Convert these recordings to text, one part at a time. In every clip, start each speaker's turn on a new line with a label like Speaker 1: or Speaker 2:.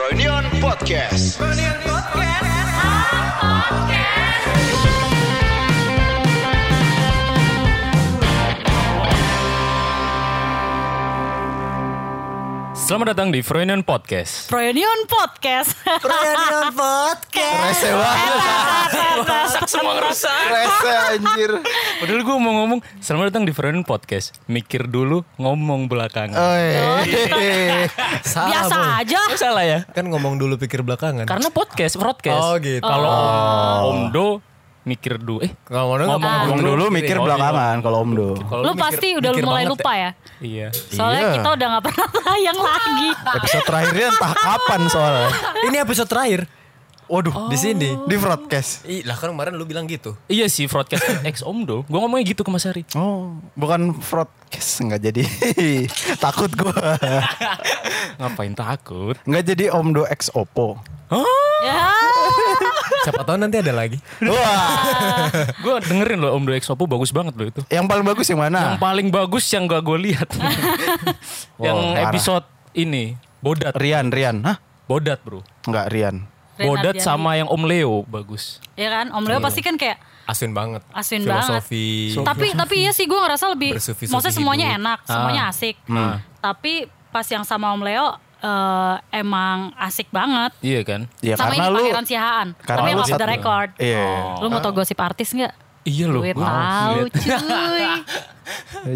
Speaker 1: Reunion Podcast.
Speaker 2: Selamat datang di Froynion Podcast.
Speaker 3: Proyonion Podcast.
Speaker 4: Reunion podcast.
Speaker 5: Rese banget,
Speaker 2: Semua ngerusak.
Speaker 5: rese anjir.
Speaker 2: Padahal gue mau ngomong, selamat datang di Froynion Podcast. Mikir dulu, ngomong
Speaker 4: Ah.
Speaker 2: belakangan.
Speaker 5: Oi.
Speaker 4: Salah,
Speaker 3: Biasa
Speaker 4: Boy.
Speaker 3: aja.
Speaker 2: Nggak salah ya?
Speaker 4: Kan ngomong dulu pikir belakangan.
Speaker 2: Karena podcast, broadcast.
Speaker 4: Oh, gitu.
Speaker 2: Kalau Omdo, mikir dulu. Eh,
Speaker 4: Kalau ngomong,
Speaker 2: ngomong,
Speaker 5: Ngomong dulu mikir belakangan kalau Om Do.
Speaker 2: Kalau
Speaker 3: Lu
Speaker 2: mikir-
Speaker 3: pasti udah
Speaker 4: mikir
Speaker 3: mulai
Speaker 4: banget
Speaker 3: lupa ya.
Speaker 2: Iya.
Speaker 3: Soalnya
Speaker 4: Iya.
Speaker 3: kita udah nggak pernah tayang lagi.
Speaker 5: Episode terakhirnya entah kapan soalnya.
Speaker 4: ini episode terakhir
Speaker 5: Waduh,
Speaker 4: di sini.
Speaker 3: Oh.
Speaker 5: di broadcast.
Speaker 4: Ih, lah kan kemarin lu bilang gitu.
Speaker 2: Iya sih, broadcast ex Omdo. Gue ngomongnya gitu ke Mas Ari.
Speaker 5: Oh, bukan broadcast nggak jadi. Takut gua.
Speaker 2: Ngapain takut?
Speaker 5: Nggak jadi Om Do X Oppo.
Speaker 3: Ya.
Speaker 4: Siapa tahu nanti ada lagi.
Speaker 5: Wah,
Speaker 2: Gue dengerin loh Omdo ex Oppo, bagus banget loh itu.
Speaker 5: yang paling bagus yang
Speaker 2: Yang
Speaker 5: mana?
Speaker 2: paling bagus yang gak gue lihat. Yang
Speaker 5: Wow, parah.
Speaker 2: episode ini, Bodat.
Speaker 5: Rian, Rian. Hah?
Speaker 2: Bodat bro.
Speaker 5: Nggak Rian.
Speaker 3: Renardiani.
Speaker 2: Bodat sama yang Om Leo bagus.
Speaker 3: Ya kan, Om Leo pasti kan kayak
Speaker 4: Asin banget.
Speaker 3: Asin
Speaker 4: Filosofi.
Speaker 3: tapi tapi iya sih gue ngerasa lebih
Speaker 4: Bersufi-sufi
Speaker 3: maksudnya semuanya
Speaker 4: hidup.
Speaker 3: enak, semuanya asik. Hmm. Tapi pas yang sama Om Leo eh, emang asik banget.
Speaker 2: Iya kan?
Speaker 5: Ya
Speaker 3: sama
Speaker 5: karena
Speaker 3: ini
Speaker 5: lu
Speaker 3: Pangeran Sihaan.
Speaker 5: karena
Speaker 3: Tapi yang
Speaker 5: lu
Speaker 3: off the
Speaker 5: satu.
Speaker 3: record.
Speaker 5: Iya.
Speaker 3: Lu mau tau gosip artis nggak?
Speaker 2: Iya loh.
Speaker 3: Gue
Speaker 2: gua
Speaker 3: tahu
Speaker 2: liat.
Speaker 3: cuy.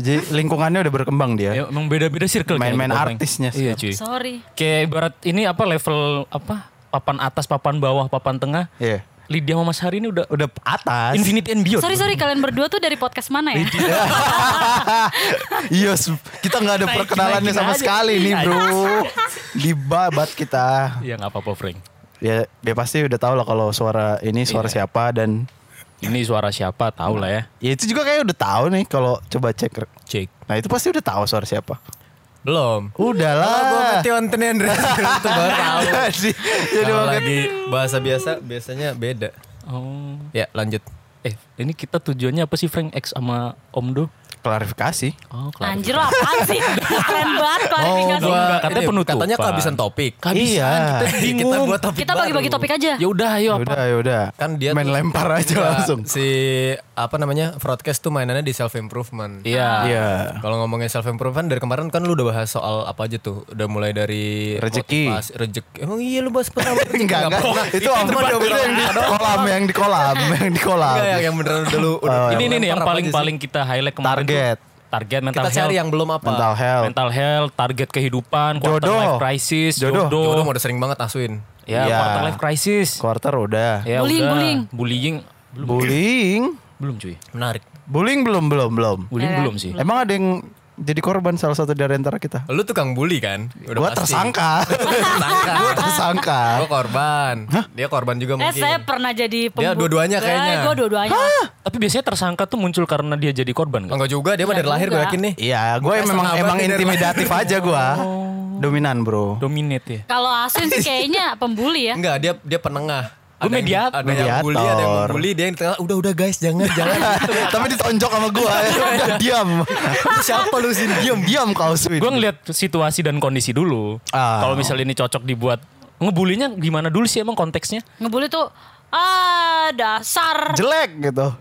Speaker 5: Jadi lingkungannya udah berkembang dia.
Speaker 2: Ya, emang beda-beda circle
Speaker 5: Main-main
Speaker 2: kayaknya, Bang.
Speaker 5: artisnya sih.
Speaker 2: Iya cuy.
Speaker 3: Sorry.
Speaker 2: Kayak ibarat ini apa level apa? Papan atas, papan bawah, papan tengah.
Speaker 5: Iya.
Speaker 2: Lydia sama Mas Hari ini udah
Speaker 5: Udah atas.
Speaker 2: infinity and beyond.
Speaker 3: Sorry sorry kalian berdua tuh dari podcast mana ya?
Speaker 5: Iya, s- kita nggak ada perkenalannya sama sekali nih, bro. Dibabat kita.
Speaker 2: Ya nggak apa-apa Frank.
Speaker 5: Ya, dia pasti udah tahu lah kalau suara ini suara siapa dan
Speaker 2: Ini suara siapa tahu lah ya.
Speaker 5: ya itu juga kayak udah tahu nih kalau coba cek.
Speaker 2: Cek.
Speaker 5: Nah itu pasti udah tahu suara siapa. Oh,
Speaker 4: Belum.
Speaker 5: Udah lah.
Speaker 4: Kalau Ah, gua Matthew Anthony Andreas itu baru tahu.
Speaker 5: jadi, Iya jadi
Speaker 4: Kalau
Speaker 5: makanya-
Speaker 4: lagi bahasa biasa biasanya beda.
Speaker 2: Oh.
Speaker 4: Ya, lanjut.
Speaker 2: Eh ini kita tujuannya apa sih Frank X sama Omdo?
Speaker 5: klarifikasi.
Speaker 2: Oh klar.
Speaker 3: Anjir lo apaan sih? Keren banget klarifikasi.
Speaker 2: gua- enggak, katanya
Speaker 4: katanya
Speaker 2: penutupan.
Speaker 4: Katanya Oh, kehabisan topik.
Speaker 5: iya.
Speaker 4: Kita buat topik
Speaker 3: Kita bagi-bagi
Speaker 4: baru.
Speaker 3: topik aja.
Speaker 2: Ya udah ayo apa?
Speaker 5: Udah, ya udah.
Speaker 4: Kan dia
Speaker 5: main
Speaker 4: tuh-
Speaker 5: lempar aja
Speaker 4: Enggak,
Speaker 5: langsung.
Speaker 4: Iya. Si apa namanya? Broadcast tuh mainannya di self improvement.
Speaker 2: Iya.
Speaker 5: Iya.
Speaker 4: Kalau ngomongin self improvement dari kemarin kan lu udah bahas soal apa aja tuh? Udah mulai dari
Speaker 5: Rezeki.
Speaker 4: motivasi, rezeki. Emang iya lu bahas pertama rezeki.
Speaker 5: Enggak, enggak.
Speaker 4: bohong.
Speaker 5: Itu apa?
Speaker 4: cuma
Speaker 5: Itu yang di kolam, yang di kolam, yang di kolam.
Speaker 4: Enggak, yang, yang beneran udah lu udah
Speaker 2: Oh, iya. Ini ini nih yang
Speaker 4: lempar apa aja sih?
Speaker 2: paling-paling kita highlight kemarin. tuh.
Speaker 5: Target.
Speaker 2: Target mental
Speaker 4: kita cari
Speaker 2: health.
Speaker 4: yang belum apa.
Speaker 5: Mental health.
Speaker 2: mental health, target kehidupan, quarter
Speaker 5: Jodoh.
Speaker 2: life crisis, jodoh,
Speaker 5: Jodoh.
Speaker 4: Jodoh udah sering banget asuin.
Speaker 2: ya
Speaker 5: Iya.
Speaker 2: quarter life crisis,
Speaker 5: Quarter udah.
Speaker 2: ya
Speaker 3: Bullying,
Speaker 2: udah.
Speaker 3: bullying.
Speaker 2: bullying, belum,
Speaker 5: Bullying.
Speaker 2: belum cuy,
Speaker 4: Menarik.
Speaker 5: Bullying belum, belum, belum.
Speaker 2: bullying
Speaker 3: Ya,
Speaker 2: belum sih.
Speaker 5: Emang ada yang jadi korban salah satu dari antara kita?
Speaker 4: Lu tukang bully kan?
Speaker 5: Gua
Speaker 4: pasti.
Speaker 5: tersangka.
Speaker 4: tersangka.
Speaker 5: Gua tersangka.
Speaker 4: Gua korban. Dia korban
Speaker 3: Eh
Speaker 4: juga mungkin.
Speaker 3: saya pernah jadi pembunuh.
Speaker 4: dua-duanya kayaknya.
Speaker 3: Gue dua-duanya.
Speaker 2: Tapi biasanya tersangka tuh muncul karena dia jadi korban kan?
Speaker 4: Enggak juga, dia mah dari lahir gue
Speaker 3: juga.
Speaker 4: yakin nih.
Speaker 5: Iya, gue
Speaker 4: Bukan
Speaker 5: memang
Speaker 4: setengah
Speaker 5: emang
Speaker 4: abad nih dari
Speaker 5: intimidatif aja gue. Dominan bro.
Speaker 2: Dominate ya.
Speaker 3: Kalau Asun sih kayaknya pembuli ya.
Speaker 4: Enggak, dia dia penengah.
Speaker 2: Gua
Speaker 4: Ada yang-
Speaker 2: mediator.
Speaker 4: Ada yang bully, ada yang
Speaker 5: Mediator.
Speaker 4: bully, dia yang di tengah. Udah, udah guys, jangan, jangan.
Speaker 5: Tapi ditonjok sama gue. diam.
Speaker 4: Lu Siapa lu sini?
Speaker 5: diam, diam kau Swin.
Speaker 4: Iya,
Speaker 2: Gue ngeliat situasi dan kondisi dulu.
Speaker 5: Ah.
Speaker 2: Kalau misalnya ini cocok dibuat ngebulinya gimana dulu sih emang konteksnya?
Speaker 3: Ngebully tuh ah dasar.
Speaker 5: Jelek gitu.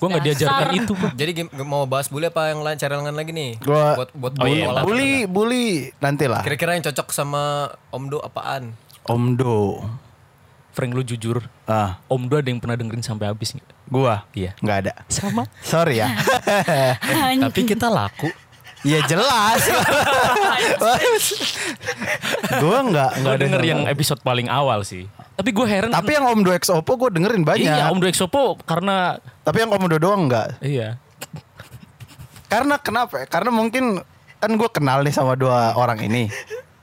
Speaker 2: Gue nggak diajarkan
Speaker 3: Dasar.
Speaker 2: itu. Bro.
Speaker 4: Jadi gim- mau bahas bully apa yang lain cara lengan lagi nih?
Speaker 5: Gue
Speaker 4: buat buat
Speaker 2: Oh
Speaker 4: bully.
Speaker 2: iya,
Speaker 4: olah-
Speaker 5: bully, bully nanti lah.
Speaker 4: Kira-kira yang cocok sama Om Do apaan?
Speaker 5: Omdo.
Speaker 2: Frank lu jujur,
Speaker 5: Ah,
Speaker 2: Om Dua ada yang pernah dengerin sampai habis nggak?
Speaker 5: gue.
Speaker 2: Iya.
Speaker 5: Nggak ada.
Speaker 2: Sama.
Speaker 5: Sorry ya.
Speaker 4: Tapi kita laku.
Speaker 5: Iya jelas. gue nggak nggak
Speaker 2: Gue
Speaker 5: ada
Speaker 2: denger
Speaker 5: yang-
Speaker 2: yang episode paling awal sih. Tapi gue heran.
Speaker 5: Tapi yang Om Do X Oppo gue dengerin banyak.
Speaker 2: iya, Om Dua Exopo karena
Speaker 5: Tapi yang Komodo doang enggak.
Speaker 2: iya.
Speaker 5: Karena kenapa? Karena mungkin kan gue kenal nih sama dua orang ini.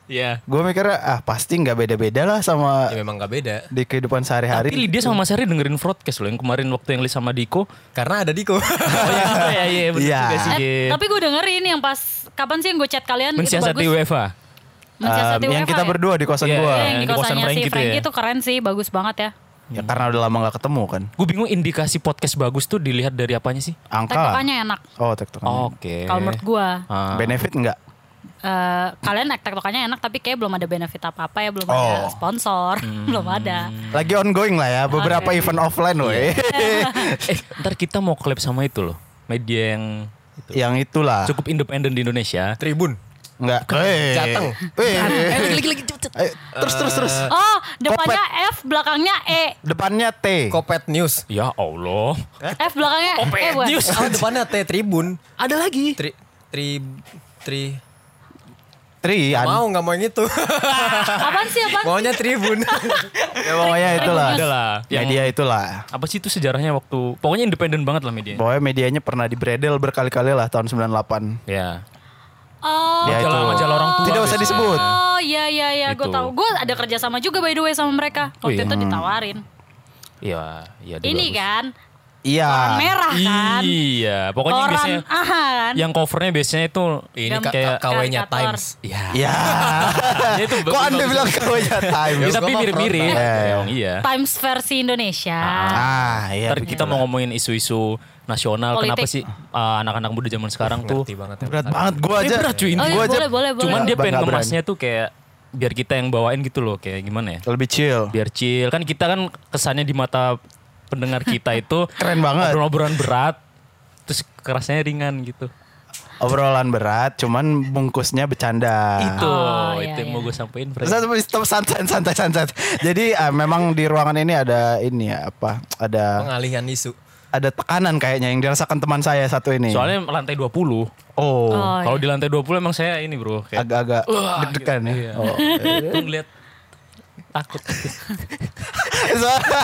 Speaker 2: Iya.
Speaker 5: Gue mikirnya ah pasti nggak beda-beda lah sama
Speaker 4: Ya memang gak beda.
Speaker 5: di kehidupan
Speaker 2: Tapi
Speaker 5: sehari-hari.
Speaker 2: Lydia sama Mas Hari dengerin broadcast loh yang kemarin waktu yang Lis sama Diko.
Speaker 4: Karena ada Diko.
Speaker 2: Oh iya, iya, iya, bener
Speaker 5: Iya.
Speaker 2: juga sih.
Speaker 3: Eh,
Speaker 2: Gil.
Speaker 3: tapi gue dengerin yang pas kapan sih yang gue chat kalian
Speaker 2: Mensiasati
Speaker 3: itu bagus.
Speaker 2: UEFA.
Speaker 3: Mensiasati
Speaker 5: Um, yang
Speaker 3: UEFA
Speaker 5: kita
Speaker 3: ya?
Speaker 5: berdua di kosan
Speaker 2: Iya,
Speaker 5: gua.
Speaker 3: Iya,
Speaker 5: gue.
Speaker 3: yang di kosannya si
Speaker 2: Frankie tuh
Speaker 3: Frankie
Speaker 2: ya.
Speaker 3: tuh keren sih, bagus banget ya.
Speaker 5: Ya karena udah lama nggak ketemu kan.
Speaker 2: Gue bingung indikasi podcast bagus tuh dilihat dari apanya sih?
Speaker 5: Angka.
Speaker 3: Tektokannya enak.
Speaker 5: Oh, tektokan.
Speaker 2: Oke.
Speaker 3: Kalau menurut gue,
Speaker 5: Benefit enggak?
Speaker 3: eh, kalian naik tektokannya enak tapi kayak belum ada benefit apa-apa ya, belum ada
Speaker 5: Oh.
Speaker 3: sponsor, belum ada.
Speaker 5: Lagi ongoing lah ya, beberapa event offline loh.
Speaker 2: Eh, ntar kita mau collab sama itu loh. Media yang itu.
Speaker 5: Yang itulah.
Speaker 2: cukup independen di Indonesia.
Speaker 4: Tribun.
Speaker 5: Enggak. Eh.
Speaker 4: Jateng.
Speaker 5: Eh.
Speaker 2: Eh, lagi, lagi, cepet, cepet.
Speaker 5: Ayo, Terus terus terus.
Speaker 3: Oh, depannya F, belakangnya E.
Speaker 5: Depannya T.
Speaker 4: Kopet News.
Speaker 2: Ya Allah.
Speaker 3: F belakangnya E buat.
Speaker 2: News.
Speaker 4: Oh, depannya T Tribun.
Speaker 2: Ada lagi.
Speaker 4: Tri tri tri
Speaker 2: Kan.
Speaker 5: Trian.
Speaker 4: mau nggak mau yang itu.
Speaker 3: Apaan
Speaker 2: Iya,
Speaker 3: sih apaan?
Speaker 4: Maunya Tribun.
Speaker 5: Ya pokoknya itulah.
Speaker 2: Ada lah. Yang,
Speaker 5: Media itulah.
Speaker 2: apa sih itu sejarahnya waktu pokoknya independen banget lah media.
Speaker 5: Pokoknya medianya pernah dibredel berkali-kali lah tahun 98.
Speaker 2: Ya.
Speaker 3: Oh.
Speaker 5: Ya,
Speaker 2: Majalah
Speaker 5: itu.
Speaker 2: majalah orang tua.
Speaker 5: Tidak usah
Speaker 2: biasanya.
Speaker 5: disebut.
Speaker 3: Oh iya iya iya gue
Speaker 2: Itu.
Speaker 3: tahu gue ada kerja sama juga by the way sama mereka waktu
Speaker 2: Wih.
Speaker 3: itu ditawarin
Speaker 2: Iya, Oh, iya. ada
Speaker 3: ini
Speaker 2: bagus.
Speaker 3: kan
Speaker 5: Iya.
Speaker 3: orang merah kan
Speaker 2: Iya, pokoknya
Speaker 3: orang
Speaker 2: biasanya
Speaker 3: ah kan
Speaker 2: yang covernya biasanya itu ini
Speaker 4: Ini K-
Speaker 2: kayak
Speaker 4: KW-nya
Speaker 3: Karikatur.
Speaker 4: Times.
Speaker 2: Iya.
Speaker 5: Ya.
Speaker 2: Ya, itu
Speaker 5: Kok
Speaker 2: bagus,
Speaker 5: Anda
Speaker 2: bagus.
Speaker 5: bilang kawanya time?
Speaker 2: Ya, tapi
Speaker 4: Gua mah
Speaker 2: mirip-mirip.
Speaker 5: frontal.
Speaker 2: Iya,
Speaker 5: Eh.
Speaker 2: emang Iya.
Speaker 3: Times versi Indonesia Oh,
Speaker 5: Ah, iya.
Speaker 2: Ntar kita mau ngomongin isu-isu nasional kenapa
Speaker 3: Politik.
Speaker 2: sih uh, anak-anak muda zaman sekarang tuh
Speaker 4: Ngerti banget ya.
Speaker 5: Berat banget gua
Speaker 2: Ini
Speaker 5: aja.
Speaker 2: berat, cuy, ini.
Speaker 5: gua
Speaker 3: Oh, iya,
Speaker 5: aja
Speaker 3: boleh, boleh, boleh.
Speaker 2: cuman dia
Speaker 5: Nggak-
Speaker 2: pengen
Speaker 5: nggak berani.
Speaker 2: ngemasnya tuh kayak biar kita yang bawain gitu loh kayak gimana ya?
Speaker 5: lebih chill.
Speaker 2: Biar chill kan kita kan kesannya di mata pendengar kita itu
Speaker 5: Keren banget.
Speaker 2: obrolan berat terus kerasnya ringan gitu.
Speaker 5: Obrolan berat, cuman bungkusnya bercanda.
Speaker 2: Itu,
Speaker 3: Oh,
Speaker 2: itu
Speaker 3: iya,
Speaker 2: yang mau
Speaker 3: iya.
Speaker 2: gue sampein. Fred.
Speaker 5: Stop, stop, santai, santai, santai. Jadi eh, memang di ruangan ini ada ini ya apa? Ada
Speaker 4: Pengalihan isu.
Speaker 5: ada tekanan kayaknya yang dirasakan teman saya satu ini.
Speaker 2: Soalnya lantai 20.
Speaker 5: oh,
Speaker 3: Oh,
Speaker 2: Kalau di lantai 20 emang saya ini bro kayak
Speaker 5: agak-agak deg-degan ya. Oh.
Speaker 2: tuh ngeliat takut.
Speaker 5: Soalnya,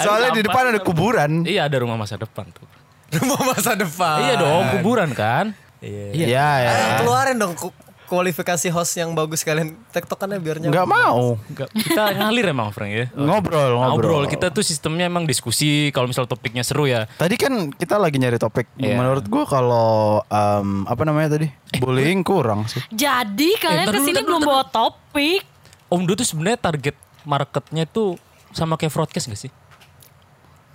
Speaker 5: soalnya di
Speaker 2: apa?
Speaker 5: depan ada kuburan.
Speaker 2: iya ada rumah masa depan tuh.
Speaker 4: Rumah masa depan.
Speaker 2: Iya dong Eh. kuburan kan.
Speaker 4: Iya.
Speaker 5: Iya, ya.
Speaker 4: Ayo keluarin dong ku- kualifikasi host yang bagus kalian. Tektokannya biar nyambung.
Speaker 5: Nggak mau.
Speaker 2: Nggak, kita ngalir emang Frank ya.
Speaker 5: Ngobrol, ngobrol.
Speaker 2: Ngobrol. Kita tuh sistemnya emang diskusi kalau misal topiknya seru ya.
Speaker 5: Tadi kan kita lagi nyari topik.
Speaker 2: Iya.
Speaker 5: Menurut gua kalau em, apa namanya tadi? Bullying kurang sih.
Speaker 3: jadi kalian
Speaker 2: Eh, ntar dulu,
Speaker 3: kesini
Speaker 2: ntar
Speaker 3: belum
Speaker 2: dulu,
Speaker 3: bawa topik
Speaker 2: Om Du tuh sebenarnya target marketnya tuh sama kayak broadcast gak sih?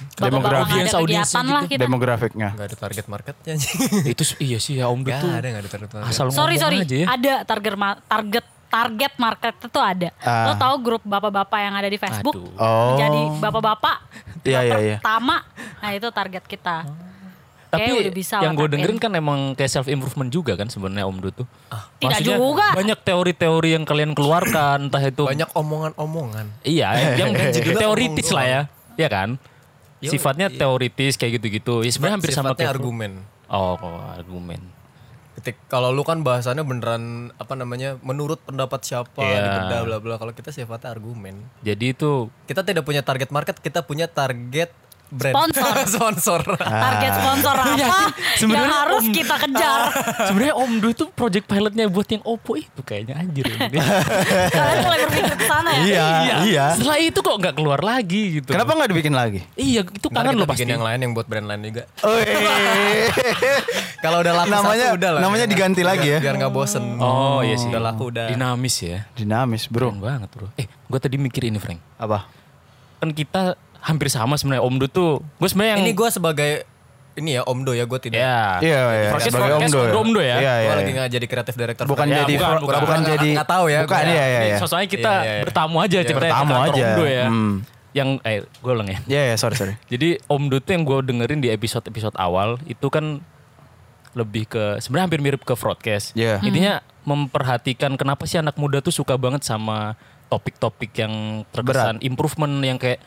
Speaker 3: Bapak-bapak
Speaker 2: Demografi.
Speaker 3: ada
Speaker 2: Audiens, gitu.
Speaker 3: kegiatan
Speaker 2: audiens
Speaker 3: lah kita
Speaker 5: Demografiknya.
Speaker 4: Nggak ada target marketnya.
Speaker 2: Itu s- iya sih ya Om Du
Speaker 4: Gak
Speaker 2: tuh.
Speaker 4: ada, gak ada target market.
Speaker 2: Asal
Speaker 3: sorry
Speaker 2: ngomong
Speaker 3: sorry
Speaker 2: aja ya.
Speaker 3: ada target ma- target target market itu ada lo tahu grup bapak-bapak yang ada di Facebook
Speaker 2: Ah. Aduh.
Speaker 5: Oh.
Speaker 3: jadi bapak-bapak
Speaker 5: Iya, iya, iya.
Speaker 3: pertama nah itu target kita Kayak
Speaker 2: Oh. Tapi
Speaker 3: udah bisa
Speaker 2: yang gue
Speaker 3: lah targetin.
Speaker 2: dengerin kan emang kayak self improvement juga kan sebenarnya Om Du tuh.
Speaker 3: Ah. Tidak
Speaker 2: Maksudnya
Speaker 3: juga.
Speaker 2: Banyak teori-teori yang kalian keluarkan entah itu.
Speaker 4: Banyak omongan-omongan.
Speaker 2: Iya, yang
Speaker 4: judulnya
Speaker 2: teoritis
Speaker 4: ngomong
Speaker 2: lah ya.
Speaker 4: doang.
Speaker 2: Iya kan?
Speaker 4: Yo, iya.
Speaker 2: Sifatnya teoritis kayak gitu-gitu. Ya sebenarnya hampir sama
Speaker 4: Sifatnya
Speaker 2: kayak
Speaker 4: argumen.
Speaker 2: Oh, oh, argumen.
Speaker 4: Ketik kalau lu kan bahasannya beneran apa namanya menurut pendapat siapa
Speaker 2: Iya.
Speaker 4: dipeda, bla bla kalau kita sifatnya argumen.
Speaker 2: Jadi itu
Speaker 4: Kita tidak punya target market, kita punya target brand.
Speaker 3: Sponsor.
Speaker 4: Sponsor.
Speaker 3: target sponsor apa yang
Speaker 2: Ah. Iya, sebenarnya
Speaker 3: harus
Speaker 2: om-
Speaker 3: kita kejar
Speaker 2: sebenarnya Om Du itu project pilotnya buat yang Oppo itu kayaknya anjir. Iya. ini.
Speaker 3: kalian mulai berpikir ke sana ya
Speaker 5: Iya, iya.
Speaker 2: Setelah itu kok nggak keluar lagi gitu.
Speaker 5: Kenapa nggak dibikin lagi?
Speaker 2: Iya, itu
Speaker 4: Ntar
Speaker 2: kangen
Speaker 4: kita
Speaker 2: lo pasti.
Speaker 4: bikin yang lain yang buat brand lain juga.
Speaker 5: Eh.
Speaker 4: Kalau udah laku
Speaker 5: Namanya-
Speaker 4: satu, udah lah.
Speaker 5: namanya
Speaker 4: Biar-
Speaker 5: diganti lagi ya.
Speaker 4: Biar nggak bosen. Hmm,
Speaker 2: Oh, iya sih.
Speaker 4: Udah laku udah.
Speaker 2: Dinamis ya.
Speaker 5: Dinamis, Bro.
Speaker 2: Keren banget, Bro. Eh, gue tadi mikir ini, Frank.
Speaker 5: Apa?
Speaker 2: Kan kita hampir sama sebenarnya Om Du tuh. Gue sebenarnya yang
Speaker 4: Ini gue sebagai ini ya Omdo ya gue tidak.
Speaker 2: ya.
Speaker 5: Iya, iya.
Speaker 2: Podcast
Speaker 5: Sebagai
Speaker 2: podcast
Speaker 5: Om Do.
Speaker 2: Om Do
Speaker 5: Iya,
Speaker 2: ya.
Speaker 4: Gue
Speaker 5: iya,
Speaker 4: lagi
Speaker 5: iya.
Speaker 4: nggak jadi kreatif director.
Speaker 5: Bukan
Speaker 2: Ya,
Speaker 5: jadi
Speaker 2: bukan,
Speaker 5: bukan,
Speaker 2: bukan.
Speaker 5: jadi
Speaker 4: Nggak tahu ya,
Speaker 5: Bukan
Speaker 4: gua.
Speaker 5: iya iya
Speaker 2: Ini
Speaker 5: iya.
Speaker 2: Soalnya kita
Speaker 4: Iya, iya, iya.
Speaker 2: bertamu aja ceritanya
Speaker 5: bertamu
Speaker 2: ke kantor
Speaker 5: aja.
Speaker 2: Om Do ya.
Speaker 5: Hmm.
Speaker 2: Yang eh gue ulang ya.
Speaker 5: Iya iya, sorry sorry.
Speaker 2: Jadi Om Do tuh yang gue dengerin di episode-episode awal itu kan lebih ke sebenarnya hampir mirip ke broadcast.
Speaker 5: Iya.
Speaker 2: Intinya memperhatikan kenapa sih anak muda tuh suka banget sama topik-topik yang terkesan improvement yang kayak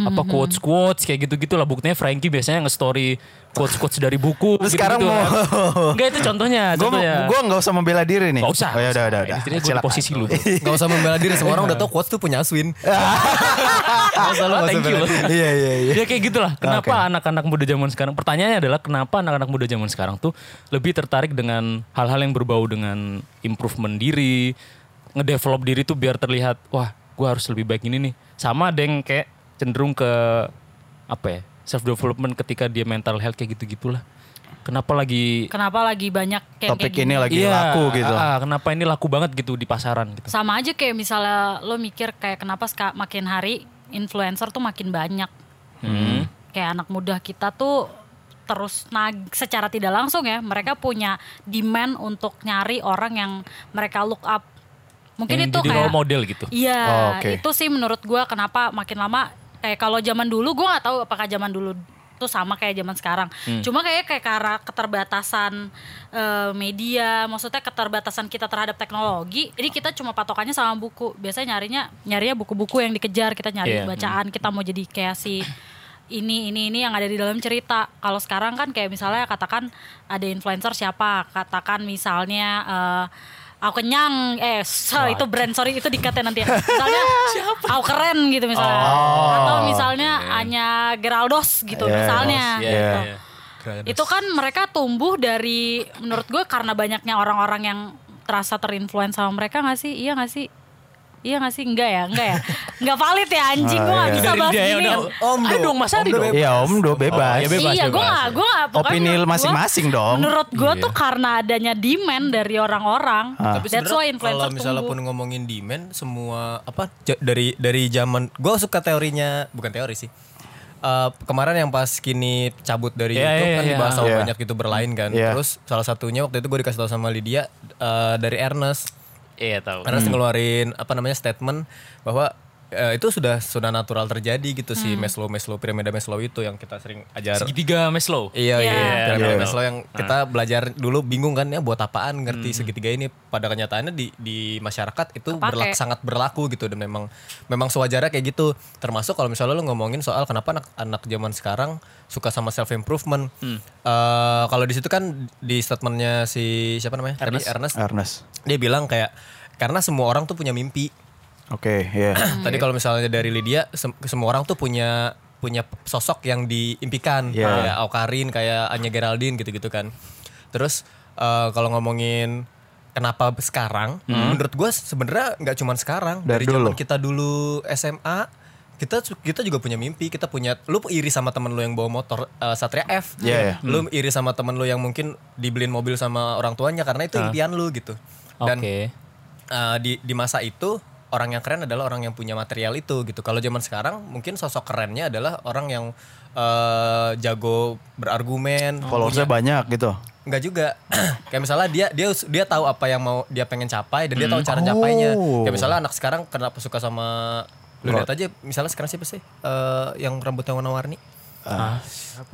Speaker 2: apa quotes quotes kayak gitu gitulah buktinya Frankie biasanya nge-story quotes quotes dari buku
Speaker 5: Lu sekarang
Speaker 2: gitu-gitu.
Speaker 5: mau-
Speaker 2: enggak itu contohnya
Speaker 5: Gue
Speaker 2: contohnya
Speaker 5: gue nggak usah membela diri nih.
Speaker 2: ya. Nggak usah
Speaker 5: Oh, ya udah udah udah.
Speaker 2: Ini ceritanya gua di
Speaker 5: Silakan. Iya,
Speaker 2: posisi lu
Speaker 4: Gak usah membela diri semua orang udah tahu quotes tuh punya Aswin. Oh, Gak usah lu gak usah
Speaker 2: Thank you.
Speaker 4: bela diri.
Speaker 5: Iya iya iya.
Speaker 2: Ya kayak gitulah. Kenapa anak-anak muda zaman sekarang? Pertanyaannya adalah kenapa anak-anak muda zaman sekarang tuh lebih tertarik dengan hal-hal yang berbau dengan improvement diri, ngedevelop diri tuh biar terlihat wah, gua harus lebih baik ini nih. Sama ada yang kayak cenderung ke apa ya? Self development ketika dia mental health kayak gitu-gitulah. Kenapa lagi
Speaker 3: kenapa lagi banyak kayak
Speaker 5: Topik
Speaker 3: kayak
Speaker 5: ini lagi laku gitu.
Speaker 2: ah, ah, kenapa ini laku banget gitu di pasaran gitu.
Speaker 3: sama aja kayak misalnya lo mikir kayak kenapa ska- makin
Speaker 2: Hmm.
Speaker 3: hari influencer tuh makin banyak kayak anak muda kita tuh terus nag secara tidak langsung ya mereka punya demand untuk nyari orang yang mereka look up mungkin
Speaker 2: Yang
Speaker 3: itu
Speaker 2: jadi
Speaker 3: kayak
Speaker 2: role model gitu.
Speaker 3: Iya,
Speaker 5: Oh, oke.
Speaker 3: itu sih menurut gua kenapa makin lama kayak kalau zaman dulu gua nggak tahu apakah zaman dulu tuh sama kayak zaman sekarang. Cuma kayak kayak karena keterbatasan eh, media, maksudnya keterbatasan kita terhadap teknologi. Jadi kita cuma patokannya sama buku. Biasanya nyarinya nyarinya buku-buku yang dikejar, kita nyari
Speaker 2: Iya,
Speaker 3: bacaan, kita mau jadi kayak si ini ini ini yang ada di dalam cerita. Kalau sekarang kan kayak misalnya katakan ada influencer siapa, katakan misalnya eh, aku kenyang eh so, itu brand sorry itu dikate nanti ya. Misalnya aku keren gitu misalnya. Atau misalnya hanya Geraldos gitu
Speaker 5: Yes,
Speaker 3: misalnya.
Speaker 2: Iya,
Speaker 3: gitu.
Speaker 2: iya.
Speaker 3: Itu kan mereka tumbuh dari menurut gue karena banyaknya orang-orang yang terasa terinfluence sama mereka gak sih? Iya gak sih? Iya gak sih? Enggak ya? Enggak ya? Enggak valid ya anjing
Speaker 4: Ah,
Speaker 3: gue
Speaker 4: iya.
Speaker 3: gak bisa
Speaker 2: Dari
Speaker 3: bahas
Speaker 2: dia ya
Speaker 3: gini.
Speaker 2: udah.
Speaker 4: Om
Speaker 2: Ayo
Speaker 4: dong,
Speaker 2: dong Mas Ari
Speaker 4: Om dong.
Speaker 2: dong.
Speaker 5: Iya om do bebas.
Speaker 2: Oh, ya bebas.
Speaker 3: iya, gue gak, gue gak. pokoknya
Speaker 5: Opini
Speaker 3: menurut gua-
Speaker 5: masing-masing dong.
Speaker 3: Menurut gue tuh karena adanya demand dari orang-orang.
Speaker 5: Ah.
Speaker 4: Tapi
Speaker 3: That's why
Speaker 4: sebenarnya
Speaker 3: influencer
Speaker 4: kalau misalnya pun
Speaker 3: tumbuh.
Speaker 4: ngomongin demand semua apa j- dari dari zaman gue suka teorinya bukan teori sih. Eh, kemarin yang pas kini cabut dari
Speaker 2: Iya,
Speaker 4: YouTube
Speaker 2: iya,
Speaker 4: kan
Speaker 2: iya.
Speaker 4: dibahas sama
Speaker 5: Iya.
Speaker 4: banyak youtuber lain kan.
Speaker 5: Iya.
Speaker 4: Terus salah satunya waktu itu gue dikasih tahu sama Lydia eh, dari Ernest.
Speaker 2: Iya tahu.
Speaker 3: Hmm.
Speaker 4: Ernest ngeluarin apa namanya statement bahwa eh, itu sudah sudah natural terjadi gitu sih
Speaker 3: Hmm.
Speaker 4: Maslow Maslow piramida Maslow itu yang kita sering ajar
Speaker 2: Segitiga Maslow.
Speaker 4: Iya
Speaker 3: Iya.
Speaker 4: iya.
Speaker 3: Nah.
Speaker 4: Piramida
Speaker 2: Iya.
Speaker 4: Maslow yang kita belajar dulu bingung kan ya buat apaan ngerti segitiga ini pada kenyataannya di di masyarakat itu
Speaker 3: Hmm. Kepake.
Speaker 4: berlak- sangat berlaku gitu dan memang memang sewajarnya kayak gitu. Termasuk kalau misalnya lo ngomongin soal kenapa anak-anak zaman sekarang suka sama self improvement.
Speaker 3: Hmm.
Speaker 4: kalau di situ kan di statementnya si siapa namanya? Tadi Ernest.
Speaker 5: Ernest.
Speaker 4: Dia bilang kayak karena semua orang tuh punya mimpi.
Speaker 5: Oke, ya.
Speaker 4: Tadi kalau misalnya dari Lydia, sem- semua orang tuh punya punya sosok yang diimpikan
Speaker 5: Iya.
Speaker 4: kayak Aukarin, kayak Anya Geraldine gitu-gitu kan. Terus eh, kalau ngomongin kenapa sekarang, menurut gue sebenarnya nggak cuman sekarang dari,
Speaker 5: Hmm. Dari
Speaker 4: zaman
Speaker 5: dulu.
Speaker 4: kita dulu SMA kita kita juga punya mimpi kita punya lu iri sama temen lu yang bawa motor eh, Satria F
Speaker 5: Iya, iya.
Speaker 4: lu iri sama temen lu yang mungkin dibeliin mobil sama orang tuanya karena
Speaker 5: Ah.
Speaker 4: itu impian lu gitu dan
Speaker 2: Oke.
Speaker 4: Uh, di di masa itu orang yang keren adalah orang yang punya material itu gitu. Kalau zaman sekarang mungkin sosok kerennya adalah orang yang uh, jago berargumen,
Speaker 5: Followersnya
Speaker 2: Iya.
Speaker 5: banyak gitu.
Speaker 4: Enggak juga. kayak misalnya dia dia dia tahu apa yang mau dia pengen capai dan dia
Speaker 2: Hmm.
Speaker 4: tahu cara capainya.
Speaker 2: Oh.
Speaker 4: Kayak misalnya anak sekarang kenapa suka sama lu lihat aja misalnya sekarang siapa sih Eh, yang rambutnya warna-warni?
Speaker 2: Ah.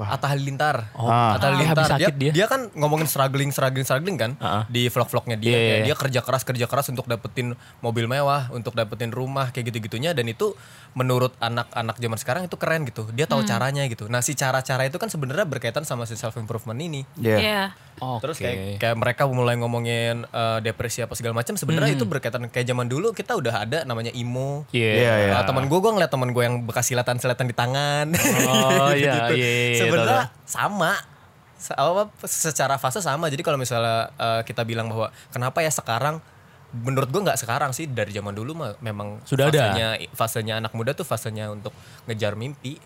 Speaker 4: Atta Halilintar. Atta
Speaker 2: Oh.
Speaker 4: Halilintar.
Speaker 2: habis
Speaker 4: Dia,
Speaker 2: sakit dia.
Speaker 4: dia kan ngomongin struggling struggling struggling kan di vlog-vlognya
Speaker 2: Ah,
Speaker 4: dia.
Speaker 2: Iya,
Speaker 4: Kayak
Speaker 2: iya, iya.
Speaker 4: Dia kerja keras kerja keras untuk dapetin mobil mewah, untuk dapetin rumah kayak gitu-gitunya dan itu menurut anak-anak zaman sekarang itu keren gitu. Dia
Speaker 2: Hmm.
Speaker 4: tahu caranya gitu. Nah, si cara-cara itu kan sebenarnya berkaitan sama si self improvement ini.
Speaker 5: Iya.
Speaker 3: Iya.
Speaker 2: Oke.
Speaker 4: Terus kayak, kayak mereka mulai ngomongin eh, depresi apa segala macam. Sebenarnya itu berkaitan kayak zaman dulu kita udah ada namanya emo.
Speaker 2: Hmm. Iya.
Speaker 5: Iya, iya.
Speaker 4: Nah, teman gue gue ngeliat teman gue yang bekas silatan-silatan di tangan.
Speaker 2: Oh, iya,
Speaker 4: Gitu-gitu.
Speaker 2: iya, iya, iya,
Speaker 4: Sebenarnya sama. Se- apa, secara fase sama. Jadi kalau misalnya eh, kita bilang bahwa kenapa ya sekarang menurut gue nggak sekarang sih dari zaman dulu mah memang
Speaker 2: Sudah ada.
Speaker 4: fasenya, fasenya anak muda tuh fasenya untuk ngejar mimpi.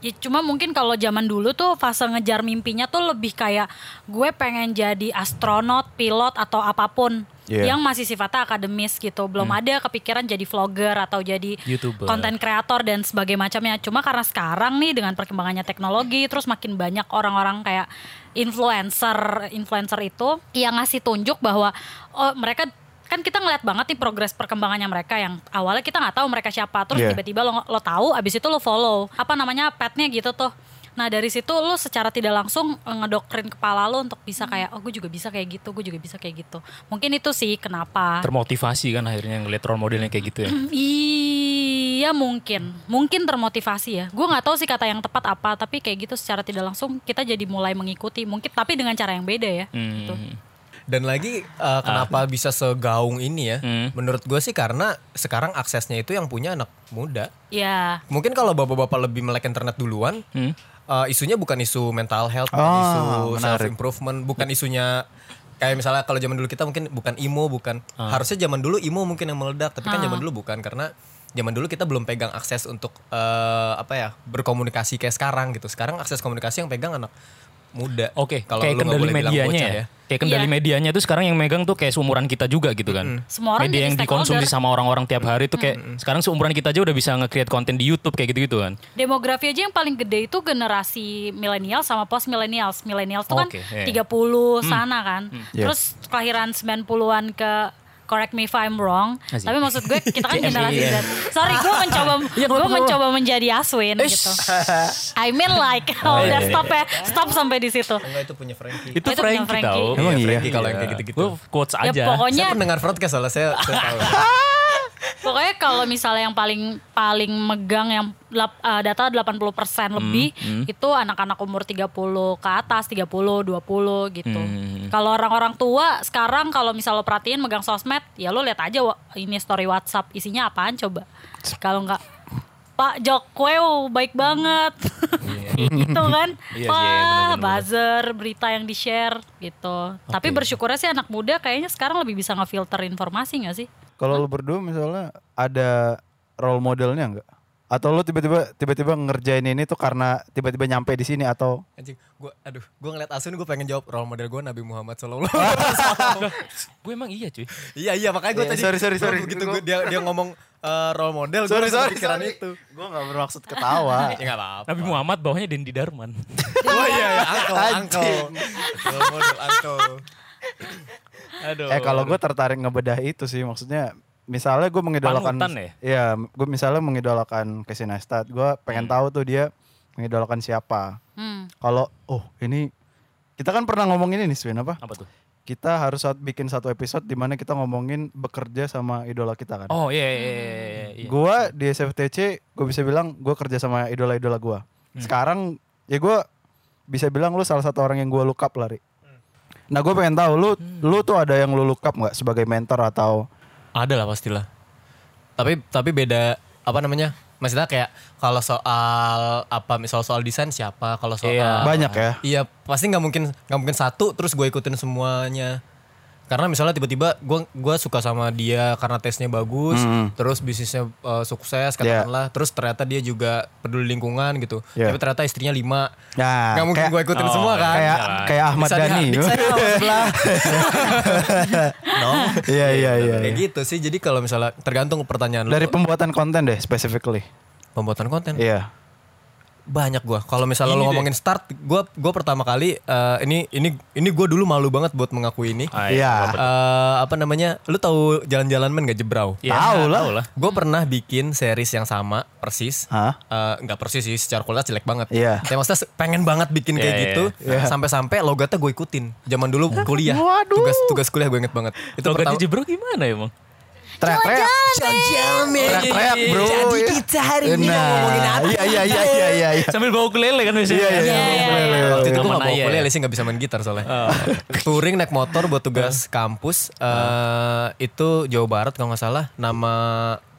Speaker 3: Ya, cuma mungkin kalau zaman dulu tuh fase ngejar mimpinya tuh lebih kayak gue pengen jadi astronot, pilot atau apapun
Speaker 5: Iya. Hmm.
Speaker 3: yang masih sifatnya akademis gitu. Belum ada kepikiran jadi vlogger atau jadi
Speaker 2: YouTuber.
Speaker 3: konten kreator dan sebagai macamnya. Cuma karena sekarang nih dengan perkembangannya teknologi terus makin banyak orang-orang kayak influencer, influencer itu yang ngasih tunjuk bahwa oh, mereka kan kita ngeliat banget nih progres perkembangannya mereka yang awalnya kita nggak tahu mereka siapa terus
Speaker 5: Iya.
Speaker 3: tiba-tiba tiba lo lo tahu abis itu lo follow apa namanya petnya gitu tuh nah dari situ lo secara tidak langsung eh, ngedoktrin kepala lo untuk bisa kayak oh gue juga bisa kayak gitu gue juga bisa kayak gitu mungkin itu sih kenapa
Speaker 2: Termotivasi kan akhirnya ngeliat role modelnya kayak gitu ya.
Speaker 3: iya mungkin mungkin termotivasi ya gue nggak tahu sih kata yang tepat apa tapi kayak gitu secara tidak langsung kita jadi mulai mengikuti mungkin tapi dengan cara yang beda ya
Speaker 2: Hmm.
Speaker 3: gitu
Speaker 4: Dan lagi uh,
Speaker 2: Ah.
Speaker 4: kenapa bisa segaung ini ya?
Speaker 2: Hmm.
Speaker 4: Menurut gue sih karena sekarang aksesnya itu yang punya anak muda.
Speaker 3: ya
Speaker 4: Mungkin kalau bapak-bapak lebih melek internet duluan,
Speaker 2: Hmm.
Speaker 4: uh, isunya bukan isu mental health, bukan
Speaker 5: Ah,
Speaker 4: isu
Speaker 5: menarik.
Speaker 4: self improvement, bukan isunya kayak misalnya kalau zaman dulu kita mungkin bukan emo, bukan
Speaker 2: Ah.
Speaker 4: harusnya zaman dulu emo mungkin yang meledak, tapi kan zaman dulu bukan karena zaman dulu kita belum pegang eh, akses untuk uh, apa ya berkomunikasi kayak sekarang gitu. Sekarang akses komunikasi yang pegang anak muda.
Speaker 2: Oke,
Speaker 4: Kalau
Speaker 2: kayak
Speaker 4: lu nggak
Speaker 2: kendali
Speaker 4: boleh bilang
Speaker 2: medianya
Speaker 4: bocah
Speaker 2: ya. Kayak kendali
Speaker 3: Iya.
Speaker 2: medianya tuh sekarang yang megang tuh kayak seumuran kita juga gitu kan.
Speaker 3: Semua orang
Speaker 2: Media
Speaker 3: jadi
Speaker 2: yang dikonsumsi
Speaker 3: stakeholder.
Speaker 2: sama orang-orang tiap hari tuh kayak sekarang seumuran kita aja udah bisa nge-create konten di YouTube kayak gitu-gitu kan.
Speaker 3: Demografi aja yang paling gede itu generasi milenial sama post millennials. Millennials itu
Speaker 2: Oke,
Speaker 3: kan
Speaker 2: iya. Hmm.
Speaker 3: 30 sana kan.
Speaker 5: Iya.
Speaker 3: Terus kelahiran 90-an ke correct me if I'm wrong,
Speaker 2: Asik.
Speaker 3: tapi maksud gue kita kan generasi
Speaker 2: CMI,
Speaker 3: Z. Sorry, gue mencoba
Speaker 2: Iya, kenapa,
Speaker 3: gue
Speaker 2: kenapa?
Speaker 3: mencoba menjadi Aswin gitu. I mean like,
Speaker 2: Oh, iya,
Speaker 3: udah stop ya, stop sampai di situ.
Speaker 4: Enggak itu punya Frankie.
Speaker 2: Itu
Speaker 3: Itu punya
Speaker 2: Frankie,
Speaker 3: Frankie.
Speaker 2: tahu.
Speaker 5: Emang iya?
Speaker 4: Frankie kalau yang kayak gitu-gitu.
Speaker 2: Gue quotes
Speaker 3: Ya
Speaker 2: aja.
Speaker 4: Saya
Speaker 3: pokoknya
Speaker 4: pendengar podcast soalnya saya, saya tahu.
Speaker 3: Pokoknya kalau misalnya yang paling paling megang yang lap- eh, data
Speaker 2: Hmm,
Speaker 3: 80% lebih itu anak-anak umur 30 ke atas, 30, 20 gitu.
Speaker 2: Hmm,
Speaker 3: Kalau orang-orang tua sekarang kalau misal lo perhatiin megang sosmed, ya lo lihat aja wa- ini story WhatsApp isinya apaan coba. Kalau nggak Pak Jokweo baik banget. gitu kan.
Speaker 2: Iya sih, bener-bener.
Speaker 3: Wah, buzzer, berita yang di-share gitu. Tapi bersyukurnya sih anak muda kayaknya sekarang lebih bisa ngefilter informasi nggak sih?
Speaker 5: Kalau lu berdua misalnya ada role modelnya nggak? Atau lu tiba-tiba tiba-tiba ngerjain ini tuh karena tiba-tiba nyampe di sini atau
Speaker 4: Anjing, gua aduh, gua ngeliat Asun gua pengen jawab role model gua Nabi Muhammad sallallahu alaihi wasallam.
Speaker 2: Gue emang iya cuy.
Speaker 4: Iya iya makanya gue
Speaker 5: Iya,
Speaker 4: tadi
Speaker 5: sorry, sorry,
Speaker 4: gua
Speaker 5: sorry.
Speaker 4: begitu gua- dia dia ngomong eh, role model gue pikiran itu.
Speaker 5: Gue nggak bermaksud ketawa.
Speaker 4: Ya enggak apa-apa.
Speaker 2: Nabi Muhammad bawahnya Dendi Darman.
Speaker 4: Oh iya ya, uncle, uncle.
Speaker 5: Anjing.
Speaker 4: Role model uncle.
Speaker 2: Aduh.
Speaker 5: eh kalau gue tertarik ngebedah itu sih maksudnya misalnya gue mengidolakan
Speaker 2: Panutan ya?
Speaker 5: iya gue misalnya mengidolakan Casey Neistat gue pengen
Speaker 2: Hmm.
Speaker 5: tahu tuh dia mengidolakan siapa
Speaker 3: Hmm.
Speaker 5: kalau oh ini kita kan pernah ngomongin ini Swin apa
Speaker 2: apa tuh?
Speaker 5: kita harus saat bikin satu episode di mana kita ngomongin bekerja sama idola kita kan
Speaker 2: Oh iya iya iya, iya, iya.
Speaker 5: gue di SFTC gue bisa bilang gue kerja sama idola-idola gue sekarang ya gue bisa bilang lu salah satu orang yang gue look up lari nah gue pengen tahu lu lu tuh ada yang lu look up nggak sebagai mentor atau
Speaker 4: Ada lah pastilah. Tapi tapi beda apa namanya? Maksudnya kayak kalau soal apa misal soal desain siapa kalau soal
Speaker 2: Iya.
Speaker 5: banyak ya
Speaker 4: Iya pasti nggak mungkin nggak mungkin satu terus gue ikutin semuanya karena misalnya tiba-tiba gue gue suka sama dia karena tesnya bagus
Speaker 5: Mm-hmm.
Speaker 4: terus bisnisnya uh, sukses katakanlah terus ternyata dia juga peduli lingkungan gitu
Speaker 5: Iya.
Speaker 4: tapi ternyata istrinya lima
Speaker 5: Ya,
Speaker 4: nggak mungkin
Speaker 5: kayak-
Speaker 4: gue ikutin semua kan
Speaker 5: kayak kayak Ahmad
Speaker 4: Bisa
Speaker 5: Dhani
Speaker 4: dihandik saya sama sebelah. no
Speaker 5: iya iya iya
Speaker 4: kayak gitu sih jadi kalau misalnya tergantung pertanyaan
Speaker 5: dari
Speaker 4: lu
Speaker 5: pembuatan konten deh specifically
Speaker 4: pembuatan konten
Speaker 5: iya
Speaker 4: banyak gua kalau misalnya lo ngomongin start gua gua pertama kali eh, ini ini ini gua dulu malu banget buat mengakui ini
Speaker 2: Ah,
Speaker 5: Iya.
Speaker 4: Eh, apa namanya lu tahu jalan-jalan men gak jebrau
Speaker 2: Iya,
Speaker 5: Tahu lah.
Speaker 2: tahu lah.
Speaker 4: Gue pernah bikin series yang sama persis.
Speaker 5: Hah?
Speaker 4: Eh, nggak persis sih, secara kualitas jelek banget.
Speaker 5: Iya.
Speaker 4: Tapi maksudnya se- pengen banget bikin kayak
Speaker 2: Iya,
Speaker 4: gitu, sampai-sampai logatnya gue ikutin. Zaman dulu kuliah, tugas tugas kuliah gue inget banget. Itu
Speaker 2: Logatnya
Speaker 4: pertama.
Speaker 2: Jebro gimana emang?
Speaker 5: teriak teriak teriak bro
Speaker 4: Iya.
Speaker 5: jadi kita hari ini ngomongin apa iya iya iya iya iya iya
Speaker 2: Sambil bawa ukulele kan biasanya.
Speaker 5: Iya, iya, iya.
Speaker 4: Waktu itu gue
Speaker 2: Teman
Speaker 4: gak bawa
Speaker 2: ayah
Speaker 4: kuliah
Speaker 2: ya.
Speaker 4: sih gak bisa main gitar soalnya Touring naik motor buat tugas kampus eh, Itu Jawa Barat kalau gak salah Nama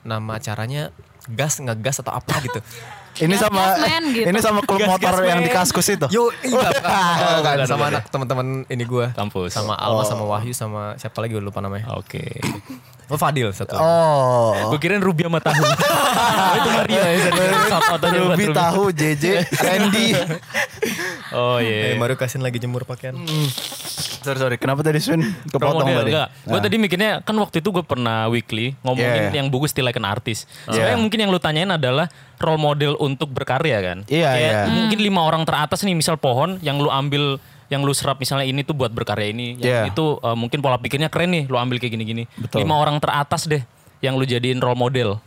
Speaker 4: nama acaranya Gas, ngegas atau apa gitu
Speaker 5: ini
Speaker 3: Gas-gas
Speaker 5: sama
Speaker 3: man, gitu.
Speaker 5: ini sama klub
Speaker 2: Gas-gas
Speaker 5: motor yang
Speaker 2: man.
Speaker 5: di kaskus itu
Speaker 4: Yo, iya,
Speaker 2: Oh,
Speaker 4: bukan,
Speaker 2: bukan,
Speaker 4: sama
Speaker 2: bukan.
Speaker 4: anak teman-teman ini gue.
Speaker 2: Kampus.
Speaker 4: Sama Alma, sama Wahyu, sama siapa lagi gue lupa namanya.
Speaker 2: Oke.
Speaker 4: Oh, Fadil satu.
Speaker 5: oh
Speaker 2: Gue kirain Ruby sama Tahu. Oh, itu Maria ya. Satu-satunya buat
Speaker 5: Ruby tahu JJ Randy
Speaker 2: Oh iya.
Speaker 4: Eh, baru kasin lagi jemur pakaian.
Speaker 5: sorry sorry kenapa tadi Sun kepotong
Speaker 2: Promo
Speaker 5: tadi Nah.
Speaker 2: dia, enggak. Gue tadi mikirnya kan waktu itu gue pernah weekly ngomongin
Speaker 5: Yeah.
Speaker 2: yang bagus kan artis. Sebenarnya
Speaker 5: Yeah.
Speaker 2: mungkin yang lu tanyain adalah role model untuk berkarya kan.
Speaker 5: Iya,
Speaker 2: Kayak
Speaker 5: iya.
Speaker 2: Mungkin lima orang teratas nih misal pohon yang lu ambil yang lu serap misalnya ini tuh buat berkarya ini,
Speaker 5: Yeah.
Speaker 2: yang itu eh, mungkin pola pikirnya keren nih lu ambil kayak gini-gini.
Speaker 5: Betul.
Speaker 2: Lima orang teratas deh yang lu jadiin role model.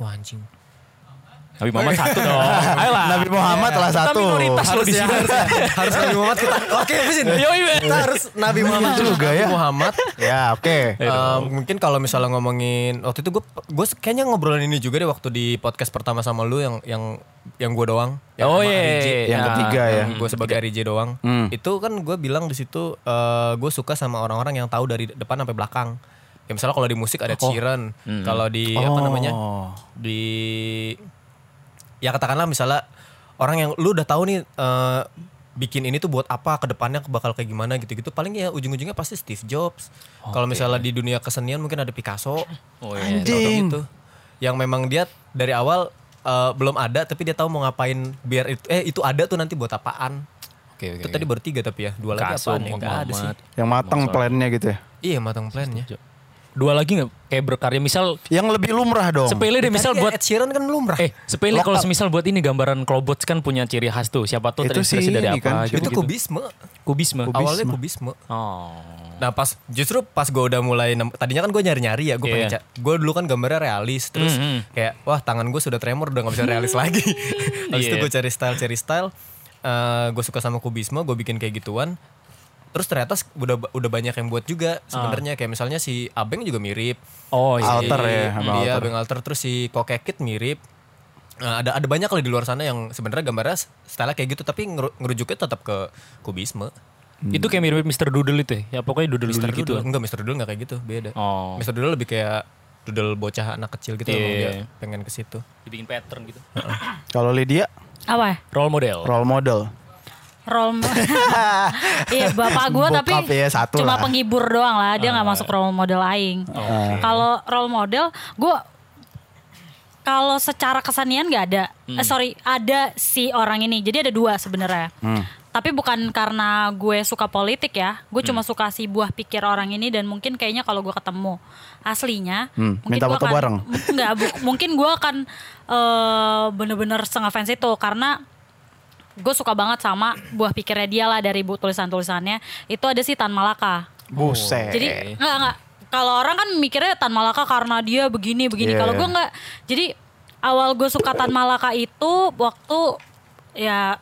Speaker 4: Wah, anjing.
Speaker 2: Nabi Muhammad satu dong. Ayolah.
Speaker 5: Nabi Muhammad lah
Speaker 2: Iya. Kita
Speaker 5: satu
Speaker 2: minoritas loh
Speaker 4: Harus
Speaker 2: di
Speaker 4: ya,
Speaker 2: sini.
Speaker 4: harus, ya. harus Nabi Muhammad kita. Oke, habisin.
Speaker 2: Yoi, men.
Speaker 4: Kita harus Nabi
Speaker 2: Iya
Speaker 4: Muhammad
Speaker 5: juga ya.
Speaker 4: Nabi Muhammad.
Speaker 5: ya oke
Speaker 4: Eh, mungkin kalau misalnya ngomongin waktu itu gue gue kayaknya ngobrolin ini juga deh waktu di podcast pertama sama lu yang yang yang gue doang yang
Speaker 2: Oh,
Speaker 4: sama
Speaker 2: iya,
Speaker 4: Ari J.
Speaker 2: iya,
Speaker 5: Yang
Speaker 2: iya.
Speaker 5: ketiga ya.
Speaker 4: gue Nah, sebagai RJ doang itu kan gue bilang di situ gue suka sama orang-orang yang tahu dari depan sampai belakang ya misalnya kalau di musik ada Ciren kalau di apa namanya di ya katakanlah misalnya orang yang lu udah tahu nih eh, bikin ini tuh buat apa kedepannya bakal kayak gimana gitu-gitu paling ya ujung-ujungnya pasti Steve Jobs kalau misalnya di dunia kesenian mungkin ada Picasso
Speaker 2: Oh, iya.
Speaker 5: anjing
Speaker 4: gitu yang memang dia dari awal eh, belum ada tapi dia tahu mau ngapain biar itu eh itu ada tuh nanti buat apaan
Speaker 2: oke oke.
Speaker 4: Itu tadi baru tiga tapi ya, dua lagi
Speaker 2: Kasum,
Speaker 4: apaan ya?
Speaker 2: Wong
Speaker 4: Nggak ada sih.
Speaker 2: Muhammad.
Speaker 5: Yang matang
Speaker 2: Masalah.
Speaker 5: plannya gitu ya.
Speaker 4: Iya matang plannya.
Speaker 2: Dua lagi nggak kayak berkarya misal
Speaker 5: Yang lebih lumrah dong.
Speaker 4: Eh,
Speaker 2: sepele deh misal buat
Speaker 4: Ed Sheeran kan lumrah.
Speaker 2: eh sepele kalau semisal buat ini gambaran Klobots kan punya ciri khas tuh siapa tuh
Speaker 5: Itu
Speaker 2: terinspirasi
Speaker 5: sih
Speaker 2: dari
Speaker 5: ini
Speaker 2: apa
Speaker 5: kan,
Speaker 2: gitu,
Speaker 4: itu
Speaker 2: gitu.
Speaker 4: kubisme.
Speaker 2: kubisme.
Speaker 4: Awalnya kubisme.
Speaker 2: Oh.
Speaker 4: Nah pas justru pas gue udah mulai nem- tadinya kan gue nyari nyari ya gue pengen
Speaker 2: Iya.
Speaker 4: gue dulu kan gambarnya realis terus
Speaker 2: Mm, mm.
Speaker 4: kayak wah tangan gue sudah tremor udah nggak bisa realis lagi. Habis itu
Speaker 2: Iya.
Speaker 4: gue cari style cari style gue suka sama kubisme gue bikin kayak gituan. Terus ternyata s- udah ba- udah banyak yang buat juga sebenarnya kayak misalnya si Abeng juga mirip.
Speaker 2: Ah. Oh
Speaker 4: Si-
Speaker 2: iya.
Speaker 5: Alter ya, Abeng
Speaker 4: Iya
Speaker 5: Alter.
Speaker 4: Abeng Alter terus si Kokekit mirip. Nah, ada ada banyak lah di luar sana yang sebenarnya gambarnya s- style kayak gitu tapi ngeru- ngerujuknya tetap ke kubisme.
Speaker 2: Itu kayak mirip Mr. Doodle itu ya. ya pokoknya
Speaker 4: Hmm. Mister
Speaker 2: doodle-doodle gitu.
Speaker 4: Doodle. Enggak, Mister Doodle enggak kayak gitu, beda.
Speaker 2: Oh.
Speaker 4: Mister Doodle lebih kayak doodle bocah anak kecil gitu
Speaker 2: Iya,
Speaker 4: emang
Speaker 2: iya,
Speaker 4: dia
Speaker 2: iya.
Speaker 4: pengen ke situ.
Speaker 2: Dibikin pattern gitu.
Speaker 5: Kalau Lydia
Speaker 3: Apa ya?
Speaker 2: Role model.
Speaker 5: role model.
Speaker 3: Role model. Iya bapak gue
Speaker 5: Bokap
Speaker 3: tapi
Speaker 5: ya, satu
Speaker 3: cuma
Speaker 5: lah. Ah.
Speaker 3: penghibur doang lah. Dia nggak masuk role model aing. Kalau role model gue kalau secara kesenian nggak ada.
Speaker 5: Hmm.
Speaker 3: Eh, sorry ada si orang ini. Jadi ada dua sebenarnya.
Speaker 5: Hmm.
Speaker 3: Tapi bukan karena gue suka politik ya. Gue
Speaker 5: Hmm.
Speaker 3: cuma suka si buah pikir orang ini dan mungkin kayaknya kalau gue ketemu aslinya,
Speaker 5: Hmm,
Speaker 3: mungkin
Speaker 5: minta
Speaker 3: gue
Speaker 5: foto
Speaker 3: akan-
Speaker 5: bareng.
Speaker 3: Enggak, bu- mungkin gue akan eh, bener-bener setengah fans itu karena gue suka banget sama buah pikirnya dia lah dari bu tulisan-tulisannya itu ada si Tan Malaka
Speaker 5: Buset.
Speaker 3: jadi enggak enggak kalau orang kan mikirnya Tan Malaka karena dia begini begini
Speaker 5: Iya,
Speaker 3: kalau
Speaker 5: iya.
Speaker 3: gue enggak jadi awal gue suka Tan Malaka itu waktu ya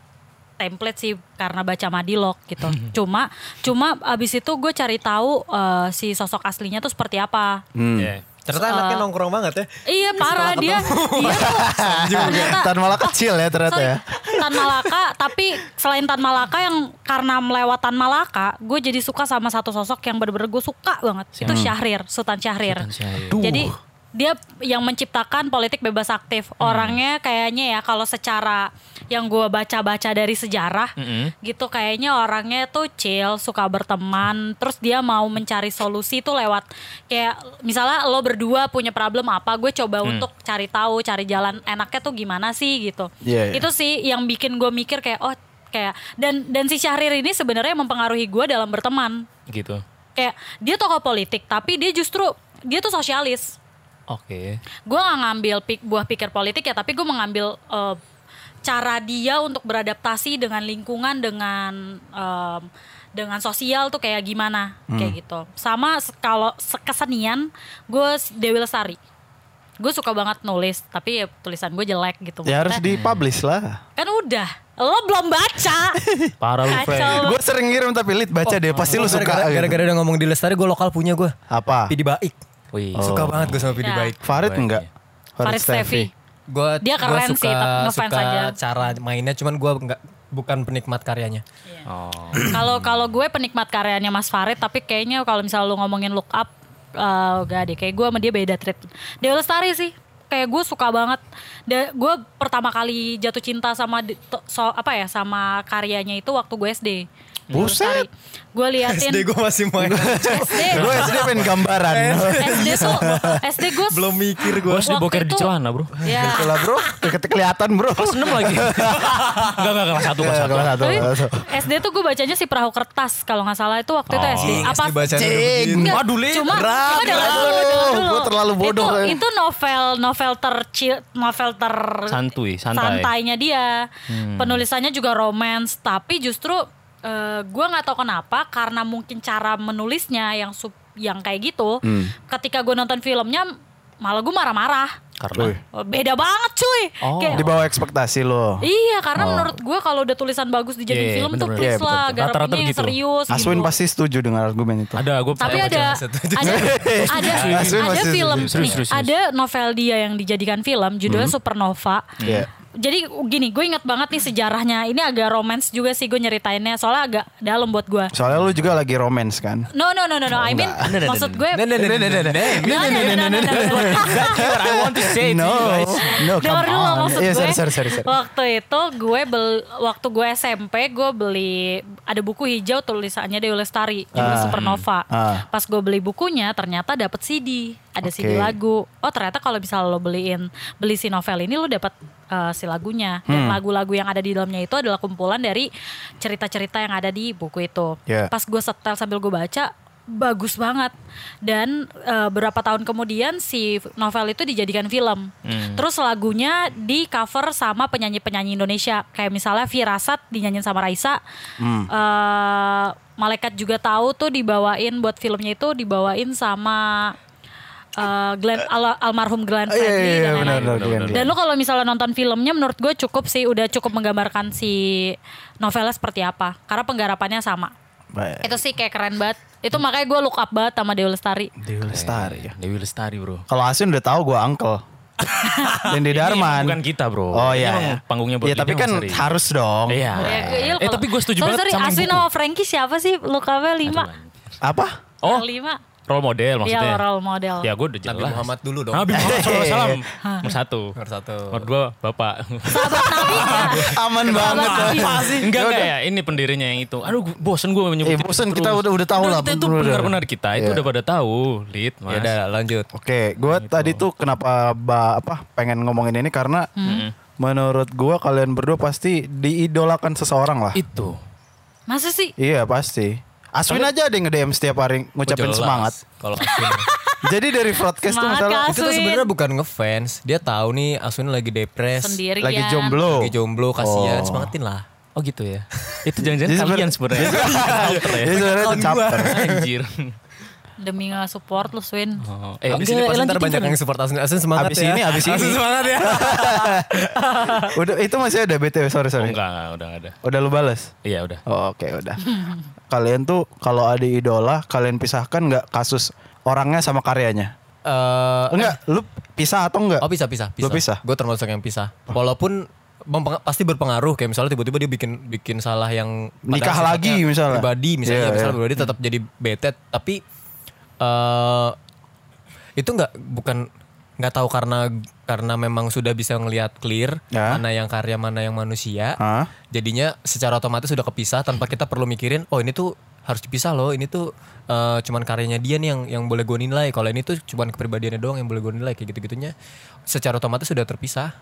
Speaker 3: template sih karena baca Madilog gitu cuma cuma abis itu gue cari tahu eh, si sosok aslinya tuh seperti apa
Speaker 5: Hmm.
Speaker 2: Iya.
Speaker 4: Ternyata anaknya nongkrong banget ya.
Speaker 3: Iya parah dia, dia tuh ternyata
Speaker 5: Tan malah kecil ya ternyata ya.
Speaker 3: Sorry, Tan Malaka, tapi selain Tan Malaka yang karena melewat Tan Malaka, gue jadi suka sama satu sosok yang bener-bener gue suka banget. Itu Syahrir, Sultan Syahrir.
Speaker 2: Sultan Syahrir.
Speaker 3: Jadi dia yang menciptakan politik bebas aktif. Orangnya kayaknya ya kalau secara yang gue baca-baca dari sejarah gitu kayaknya orangnya tuh chill, suka berteman, terus dia mau mencari solusi tuh lewat kayak misalnya lo berdua punya problem apa, gue coba untuk cari tahu, cari jalan enaknya tuh gimana sih gitu.
Speaker 5: Iya, iya.
Speaker 3: Itu sih yang bikin gue mikir kayak oh kayak dan dan si Syahrir ini sebenarnya mempengaruhi gue dalam berteman.
Speaker 2: Gitu.
Speaker 3: Kayak dia tokoh politik tapi dia justru dia tuh sosialis.
Speaker 2: Oke.
Speaker 3: Gue nggak ngambil pik- buah pikir politik ya tapi gue mengambil eh, cara dia untuk beradaptasi dengan lingkungan dengan em, dengan sosial tuh kayak gimana kayak gitu. Sama se- kalau se- kesenian gue Dewi Lestari. Gue suka banget nulis, tapi ya tulisan gue jelek gitu.
Speaker 5: Ya harus
Speaker 3: Maksudnya-
Speaker 5: dipublish lah.
Speaker 3: Kan udah, lo belum baca.
Speaker 2: Parah lu, Fre.
Speaker 3: Kacau.
Speaker 5: Gue sering ngirim tapi Lid baca deh pasti lu suka.
Speaker 4: Gara-gara
Speaker 5: gitu. Ah.
Speaker 4: gara-gara udah ngomong di Lestari gue lokal punya gue.
Speaker 5: Apa?
Speaker 4: Pidi Baik.
Speaker 2: Wih.
Speaker 5: Oh.
Speaker 4: Suka banget gue sama Pidi
Speaker 3: Ya.
Speaker 4: Baik.
Speaker 5: Farid enggak?
Speaker 3: Farid Steffi.
Speaker 4: Gue
Speaker 3: Dia keren sih,
Speaker 4: suka,
Speaker 3: tapi ngefans
Speaker 4: suka
Speaker 3: aja.
Speaker 4: cara mainnya cuman gue nggak bukan penikmat karyanya.
Speaker 2: Oh.
Speaker 3: Kalau kalau gue penikmat karyanya Mas Farid, tapi kayaknya kalau misalnya lu ngomongin look up, eh, gak deh. Kayak gue sama dia beda trip. Dewi Lestari sih. Kayak gue suka banget. Da- gue pertama kali jatuh cinta sama di- to- so- apa ya sama karyanya itu waktu gue SD.
Speaker 5: Buset.
Speaker 3: Gue liatin
Speaker 4: SD gue masih main.
Speaker 3: SD.
Speaker 5: Gue SD pengen gambaran.
Speaker 3: SD tuh SD gue
Speaker 4: Belum mikir gue.
Speaker 2: Bos diboker di
Speaker 3: Waktu itu-
Speaker 2: celana, Bro.
Speaker 3: Ya.
Speaker 5: Itulah bro, Ke- kelihatan bro.
Speaker 2: Kelas 6 lagi. Enggak enggak kelas 1 kelas
Speaker 5: Kelas
Speaker 2: 1.
Speaker 5: satu,
Speaker 3: Tapi
Speaker 5: kelas satu.
Speaker 3: SD Eh, tuh gue bacanya si perahu kertas kalau nggak salah itu waktu itu
Speaker 5: Oh.
Speaker 3: SD.
Speaker 5: Iya,
Speaker 3: Apa
Speaker 4: bacaan udah
Speaker 5: Cing.
Speaker 4: begini.
Speaker 3: Enggak,
Speaker 2: Waduh, Lin.
Speaker 3: Cuma,
Speaker 5: Ram,
Speaker 3: cuma dengar
Speaker 5: ram.
Speaker 3: dulu, dengar dulu.
Speaker 5: Gua terlalu bodoh
Speaker 3: Itu,
Speaker 5: kayaknya.
Speaker 3: itu novel, novel tercil, novel ter
Speaker 2: Santuy, santai. Hmm.
Speaker 3: santainya dia. Penulisannya juga romance, tapi justru eh, gua nggak tahu kenapa karena mungkin cara menulisnya yang sub, yang kayak gitu.
Speaker 5: Hmm.
Speaker 3: Ketika gue nonton filmnya malah gue marah-marah.
Speaker 2: Karena
Speaker 5: Wih.
Speaker 3: Beda banget cuy.
Speaker 2: Oh.
Speaker 5: Di bawah ekspektasi lo.
Speaker 3: Iya, karena menurut gue kalau udah tulisan bagus dijadiin
Speaker 2: Iya, iya,
Speaker 3: film tuh
Speaker 5: Iya,
Speaker 2: bener-bener.
Speaker 3: please
Speaker 5: betul-betul.
Speaker 3: lah,
Speaker 2: Rata-rata
Speaker 3: garapinnya yang
Speaker 2: begitu.
Speaker 3: serius.
Speaker 5: Aswin
Speaker 3: gitu.
Speaker 5: pasti setuju dengan argumen itu.
Speaker 2: ada gue
Speaker 3: Tapi ada
Speaker 4: satu.
Speaker 3: ada ada
Speaker 5: Aswin
Speaker 3: ada
Speaker 5: masih
Speaker 3: film
Speaker 2: serius,
Speaker 3: nih,
Speaker 2: serius, serius.
Speaker 3: ada novel dia yang dijadikan film judulnya Supernova.
Speaker 5: Iya.
Speaker 3: Jadi gini, gue inget banget nih sejarahnya. Ini agak romance juga sih gue nyeritainnya, soalnya agak dalam buat gue.
Speaker 5: Soalnya lu juga lagi romance kan?
Speaker 3: No no no no no, I mean maksud gue.
Speaker 4: Nah, nah, nah, nah, nah,
Speaker 3: No,
Speaker 4: nah.
Speaker 3: no, no, no, no, no, no.
Speaker 2: I want to say
Speaker 5: No, no,
Speaker 3: Dengar
Speaker 5: come
Speaker 3: dulu
Speaker 5: on.
Speaker 3: maksud
Speaker 5: Iya,
Speaker 3: gue.
Speaker 5: sorry, sorry, sorry, sorry.
Speaker 2: Oh.
Speaker 3: Waktu itu gue bel, waktu gue SMP gue beli ada buku hijau tulisannya Dewi Lestari judul Supernova.
Speaker 5: ah.
Speaker 3: Pas gue beli bukunya ternyata dapet CD ada
Speaker 5: Oke.
Speaker 3: CD lagu. Oh ternyata kalau bisa lo beliin beli si novel ini lo dapat eh, si lagunya
Speaker 5: Hmm.
Speaker 3: dan lagu-lagu yang ada di dalamnya itu adalah kumpulan dari cerita-cerita yang ada di buku itu.
Speaker 5: Iya.
Speaker 3: Pas gue setel sambil gue baca bagus banget dan eh, berapa tahun kemudian si novel itu dijadikan film.
Speaker 5: Hmm.
Speaker 3: Terus lagunya di cover sama penyanyi-penyanyi Indonesia kayak misalnya Firasat dinyanyiin sama Raisa.
Speaker 5: Hmm.
Speaker 3: Eh, Malaikat juga tahu tuh dibawain buat filmnya itu dibawain sama eh, Glenn al- almarhum Glenn
Speaker 5: Oh, iya, iya,
Speaker 3: Fredly
Speaker 5: iya, benar,
Speaker 3: dan lain-lain.
Speaker 5: benar,
Speaker 2: Benar,
Speaker 5: benar.
Speaker 3: Dan lu kalau misalnya nonton filmnya menurut gue cukup sih udah cukup menggambarkan si novelnya seperti apa karena penggarapannya sama.
Speaker 5: Baik.
Speaker 3: Itu sih kayak keren banget. Itu makanya gue look up banget sama Dewi Lestari.
Speaker 5: Dewi Lestari ya.
Speaker 2: Dewi Lestari bro.
Speaker 5: Kalau Asin udah tahu gue uncle. Dendi Darman.
Speaker 2: Bukan kita bro.
Speaker 5: Oh
Speaker 2: Ini
Speaker 5: iya.
Speaker 2: emang
Speaker 5: iya.
Speaker 2: Panggungnya buat
Speaker 5: Iya tapi
Speaker 2: Lidya
Speaker 5: kan
Speaker 2: Mas Ari.
Speaker 5: harus dong.
Speaker 2: Iya.
Speaker 3: Ya, gue- iya,
Speaker 2: eh
Speaker 3: kalau-
Speaker 2: tapi gue setuju
Speaker 3: sorry,
Speaker 2: banget
Speaker 3: sorry,
Speaker 2: sama
Speaker 3: Asli
Speaker 2: buku.
Speaker 3: nama Frankie siapa sih? Look up-nya lima.
Speaker 5: Apa?
Speaker 2: Oh,
Speaker 3: Yang lima.
Speaker 2: role model
Speaker 3: Iya
Speaker 2: maksudnya.
Speaker 3: role model.
Speaker 2: Ya gue udah jelas.
Speaker 4: Nabi Muhammad dulu dong.
Speaker 2: Nabi Muhammad SAW. Nomor satu.
Speaker 4: Nomor satu.
Speaker 2: Nomor dua, Bapak.
Speaker 3: Sahabat Nabi ya.
Speaker 5: Aman banget.
Speaker 2: Apa sih? Enggak, enggak ya. Ini pendirinya yang itu. Aduh, gua- bosen gue menyebut.
Speaker 5: Eh, bosen. Kita udah- udah tahu lah.
Speaker 2: Itu
Speaker 5: Udah- udah-
Speaker 2: benar-benar kita. Itu
Speaker 5: Iya.
Speaker 2: udah pada tahu. Lid, mas.
Speaker 4: Ya udah lanjut.
Speaker 5: Oke, gue
Speaker 2: Gitu.
Speaker 5: tadi tuh kenapa ba, apa pengen ngomongin ini karena
Speaker 2: Hmm.
Speaker 5: menurut gue kalian berdua pasti diidolakan seseorang lah.
Speaker 2: Itu.
Speaker 3: Masa sih?
Speaker 5: iya pasti. Aswin aja ada yang nge-DM setiap hari ngucapin
Speaker 2: Jelas.
Speaker 5: semangat.
Speaker 2: Kalau Aswin.
Speaker 5: Jadi dari broadcast tuh
Speaker 3: Semangat,
Speaker 5: misalnya
Speaker 3: Kak.
Speaker 4: Kita tuh
Speaker 3: Aswin.
Speaker 4: sebenarnya bukan ngefans. Dia tahu nih Aswin lagi depres.
Speaker 3: Sendirian.
Speaker 5: lagi jomblo.
Speaker 4: Lagi jomblo
Speaker 5: Oh.
Speaker 4: kasihan, semangatin lah.
Speaker 2: Oh gitu ya. Itu jangan-jangan
Speaker 5: Jadi
Speaker 2: kalian
Speaker 5: sebenarnya-
Speaker 2: sebenarnya. Outer ya.
Speaker 5: Jadi sebenarnya itu chapter.
Speaker 2: Anjir.
Speaker 3: Demi nge-support lu Swin.
Speaker 2: Oh,
Speaker 4: Eh, abis ini
Speaker 2: enggak,
Speaker 4: pasti
Speaker 2: lanjutin
Speaker 4: ntar banyak
Speaker 2: dulu.
Speaker 4: yang support Aswin. Aswin semangat
Speaker 5: Abis
Speaker 4: ya.
Speaker 5: ini, abis ini.
Speaker 4: Aswin semangat ya.
Speaker 5: Udah itu masih ada BTW, sorry
Speaker 2: Oh,
Speaker 5: sorry.
Speaker 2: enggak, enggak, udah enggak ada.
Speaker 5: udah lu balas?
Speaker 2: Iya, udah.
Speaker 5: Oh, Oke udah. kalian tuh kalau ada idola kalian pisahkan nggak kasus orangnya sama karyanya?
Speaker 4: Eh,
Speaker 5: Enggak, lu pisah atau enggak?
Speaker 4: Oh pisah pisah
Speaker 5: Lu pisah?
Speaker 4: Gue termasuk yang pisah. Walaupun mempenga- pasti berpengaruh kayak misalnya tiba-tiba dia bikin bikin salah yang padahal
Speaker 5: Nikah
Speaker 4: sifatnya
Speaker 5: lagi misalnya.
Speaker 4: pribadi misalnya
Speaker 5: Iya,
Speaker 4: ya, misalnya
Speaker 5: iya.
Speaker 4: pribadi tetap jadi bete tapi eh itu nggak bukan nggak tahu karena karena memang sudah bisa ngelihat clear
Speaker 5: Ya.
Speaker 4: mana yang karya mana yang manusia
Speaker 5: Hah?
Speaker 4: jadinya secara otomatis sudah kepisah tanpa kita perlu mikirin oh ini tuh harus dipisah loh ini tuh eh, cuman karyanya dia nih yang yang boleh gue nilai kalau ini tuh cuman kepribadiannya doang yang boleh gue nilai kayak gitu gitunya secara otomatis sudah terpisah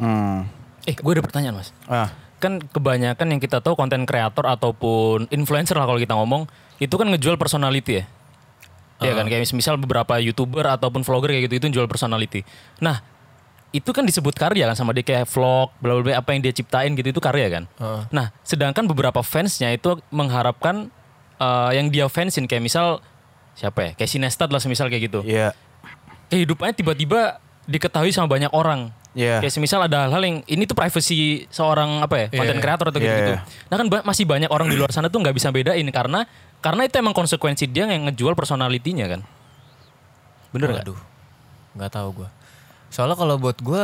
Speaker 5: Hmm.
Speaker 2: Eh, gue ada pertanyaan, Mas.
Speaker 5: Ah.
Speaker 2: kan kebanyakan yang kita tahu konten kreator ataupun influencer lah kalau kita ngomong itu kan ngejual personality ya Iya kan kayak mis- misal beberapa youtuber ataupun vlogger kayak gitu itu jual personality nah itu kan disebut karya kan sama dia kayak vlog bla bla bla apa yang dia ciptain gitu itu karya kan nah sedangkan beberapa fansnya itu mengharapkan eh, yang dia fansin kayak misal siapa ya kayak Sinestad lah semisal kayak gitu
Speaker 5: Iya.
Speaker 2: kehidupannya tiba-tiba diketahui sama banyak orang.
Speaker 5: Iya.
Speaker 2: Kayak semisal ada hal-hal yang ini tuh privacy seorang apa ya, konten kreator atau
Speaker 5: Iya,
Speaker 2: gitu-gitu.
Speaker 5: iya.
Speaker 2: Nah kan ba- masih banyak orang di luar sana tuh nggak bisa bedain karena karena itu emang konsekuensi dia yang ngejual personalitinya kan. Bener nggak?
Speaker 4: aduh nggak tahu gue soalnya kalau buat gue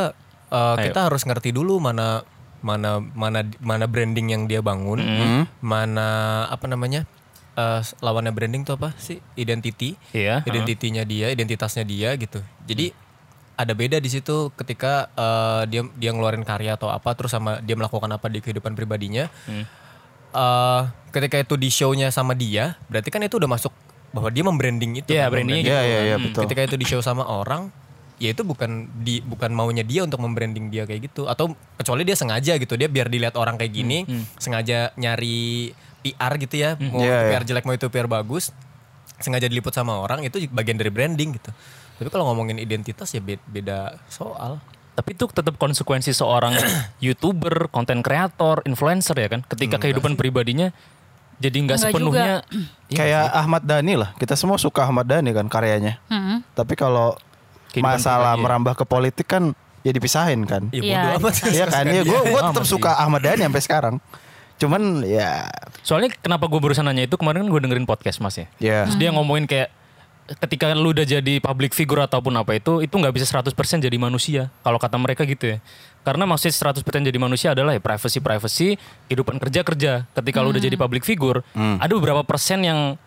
Speaker 4: eh, kita harus ngerti dulu mana mana mana mana branding yang dia bangun
Speaker 2: Mm-hmm.
Speaker 4: mana apa namanya eh, lawannya branding tuh apa sih identity
Speaker 2: Iya.
Speaker 4: identitinya dia, identitasnya dia gitu. Jadi ada beda di situ ketika eh, dia dia ngeluarin karya atau apa terus sama dia melakukan apa di kehidupan pribadinya.
Speaker 2: Hmm.
Speaker 4: Eh, ketika itu di show-nya sama dia, berarti kan itu udah masuk bahwa dia membranding itu.
Speaker 2: Iya,
Speaker 4: kan,
Speaker 2: brandingnya
Speaker 5: Iya iya iya betul.
Speaker 4: Ketika itu di show sama orang, ya itu bukan di bukan maunya dia untuk membranding dia kayak gitu atau kecuali dia sengaja gitu dia biar dilihat orang kayak gini,
Speaker 5: Hmm,
Speaker 4: sengaja nyari PR gitu ya, mau
Speaker 5: Iya,
Speaker 4: itu
Speaker 5: iya.
Speaker 4: PR jelek mau itu PR bagus, sengaja diliput sama orang itu bagian dari branding gitu. Tapi kalau ngomongin identitas ya be- beda soal.
Speaker 2: Tapi itu tetap konsekuensi seorang youtuber, konten kreator, influencer ya kan. Ketika kehidupan pribadinya jadi nggak
Speaker 3: Nggak
Speaker 2: sepenuhnya
Speaker 5: Kayak Ahmad Dhani lah. Kita semua suka Ahmad Dhani kan karyanya.
Speaker 3: Hmm.
Speaker 5: Tapi kalau
Speaker 2: Kehidupan
Speaker 5: masalah
Speaker 2: pribadi ya.
Speaker 5: merambah ke politik kan ya dipisahin kan.
Speaker 4: Ya
Speaker 3: Iya,
Speaker 4: bodo amat.
Speaker 5: Iya kan? Ya gue tetap suka Ahmad Dhani sampai sekarang. Cuman ya
Speaker 2: Soalnya kenapa gue barusan nanya itu kemarin kan gue dengerin podcast mas ya.
Speaker 5: Iya.
Speaker 2: Terus dia ngomongin kayak ketika lu udah jadi public figure ataupun apa itu itu nggak bisa 100% jadi manusia kalau kata mereka gitu ya. Karena maksud 100% jadi manusia adalah ya privacy privacy, kehidupan kerja-kerja. Ketika lu udah jadi public figure, ada beberapa persen yang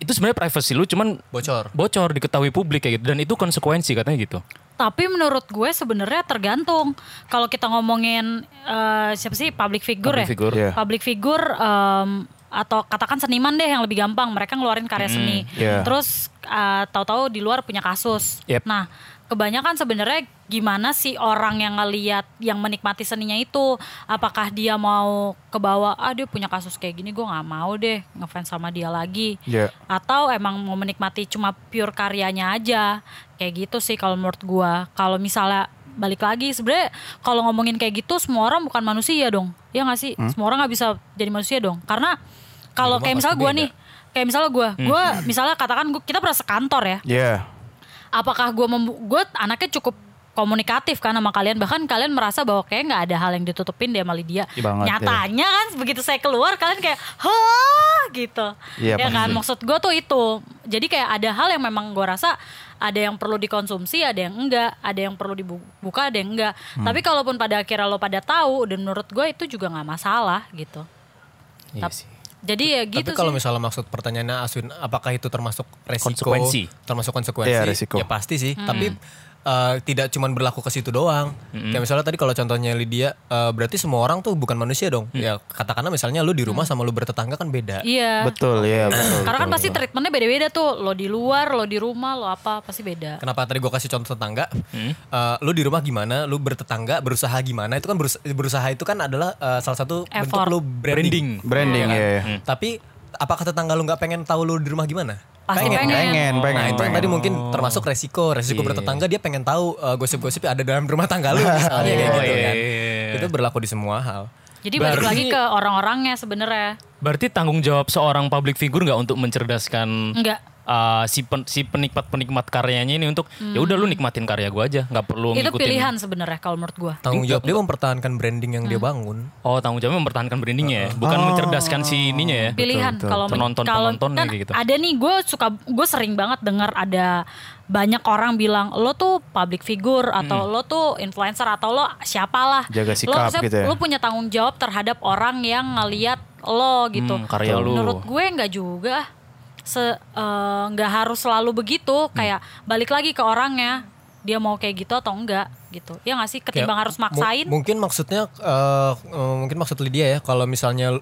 Speaker 2: itu sebenarnya privacy lu cuman
Speaker 4: Bocor.
Speaker 2: bocor diketahui publik kayak gitu dan itu konsekuensi katanya gitu.
Speaker 3: Tapi menurut gue sebenarnya tergantung kalau kita ngomongin eh, siapa sih public figure
Speaker 2: Public
Speaker 3: ya.
Speaker 2: figure.
Speaker 5: Iya.
Speaker 3: Public figure em, atau katakan seniman deh yang lebih gampang mereka ngeluarin karya
Speaker 2: Hmm,
Speaker 3: seni
Speaker 5: iya.
Speaker 3: terus eh, tahu-tahu di luar punya kasus
Speaker 2: Yep.
Speaker 3: nah kebanyakan sebenarnya gimana sih orang yang ngeliat yang menikmati seninya itu apakah dia mau ke bawah ah dia punya kasus kayak gini gue nggak mau deh ngefans sama dia lagi
Speaker 5: Iya.
Speaker 3: atau emang mau menikmati cuma pure karyanya aja kayak gitu sih kalau menurut gua kalau misalnya balik lagi sebenarnya kalau ngomongin kayak gitu semua orang bukan manusia dong ya nggak sih semua orang nggak bisa jadi manusia dong karena kalau
Speaker 4: Semua
Speaker 3: kayak misalnya
Speaker 4: Hmm? pasti
Speaker 3: gua
Speaker 4: beda. Hmm.
Speaker 3: nih kayak misalnya gua gua misalnya katakan gua, kita pernah sekantor ya
Speaker 5: Iya.
Speaker 3: apakah gue gue anaknya cukup komunikatif kan sama kalian bahkan kalian merasa bahwa kayak nggak ada hal yang ditutupin deh sama Lydia
Speaker 5: Iya banget,
Speaker 3: nyatanya kan begitu saya keluar kalian kayak hah gitu
Speaker 5: Iya,
Speaker 3: ya kan
Speaker 5: pasti.
Speaker 3: maksud gue tuh itu jadi kayak ada hal yang memang gue rasa ada yang perlu dikonsumsi ada yang enggak ada yang perlu dibuka ada yang enggak
Speaker 5: Hmm.
Speaker 3: tapi kalaupun pada akhirnya lo pada tahu dan menurut gue itu juga nggak masalah gitu
Speaker 2: Iya
Speaker 3: Tap-
Speaker 2: sih.
Speaker 3: jadi ya gitu
Speaker 4: Tapi kalau
Speaker 3: sih
Speaker 4: misalnya maksud pertanyaannya Asun apakah itu termasuk resiko?
Speaker 2: Konsekuensi.
Speaker 4: Termasuk konsekuensi.
Speaker 5: Iya, resiko.
Speaker 4: Ya pasti sih,
Speaker 3: Hmm.
Speaker 4: tapi eh, tidak cuman berlaku ke situ doang. Kayak misalnya tadi kalau contohnya Lydia eh, berarti semua orang tuh bukan manusia dong. Ya katakanlah misalnya lu di rumah sama lu bertetangga kan beda.
Speaker 3: Hmm. iya
Speaker 5: Betul, iya betul.
Speaker 3: karena kan
Speaker 5: betul.
Speaker 3: pasti treatmentnya beda-beda tuh lo di luar lo di rumah lo apa pasti beda
Speaker 4: Kenapa tadi gue kasih contoh tetangga? Eh, lu di rumah gimana? Lu bertetangga, berusaha gimana? Itu kan berus- berusaha, itu kan adalah eh, salah satu bentuk
Speaker 3: Effort.
Speaker 4: lu branding. Iya kan?
Speaker 2: Branding.
Speaker 5: branding ya. ya.
Speaker 4: Tapi apakah tetangga lu nggak pengen tahu lu di rumah gimana?
Speaker 3: Pasti
Speaker 4: Pengen.
Speaker 3: pengen.
Speaker 5: Pengen, pengen,
Speaker 4: Nah itu yang
Speaker 5: pengen.
Speaker 4: tadi mungkin termasuk resiko
Speaker 2: Iya,
Speaker 4: Resiko bertetangga dia pengen tahu uh, Gosip-gosip ada dalam rumah tangga lu
Speaker 2: Oh,
Speaker 4: Misalnya kayak gitu
Speaker 2: iya,
Speaker 4: kan
Speaker 2: iya, iya.
Speaker 4: Itu berlaku di semua hal
Speaker 3: Jadi balik
Speaker 2: Berarti-
Speaker 3: lagi ke orang-orangnya sebenarnya.
Speaker 2: Berarti tanggung jawab seorang public figure nggak untuk mencerdaskan
Speaker 3: Enggak.
Speaker 2: uh, si pen- si penikmat-penikmat karyanya ini untuk ya udah lu nikmatin karya gua aja, nggak perlu
Speaker 3: Itu
Speaker 2: ngikutin.
Speaker 3: pilihan sebenarnya kalau menurut gua.
Speaker 4: Tanggung jawab dia mempertahankan branding yang dia bangun
Speaker 2: Oh, tanggung jawabnya mempertahankan brandingnya ya, bukan mencerdaskan si ininya ya.
Speaker 3: Pilihan kalau
Speaker 2: Penonton-
Speaker 3: kalau
Speaker 2: penontonnya
Speaker 3: kan
Speaker 2: kayak gitu.
Speaker 3: ada nih gue suka gue sering banget dengar ada banyak orang bilang lo tuh public figure atau lo tuh influencer atau lo siapalah
Speaker 5: Jaga sikap
Speaker 3: lo, harusnya-
Speaker 5: gitu ya.
Speaker 3: lo punya tanggung jawab terhadap orang yang ngeliat lo gitu
Speaker 2: Hmm, karya lu.
Speaker 3: menurut gue nggak juga se eh, nggak harus selalu begitu kayak balik lagi ke orangnya dia mau kayak gitu atau enggak gitu ya nggak sih ketimbang
Speaker 4: Kayak
Speaker 3: harus
Speaker 4: mu-
Speaker 3: maksain
Speaker 4: Mungkin maksudnya uh, uh, Mungkin maksud Lydia ya Kalau misalnya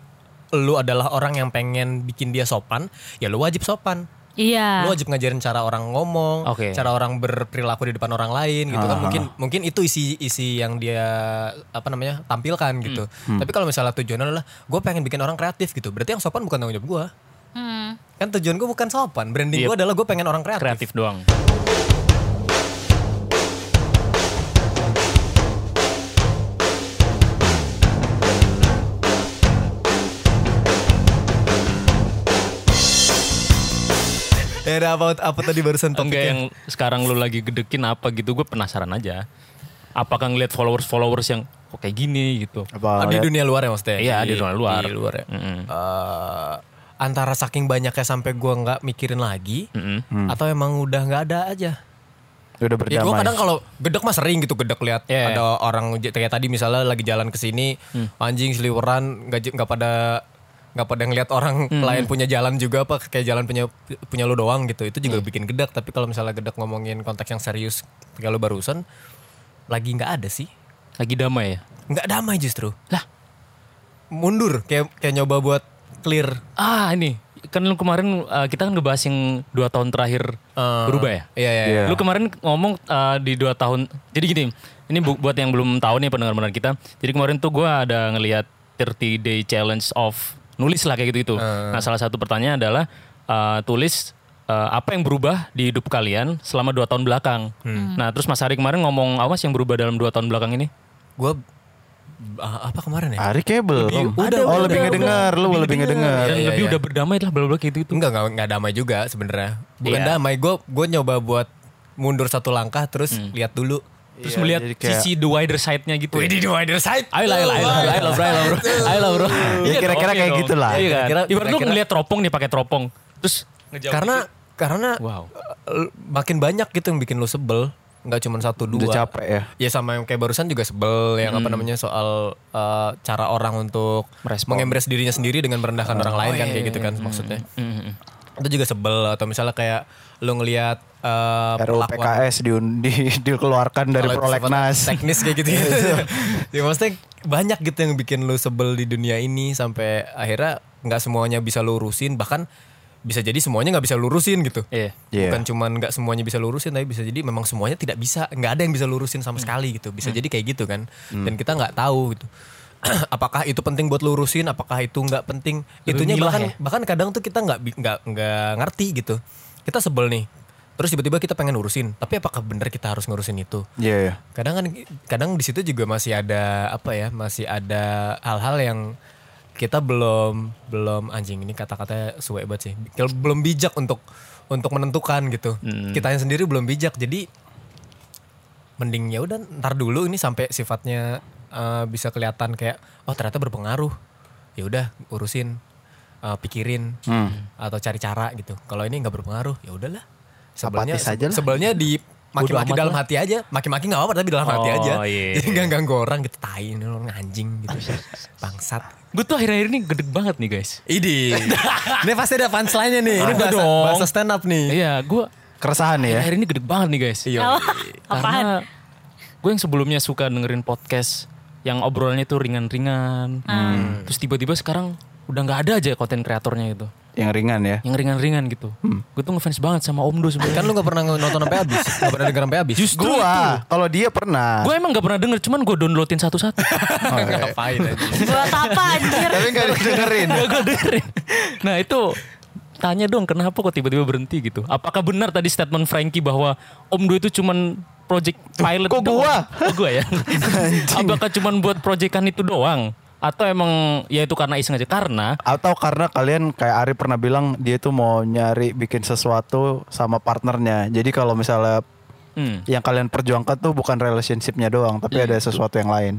Speaker 4: lu adalah orang yang pengen bikin dia sopan Ya lu wajib sopan
Speaker 3: Iya.
Speaker 4: lu wajib ngajarin cara orang ngomong,
Speaker 2: Oke. Ah.
Speaker 4: cara orang berperilaku di depan orang lain gitu kan mungkin mungkin itu isi isi yang dia apa namanya tampilkan gitu.
Speaker 2: Hmm.
Speaker 4: Tapi kalau misalnya tujuannya adalah gue pengen bikin orang kreatif gitu, berarti yang sopan bukan tanggung jawab gue.
Speaker 3: Hmm.
Speaker 4: Kan tujuan gue bukan sopan,
Speaker 2: Yep.
Speaker 4: branding gue adalah gue pengen orang kreatif.
Speaker 2: kreatif doang.
Speaker 4: Eh, ada apa apa tadi barusan
Speaker 2: Enggak
Speaker 4: topiknya?
Speaker 2: yang sekarang lu lagi gedekin apa gitu, gue penasaran aja. Apakah ngelihat followers-followers yang kok kayak gini gitu.
Speaker 5: Apa
Speaker 4: Ah, di
Speaker 5: liat-
Speaker 4: dunia luar ya maksudnya?
Speaker 2: Iya, di dunia luar.
Speaker 4: Di luar ya.
Speaker 2: Mm-mm.
Speaker 4: Eh, antara saking banyaknya sampai gue nggak mikirin lagi,
Speaker 2: Mm-mm.
Speaker 4: atau emang udah nggak ada aja?
Speaker 5: udah
Speaker 4: Ya gue
Speaker 5: berdamai.
Speaker 4: kadang kalau gedek mah sering gitu gedek lihat
Speaker 2: Iya.
Speaker 4: ada orang j- kayak tadi misalnya lagi jalan ke sini
Speaker 2: Hmm.
Speaker 4: anjing seliweran nggak j- nggak pada nggak pada ngelihat orang
Speaker 2: Hmm.
Speaker 4: lain punya jalan juga apa kayak jalan punya punya lu doang gitu itu
Speaker 2: Hmm.
Speaker 4: juga bikin gedek tapi kalau misalnya gedek ngomongin konteks yang serius kayak lu barusan lagi nggak ada sih
Speaker 2: Lagi damai ya.
Speaker 4: nggak damai justru
Speaker 2: Lah,
Speaker 4: mundur kayak kayak nyoba buat clear
Speaker 2: ah ini kan lu kemarin uh, kita kan ngebahas yang dua tahun terakhir
Speaker 4: Eh,
Speaker 2: berubah ya.
Speaker 4: iya iya, iya.
Speaker 2: Lu kemarin ngomong uh, di dua tahun. Jadi gini, ini bu- buat yang belum tahu nih pendengar-pendengar kita. Jadi kemarin tuh gue ada ngelihat 30 day challenge of nulis lah kayak gitu-gitu. Nah salah satu pertanyaan adalah uh, tulis uh, apa yang berubah di hidup kalian selama dua tahun belakang.
Speaker 5: Hmm.
Speaker 2: Nah terus Mas Hari kemarin ngomong awas yang berubah dalam dua tahun belakang ini.
Speaker 4: gue apa kemarin ya
Speaker 5: Hari kayak belum. oh lebih ngedenger, lu lebih ngedenger.
Speaker 2: Dan
Speaker 4: Iya,
Speaker 2: lebih
Speaker 4: iya.
Speaker 2: udah berdamai lah bla bla gitu-gitu.
Speaker 4: Enggak, enggak, enggak damai juga sebenarnya. Bukan
Speaker 2: Iya.
Speaker 4: damai, gue gue nyoba buat mundur satu langkah terus
Speaker 2: Hmm.
Speaker 4: lihat dulu.
Speaker 5: Iya,
Speaker 2: Terus melihat
Speaker 5: jadi kayak- Iya.
Speaker 2: sisi the wider side-nya gitu.
Speaker 4: Wih, di wider side.
Speaker 2: Ayo lah, ayo lah, ayo lah, ayo lah, bro, ayo lah, bro. Ayo lah, bro.
Speaker 5: Ya, kira-kira
Speaker 2: Oke
Speaker 5: kayak
Speaker 2: dong.
Speaker 5: gitu lah.
Speaker 2: Iya kan?
Speaker 4: Kira-kira-
Speaker 2: Ibarat lu
Speaker 4: kira-kira-
Speaker 2: ngeliat teropong nih pakai teropong. Terus ngejauh.
Speaker 4: Karena karena
Speaker 2: Wow.
Speaker 4: eh, makin banyak gitu yang bikin lu sebel, nggak cuma satu dua.
Speaker 5: Udah capek ya.
Speaker 4: Ya sama yang kayak barusan juga sebel yang
Speaker 2: Hmm.
Speaker 4: apa namanya soal eh, cara orang untuk
Speaker 2: Merespon. Ah. Oh, iya,
Speaker 4: mengembres dirinya sendiri dengan merendahkan orang lain kan kayak gitu kan maksudnya.
Speaker 2: Hmm,
Speaker 4: Itu juga sebel atau misalnya kayak lu ngelihat eh,
Speaker 5: RUU PKS diun- di- dikeluarkan dari Iya.
Speaker 4: Kalau
Speaker 5: prolegnas.
Speaker 4: sifat teknis kayak gitu ya maksudnya banyak gitu yang bikin lu sebel di dunia ini sampai akhirnya nggak semuanya bisa lu urusin bahkan bisa jadi semuanya nggak bisa lu urusin gitu
Speaker 2: Iya.
Speaker 5: Iya.
Speaker 4: bukan cuman nggak semuanya bisa lurusin tapi bisa jadi memang semuanya tidak bisa nggak ada yang bisa lurusin
Speaker 2: Hmm.
Speaker 4: sama sekali gitu bisa jadi kayak gitu kan
Speaker 5: Hmm.
Speaker 4: dan kita nggak tahu gitu apakah itu penting buat lurusin apakah itu nggak penting
Speaker 2: Lebih
Speaker 4: itunya
Speaker 2: milah
Speaker 4: bahkan
Speaker 2: ya?
Speaker 4: bahkan kadang tuh kita nggak bi- nggak nggak ngerti gitu kita sebel nih terus tiba-tiba kita pengen urusin tapi apakah benar kita harus ngurusin itu
Speaker 5: Iya, iya.
Speaker 4: kadang kan kadang di situ juga masih ada apa ya masih ada hal-hal yang kita belum belum anjing ini kata-katanya suwe banget sih Kita belum bijak untuk untuk menentukan gitu
Speaker 5: Hmm.
Speaker 4: kitanya sendiri belum bijak jadi mending ya udah ntar dulu ini sampai sifatnya eh, bisa kelihatan kayak oh ternyata berpengaruh ya udah urusin eh, pikirin
Speaker 5: Hmm.
Speaker 4: atau cari cara gitu kalau ini nggak berpengaruh ya udahlah sebelnya
Speaker 5: Apatis aja lah.
Speaker 4: sebelnya di maki-maki
Speaker 2: amat
Speaker 4: dalam
Speaker 2: lah.
Speaker 4: hati aja maki-maki nggak apa-apa tapi dalam hati
Speaker 2: Oh,
Speaker 4: aja
Speaker 2: iya.
Speaker 4: jadi nggak ganggu orang gitu tai ini orang anjing gitu bangsat
Speaker 2: Gue tuh akhir-akhir ini gede banget nih guys.
Speaker 4: Idi. ini pasti ada punchline-nya nih. Ini
Speaker 2: Ada
Speaker 4: bahasa,
Speaker 2: dong.
Speaker 4: bahasa stand up nih.
Speaker 2: Iya, gue
Speaker 5: Keresahan ya.
Speaker 2: akhir ini gede banget nih guys. Iya.
Speaker 3: Apaan?
Speaker 2: Karena gue yang sebelumnya suka dengerin podcast yang obrolannya tuh ringan-ringan. Terus tiba-tiba sekarang udah nggak ada aja konten kreatornya gitu.
Speaker 5: Yang ringan ya.
Speaker 2: Yang ringan-ringan gitu. Gue tuh ngefans banget sama Omdo sebenarnya.
Speaker 4: Kan lu gak pernah nonton sampai habis, gak pernah denger sampai habis.
Speaker 2: Justru itu.
Speaker 5: Gua, kalau dia pernah.
Speaker 2: Gue emang gak pernah denger, cuman gue downloadin satu-satu.
Speaker 4: Ngapain aja.
Speaker 3: Buat apa anjir?
Speaker 5: Tapi enggak didengerin.
Speaker 2: Gak gue dengerin. Nah itu tanya dong kenapa kok tiba-tiba berhenti gitu. Apakah benar tadi statement Frankie bahwa Omdo itu cuman project pilot
Speaker 5: Kok
Speaker 2: doang?
Speaker 5: gua?
Speaker 2: Oh, gua ya. Apakah cuman buat proyekan itu doang? Atau emang ya itu karena iseng aja? Karena
Speaker 5: Atau karena kalian kayak Ari pernah bilang dia tuh mau nyari bikin sesuatu sama partnernya. Jadi kalau misalnya
Speaker 2: hmm,
Speaker 5: yang kalian perjuangkan tuh bukan relationshipnya doang, tapi ada sesuatu yang lain.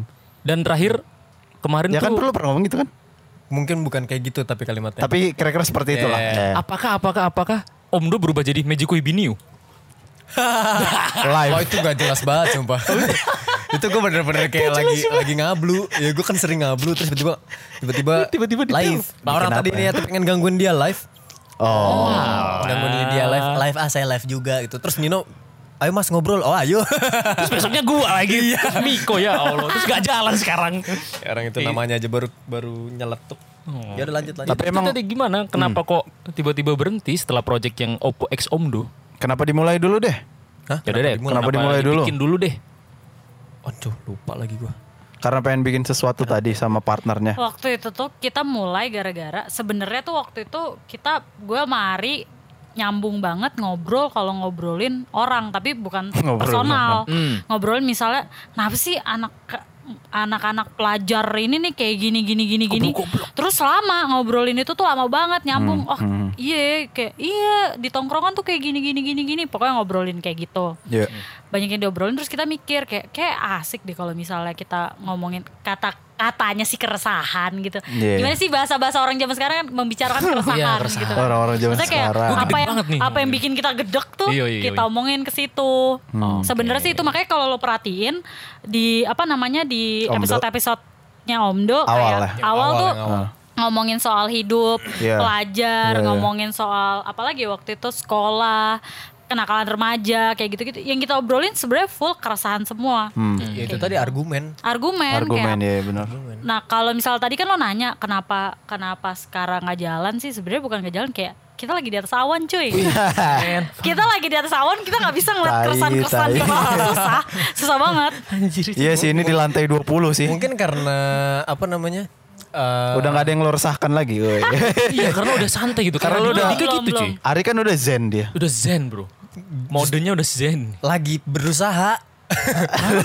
Speaker 2: dan terakhir kemarin
Speaker 5: Ya
Speaker 2: tuh
Speaker 5: kan perlu pernah ngomong gitu kan?
Speaker 4: Mungkin bukan kayak gitu tapi kalimatnya.
Speaker 5: Tapi kira-kira seperti itulah. Eh,
Speaker 2: apakah apakah apakah Omdo berubah jadi Mejiko Ibiniu?
Speaker 5: Live.
Speaker 4: Wah Oh, itu gak jelas banget sumpah. itu gue bener-bener kayak lagi lagi ngablu. Ya gue kan sering ngablu terus tiba-tiba tiba-tiba
Speaker 2: Tiba-tiba di
Speaker 4: live. Orang
Speaker 5: Bikin
Speaker 4: tadi
Speaker 5: apa
Speaker 4: nih ya pengen gangguin dia live.
Speaker 5: Oh.
Speaker 4: Gangguin dia live, live ah saya live juga gitu. Terus Nino, ayo mas ngobrol. Oh ayo.
Speaker 2: Terus besoknya gua
Speaker 5: Iya.
Speaker 2: lagi Miko ya Allah Terus gak jalan sekarang
Speaker 4: Orang itu namanya aja baru baru nyeletuk. Ya udah lanjut lanjut.
Speaker 5: Tapi
Speaker 2: Itu
Speaker 5: emang Hmm.
Speaker 2: tadi gimana? Kenapa kok tiba-tiba berhenti setelah project yang Oppo X Omdo?
Speaker 5: kenapa dimulai dulu deh?
Speaker 4: Hah?
Speaker 2: Ya udah deh,
Speaker 5: dimulai? Kenapa dimulai dulu?
Speaker 2: dibikin dulu deh.
Speaker 4: Aduh lupa lagi gue.
Speaker 5: Karena pengen bikin sesuatu tadi sama partnernya.
Speaker 3: Waktu itu tuh kita mulai gara-gara sebenarnya tuh waktu itu kita gue mari nyambung banget ngobrol kalau ngobrolin orang tapi bukan
Speaker 5: Ngobrolin
Speaker 3: personal. Ngobrolin misalnya, kenapa sih anak anak-anak pelajar ini nih kayak gini gini gini gini. Terus lama ngobrolin itu tuh lama banget nyambung. oh, iya kayak iya di tongkrongan tuh kayak gini gini gini gini. Pokoknya ngobrolin kayak gitu
Speaker 5: Iya.
Speaker 3: banyak yang diobrolin terus kita mikir kayak kayak asik deh kalau misalnya kita ngomongin kata katanya sih keresahan gitu.
Speaker 5: Iya.
Speaker 3: Gimana sih bahasa-bahasa orang zaman sekarang kan membicarakan keresahan,
Speaker 4: Iya, keresahan.
Speaker 3: gitu.
Speaker 5: Orang-orang zaman
Speaker 3: Maksudnya kayak
Speaker 5: sekarang.
Speaker 2: Gua
Speaker 3: apa
Speaker 2: gede
Speaker 3: yang
Speaker 2: banget nih.
Speaker 3: apa yang bikin kita gedek tuh
Speaker 2: Iya, iya,
Speaker 3: kita
Speaker 2: iya.
Speaker 3: omongin ke situ.
Speaker 5: Hmm.
Speaker 3: Sebenarnya sih itu makanya kalau lo perhatiin di apa namanya di
Speaker 5: Omdo.
Speaker 3: episode-episodenya
Speaker 5: Awal
Speaker 3: Omdo
Speaker 5: ya?
Speaker 3: kayak
Speaker 5: lah.
Speaker 4: Yang
Speaker 3: awal
Speaker 4: awal,
Speaker 3: tuh
Speaker 4: yang awal.
Speaker 3: ngomongin soal hidup,
Speaker 5: Iya.
Speaker 3: pelajar,
Speaker 5: Iya, iya.
Speaker 3: ngomongin soal apalagi waktu itu sekolah, kenakalan remaja kayak gitu-gitu. Yang kita obrolin sebenarnya full keresahan semua.
Speaker 4: Ya itu tadi argumen.
Speaker 3: Argumen,
Speaker 5: Hmm. Argumen
Speaker 3: kayak
Speaker 5: ya benar.
Speaker 3: Nah, kalau misal tadi kan lo nanya kenapa kenapa sekarang nggak jalan sih? Sebenarnya bukan nggak jalan kayak kita lagi di atas awan cuy. kita lagi di atas awan, kita nggak bisa ngeliat
Speaker 5: Iya. Tai,
Speaker 3: keresahan-keresahan
Speaker 5: tai.
Speaker 3: ke bawah. Susah, susah banget.
Speaker 5: Iya sih ini di lantai 20 sih.
Speaker 4: Mungkin karena apa namanya? eh,
Speaker 5: Udah nggak ada yang lo resahkan lagi. woi.
Speaker 2: iya, karena udah santai gitu. Karena
Speaker 5: Karena
Speaker 2: udah
Speaker 5: udah-
Speaker 2: dikit
Speaker 3: Belum,
Speaker 2: gitu, cuy.
Speaker 3: belum.
Speaker 5: Ari kan udah zen dia.
Speaker 2: Udah zen, Bro. Modenya udah zen.
Speaker 4: lagi berusaha.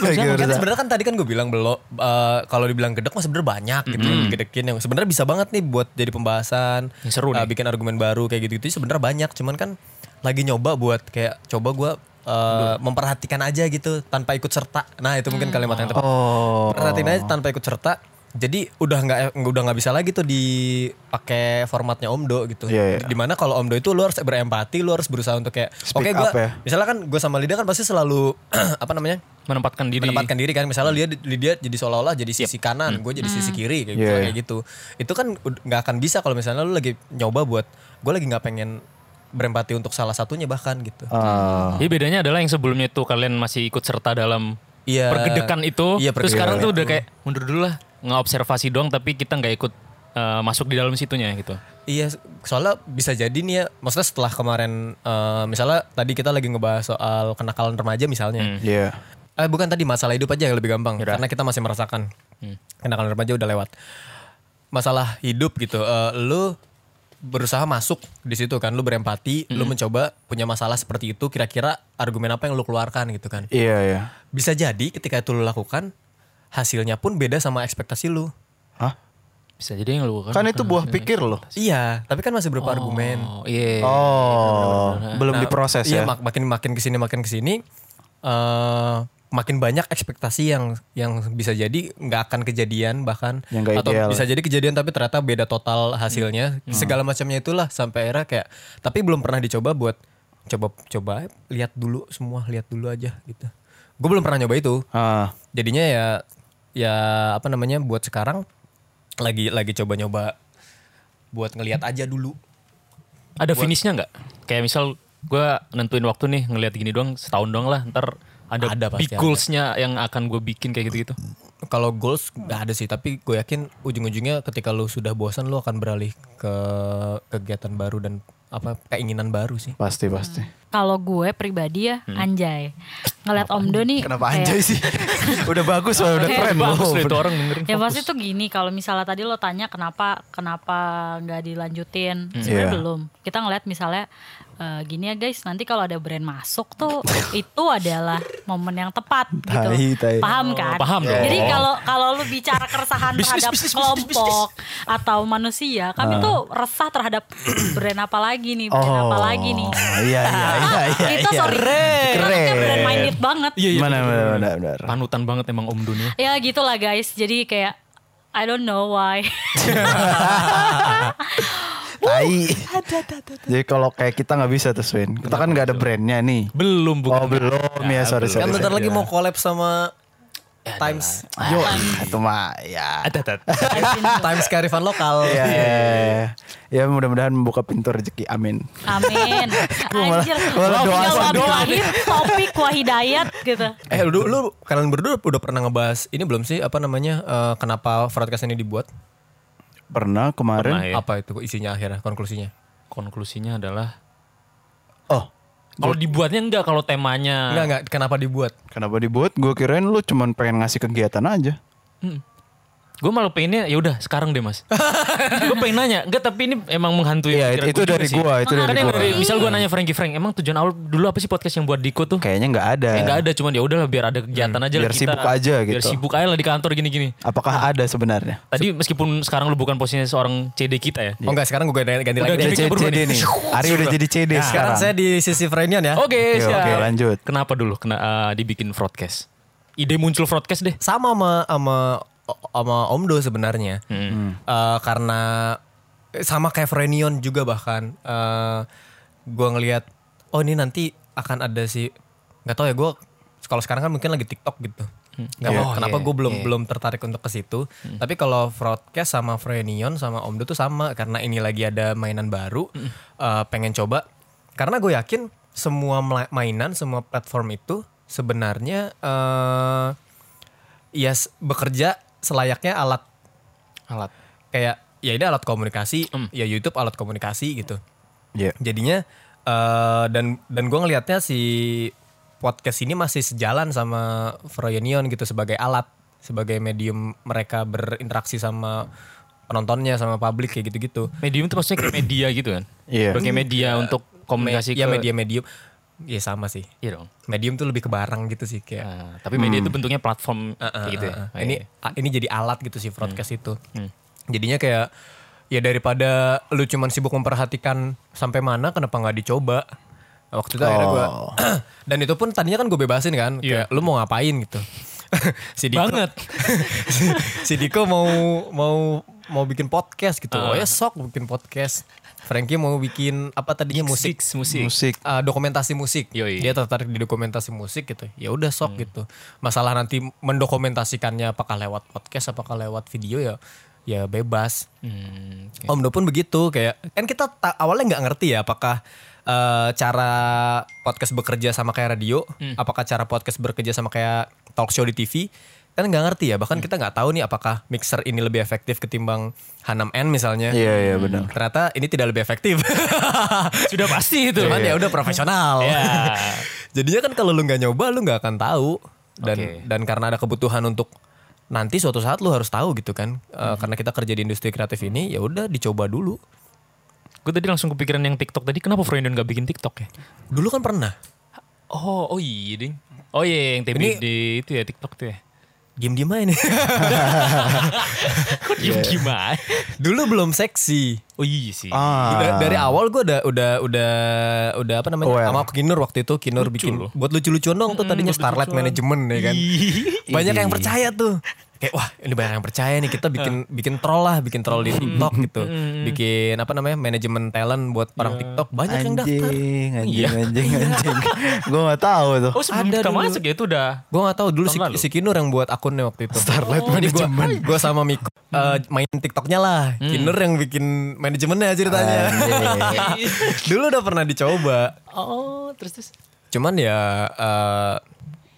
Speaker 5: Lagi
Speaker 4: kan
Speaker 5: udah-
Speaker 4: sebenarnya kan tadi kan gue bilang belum eh, kalau dibilang gedek mah sebenarnya banyak gitu yang gedekin yang sebenarnya bisa banget nih buat jadi pembahasan
Speaker 2: Yang seru
Speaker 4: eh,
Speaker 2: nih.
Speaker 4: bikin argumen baru kayak gitu-gitu sebenarnya banyak cuman kan lagi nyoba buat kayak coba gue eh, memperhatikan aja gitu tanpa ikut serta nah itu mungkin kalimat yang tepat
Speaker 5: Hmm. Oh.
Speaker 4: perhatiin aja tanpa ikut serta jadi udah nggak udah nggak bisa lagi tuh dipakai formatnya omdo gitu
Speaker 5: Iya, iya.
Speaker 4: dimana kalau omdo itu lu harus berempati lu harus berusaha untuk kayak oke
Speaker 5: Speak
Speaker 4: gua
Speaker 5: up ya.
Speaker 4: misalnya kan gue sama Lida kan pasti selalu apa namanya
Speaker 2: Menempatkan diri.
Speaker 4: menempatkan diri kan misalnya dia Lydia jadi seolah-olah jadi sisi kanan gue jadi sisi kiri kayak,
Speaker 5: Hmm. Yeah.
Speaker 4: misalnya kayak gitu itu kan ud- nggak akan bisa kalau misalnya lu lagi nyoba buat gue lagi nggak pengen berempati untuk salah satunya bahkan gitu
Speaker 5: Ah.
Speaker 2: Jadi bedanya adalah yang sebelumnya tuh kalian masih ikut serta dalam
Speaker 4: Iya.
Speaker 2: pergedekan Iya. itu.
Speaker 4: Iya,
Speaker 2: Terus
Speaker 4: pergedekan.
Speaker 2: sekarang tuh udah kayak mundur dulu lah. Ngeobservasi doang tapi kita nggak ikut eh, masuk di dalam situnya gitu.
Speaker 4: Iya, soalnya bisa jadi nih ya. Maksudnya setelah kemarin, eh, misalnya tadi kita lagi ngebahas soal kenakalan remaja misalnya.
Speaker 5: Iya.
Speaker 4: Eh bukan tadi masalah hidup aja yang lebih gampang, karena kita masih merasakan kenakalan remaja udah lewat. Masalah hidup gitu, eh, lu berusaha masuk di situ kan, lu berempati, lu mencoba punya masalah seperti itu, kira-kira argumen apa yang lu keluarkan gitu kan?
Speaker 5: Iya, iya.
Speaker 4: Bisa jadi ketika itu lu lakukan, hasilnya pun beda sama ekspektasi lu.
Speaker 5: Hah?
Speaker 2: Bisa jadi yang lu
Speaker 5: Kan itu buah pikir loh.
Speaker 4: Iya, tapi kan masih berupa argumen.
Speaker 2: Oh iya.
Speaker 5: Oh, belum
Speaker 4: Nah,
Speaker 5: diproses
Speaker 4: iya,
Speaker 5: ya.
Speaker 4: mak- makin makin kesini makin kesini eh makin banyak ekspektasi yang yang bisa jadi nggak akan kejadian bahkan
Speaker 5: Yang nggak
Speaker 4: atau
Speaker 5: ideal. Hmm.
Speaker 4: bisa jadi kejadian tapi ternyata beda total hasilnya segala macamnya itulah sampai era kayak tapi belum pernah dicoba buat coba coba lihat dulu semua lihat dulu aja gitu gue belum pernah nyoba itu
Speaker 5: Ah,
Speaker 4: jadinya ya ya apa namanya buat sekarang lagi lagi coba nyoba buat ngelihat aja dulu
Speaker 2: Ada finishnya nggak? Kayak misal gue nentuin waktu nih ngelihat gini doang setahun doang lah ntar ada,
Speaker 4: Ada
Speaker 2: big
Speaker 4: pasti ada.
Speaker 2: goals-nya yang akan gue bikin kayak gitu-gitu.
Speaker 4: kalau goals nggak ada sih tapi gue yakin ujung-ujungnya ketika lu sudah bosan lu akan beralih ke kegiatan baru dan apa keinginan baru sih
Speaker 5: pasti pasti.
Speaker 3: Kalau gue pribadi
Speaker 4: Hmm.
Speaker 3: ya anjay. Ngeliat Om Do nih
Speaker 5: Kenapa
Speaker 3: kayak-
Speaker 5: anjay sih? udah bagus, loh, udah keren loh.
Speaker 2: Bagus loh Eh, itu orang dengerin.
Speaker 3: Ya pasti tuh gini kalau misalnya tadi lo tanya kenapa kenapa nggak dilanjutin sebenarnya
Speaker 5: Iya.
Speaker 3: belum. Kita ngeliat misalnya eh, gini ya guys nanti kalau ada brand masuk tuh itu adalah momen yang tepat gitu.
Speaker 5: Tai, tai.
Speaker 3: Paham kan?
Speaker 2: paham dong.
Speaker 3: Jadi kalau kalau lu bicara keresahan
Speaker 2: Bisnis,
Speaker 3: terhadap
Speaker 2: bisnis, bisnis,
Speaker 3: kelompok atau manusia, kami tuh resah terhadap brand apa lagi nih, brand apa lagi nih.
Speaker 5: Iya, iya, iya, iya.
Speaker 3: Kita sorry, kita kayak brand minded banget.
Speaker 5: Mana, mana, mana, benar.
Speaker 2: Panutan banget emang Om Dunia.
Speaker 3: Ya gitulah guys. Jadi kayak I don't know why.
Speaker 5: Tai. Jadi kalau kayak kita nggak bisa tuh, Swin. Kita kan nggak ada brandnya nih.
Speaker 2: Belum bukan.
Speaker 5: Oh belum ya, sorry
Speaker 4: kan
Speaker 5: sorry.
Speaker 4: bentar
Speaker 5: sorry.
Speaker 4: lagi mau collab sama Times
Speaker 5: Yo, itu mah ya.
Speaker 4: Times kearifan lokal
Speaker 5: Ya, ya, ya. ya mudah-mudahan membuka pintu rezeki. Amin.
Speaker 3: Amin. Anjir.
Speaker 5: malah doa
Speaker 3: tinggal
Speaker 5: sama
Speaker 3: Wabil
Speaker 5: doa
Speaker 3: Wahid, topik Wahidayat gitu.
Speaker 4: eh lu, lu kalian berdua udah pernah ngebahas ini belum sih apa namanya eh, kenapa broadcast ini dibuat
Speaker 5: Pernah
Speaker 2: Pernah
Speaker 5: kemarin.
Speaker 2: ya.
Speaker 4: apa itu isinya akhirnya konklusinya
Speaker 2: Konklusinya adalah
Speaker 5: Oh,
Speaker 2: kalau dibuatnya enggak kalau temanya
Speaker 4: enggak enggak kenapa dibuat
Speaker 5: kenapa dibuat? Gue kirain lu cuman pengen ngasih kegiatan aja.
Speaker 2: Gue malah pengennya ya udah sekarang deh mas. gue pengen nanya, enggak tapi ini emang menghantui.
Speaker 5: Iya,
Speaker 2: pikiran
Speaker 5: itu
Speaker 2: gua juga
Speaker 5: dari
Speaker 2: sih.
Speaker 5: gua, itu
Speaker 2: Kan
Speaker 5: dari
Speaker 2: yang
Speaker 5: gua.
Speaker 2: misal gue nanya Frankie Frank, emang tujuan awal dulu apa sih podcast yang buat Diko tuh?
Speaker 5: Kayaknya nggak ada.
Speaker 2: Ya enggak ada, cuman ya udahlah biar ada kegiatan aja
Speaker 5: Hmm, biar
Speaker 2: lah kita.
Speaker 5: sibuk aja
Speaker 2: Biar
Speaker 5: gitu.
Speaker 2: sibuk aja lah di kantor gini-gini.
Speaker 5: Apakah ada sebenarnya?
Speaker 2: Tadi meskipun sekarang lu bukan posisinya seorang CD kita
Speaker 5: Iya,
Speaker 2: ya.
Speaker 4: oh enggak sekarang gue ganti, ganti
Speaker 2: Udah
Speaker 4: lagi
Speaker 5: Udah
Speaker 2: gini.
Speaker 4: deh.
Speaker 5: jadi
Speaker 2: gimmicknya berubah
Speaker 5: CD
Speaker 2: nih.
Speaker 5: nih. Ari udah jadi CD
Speaker 4: Nah, sekarang
Speaker 5: sekarang.
Speaker 4: saya di sisi Frenian ya
Speaker 2: Oke,
Speaker 5: Oke,
Speaker 2: siap.
Speaker 5: oke, lanjut.
Speaker 2: Kenapa dulu kena eh, dibikin broadcast? Ide muncul broadcast deh.
Speaker 4: sama sama sama sama Omdo sebenarnya
Speaker 2: Hmm.
Speaker 4: Eh, karena eh, sama kayak Frenion juga bahkan eh gue ngelihat oh ini nanti akan ada si nggak tahu ya gue kalau sekarang kan mungkin lagi TikTok gitu nggak
Speaker 2: Iya.
Speaker 4: tahu
Speaker 2: Oh, iya,
Speaker 4: kenapa
Speaker 2: Hmm.
Speaker 4: gue belum belum tertarik untuk ke situ tapi kalau broadcast sama Frenion sama Omdo tuh sama karena ini lagi ada mainan baru
Speaker 2: Hmm.
Speaker 4: eh, pengen coba karena gue yakin semua mela- mainan semua platform itu sebenarnya eh ya s- bekerja selayaknya alat
Speaker 2: Alat.
Speaker 4: kayak ya ini alat komunikasi
Speaker 2: Hmm.
Speaker 4: ya YouTube alat komunikasi gitu
Speaker 5: Iya.
Speaker 4: jadinya eh dan dan gue ngelihatnya si podcast ini masih sejalan sama Froyonion gitu sebagai alat sebagai medium mereka berinteraksi sama penontonnya sama publik kayak gitu-gitu
Speaker 2: Medium itu maksudnya kayak media gitu kan?
Speaker 5: Iya.
Speaker 2: Sebagai media untuk komunikasi
Speaker 4: ya
Speaker 2: ke...
Speaker 4: media medium ya sama sih
Speaker 2: Iya dong.
Speaker 4: medium tuh lebih ke barang gitu sih kayak
Speaker 2: Ah, tapi media
Speaker 5: Hmm.
Speaker 2: itu bentuknya platform kayak gitu ya.
Speaker 4: Ah, ini a- ini jadi alat gitu sih broadcast
Speaker 2: Hmm.
Speaker 4: itu jadinya kayak ya daripada lu cuman sibuk memperhatikan sampai mana kenapa nggak dicoba waktu itu
Speaker 5: Oh.
Speaker 4: akhirnya gue dan itu pun tadinya kan gue bebasin kan
Speaker 2: Oh. Iya.
Speaker 4: kayak lu mau ngapain gitu si Diko
Speaker 2: banget.
Speaker 4: si, si Diko mau mau mau bikin podcast gitu oh ya sok bikin podcast Frankie mau bikin apa tadinya musik
Speaker 2: Musik, musik.
Speaker 5: Musik.
Speaker 4: Uh, dokumentasi musik.
Speaker 2: Yoi.
Speaker 4: Dia tertarik di dokumentasi musik gitu. Ya udah sok gitu. Masalah nanti mendokumentasikannya apakah lewat podcast apakah lewat video ya ya bebas.
Speaker 2: Hmm,
Speaker 4: Om Do pun begitu kayak kan kita ta- awalnya nggak ngerti ya apakah eh, cara podcast bekerja sama kayak radio, apakah cara podcast bekerja sama kayak talk show di TV. kan nggak ngerti ya bahkan kita nggak tahu nih apakah mixer ini lebih efektif ketimbang Hanam N misalnya Hmm.
Speaker 5: Iya, iya, benar.
Speaker 4: ternyata ini tidak lebih efektif
Speaker 2: Sudah pasti itu.
Speaker 4: cuman ya
Speaker 5: Oh.
Speaker 4: udah profesional
Speaker 2: Ya.
Speaker 4: jadinya kan kalau lu nggak nyoba lu nggak akan tahu dan
Speaker 2: Oke.
Speaker 4: dan karena ada kebutuhan untuk nanti suatu saat lu harus tahu gitu kan Eh,
Speaker 2: Hmm.
Speaker 4: karena kita kerja di industri kreatif ini ya udah dicoba dulu
Speaker 2: Gue tadi langsung kepikiran yang TikTok tadi. Kenapa Frendon gak bikin TikTok ya?
Speaker 4: dulu kan pernah
Speaker 2: Oh, oh iya ding. Oh iya yang TBD itu ya TikTok tuh ya.
Speaker 4: diem diem aja nih
Speaker 2: Kok diem gimana?
Speaker 4: dulu belum seksi
Speaker 2: Oh iya sih.
Speaker 4: Da-
Speaker 5: Iya. Ah,
Speaker 4: dari awal gue udah udah udah udah apa namanya
Speaker 5: Aware.
Speaker 4: sama Kinur waktu itu Kinur bikin
Speaker 2: loh. Hmm,
Speaker 4: buat lucu-lucuan dong tuh tadinya Starlight Management
Speaker 5: iya
Speaker 4: ya kan banyak
Speaker 2: Iya.
Speaker 4: yang percaya tuh kayak wah ini banyak yang percaya nih kita bikin bikin troll lah bikin troll di TikTok gitu bikin apa namanya manajemen talent buat orang TikTok banyak yang daftar
Speaker 5: anjing,
Speaker 2: Iya.
Speaker 5: anjing, anjing, anjing. Gue gak tahu tuh.
Speaker 2: Oh sebelum
Speaker 4: Ada
Speaker 2: kita
Speaker 4: dulu.
Speaker 2: masuk ya itu udah.
Speaker 4: Gue gak tahu dulu si,
Speaker 2: Tahun lalu.
Speaker 4: si Kinur yang buat akunnya waktu itu Starlight Management Gue sama Miko eh, main tiktoknya lah
Speaker 2: Mm.
Speaker 4: Kinur yang bikin manajemennya ceritanya Dulu udah pernah dicoba
Speaker 2: Oh terus terus.
Speaker 4: Cuman ya eh,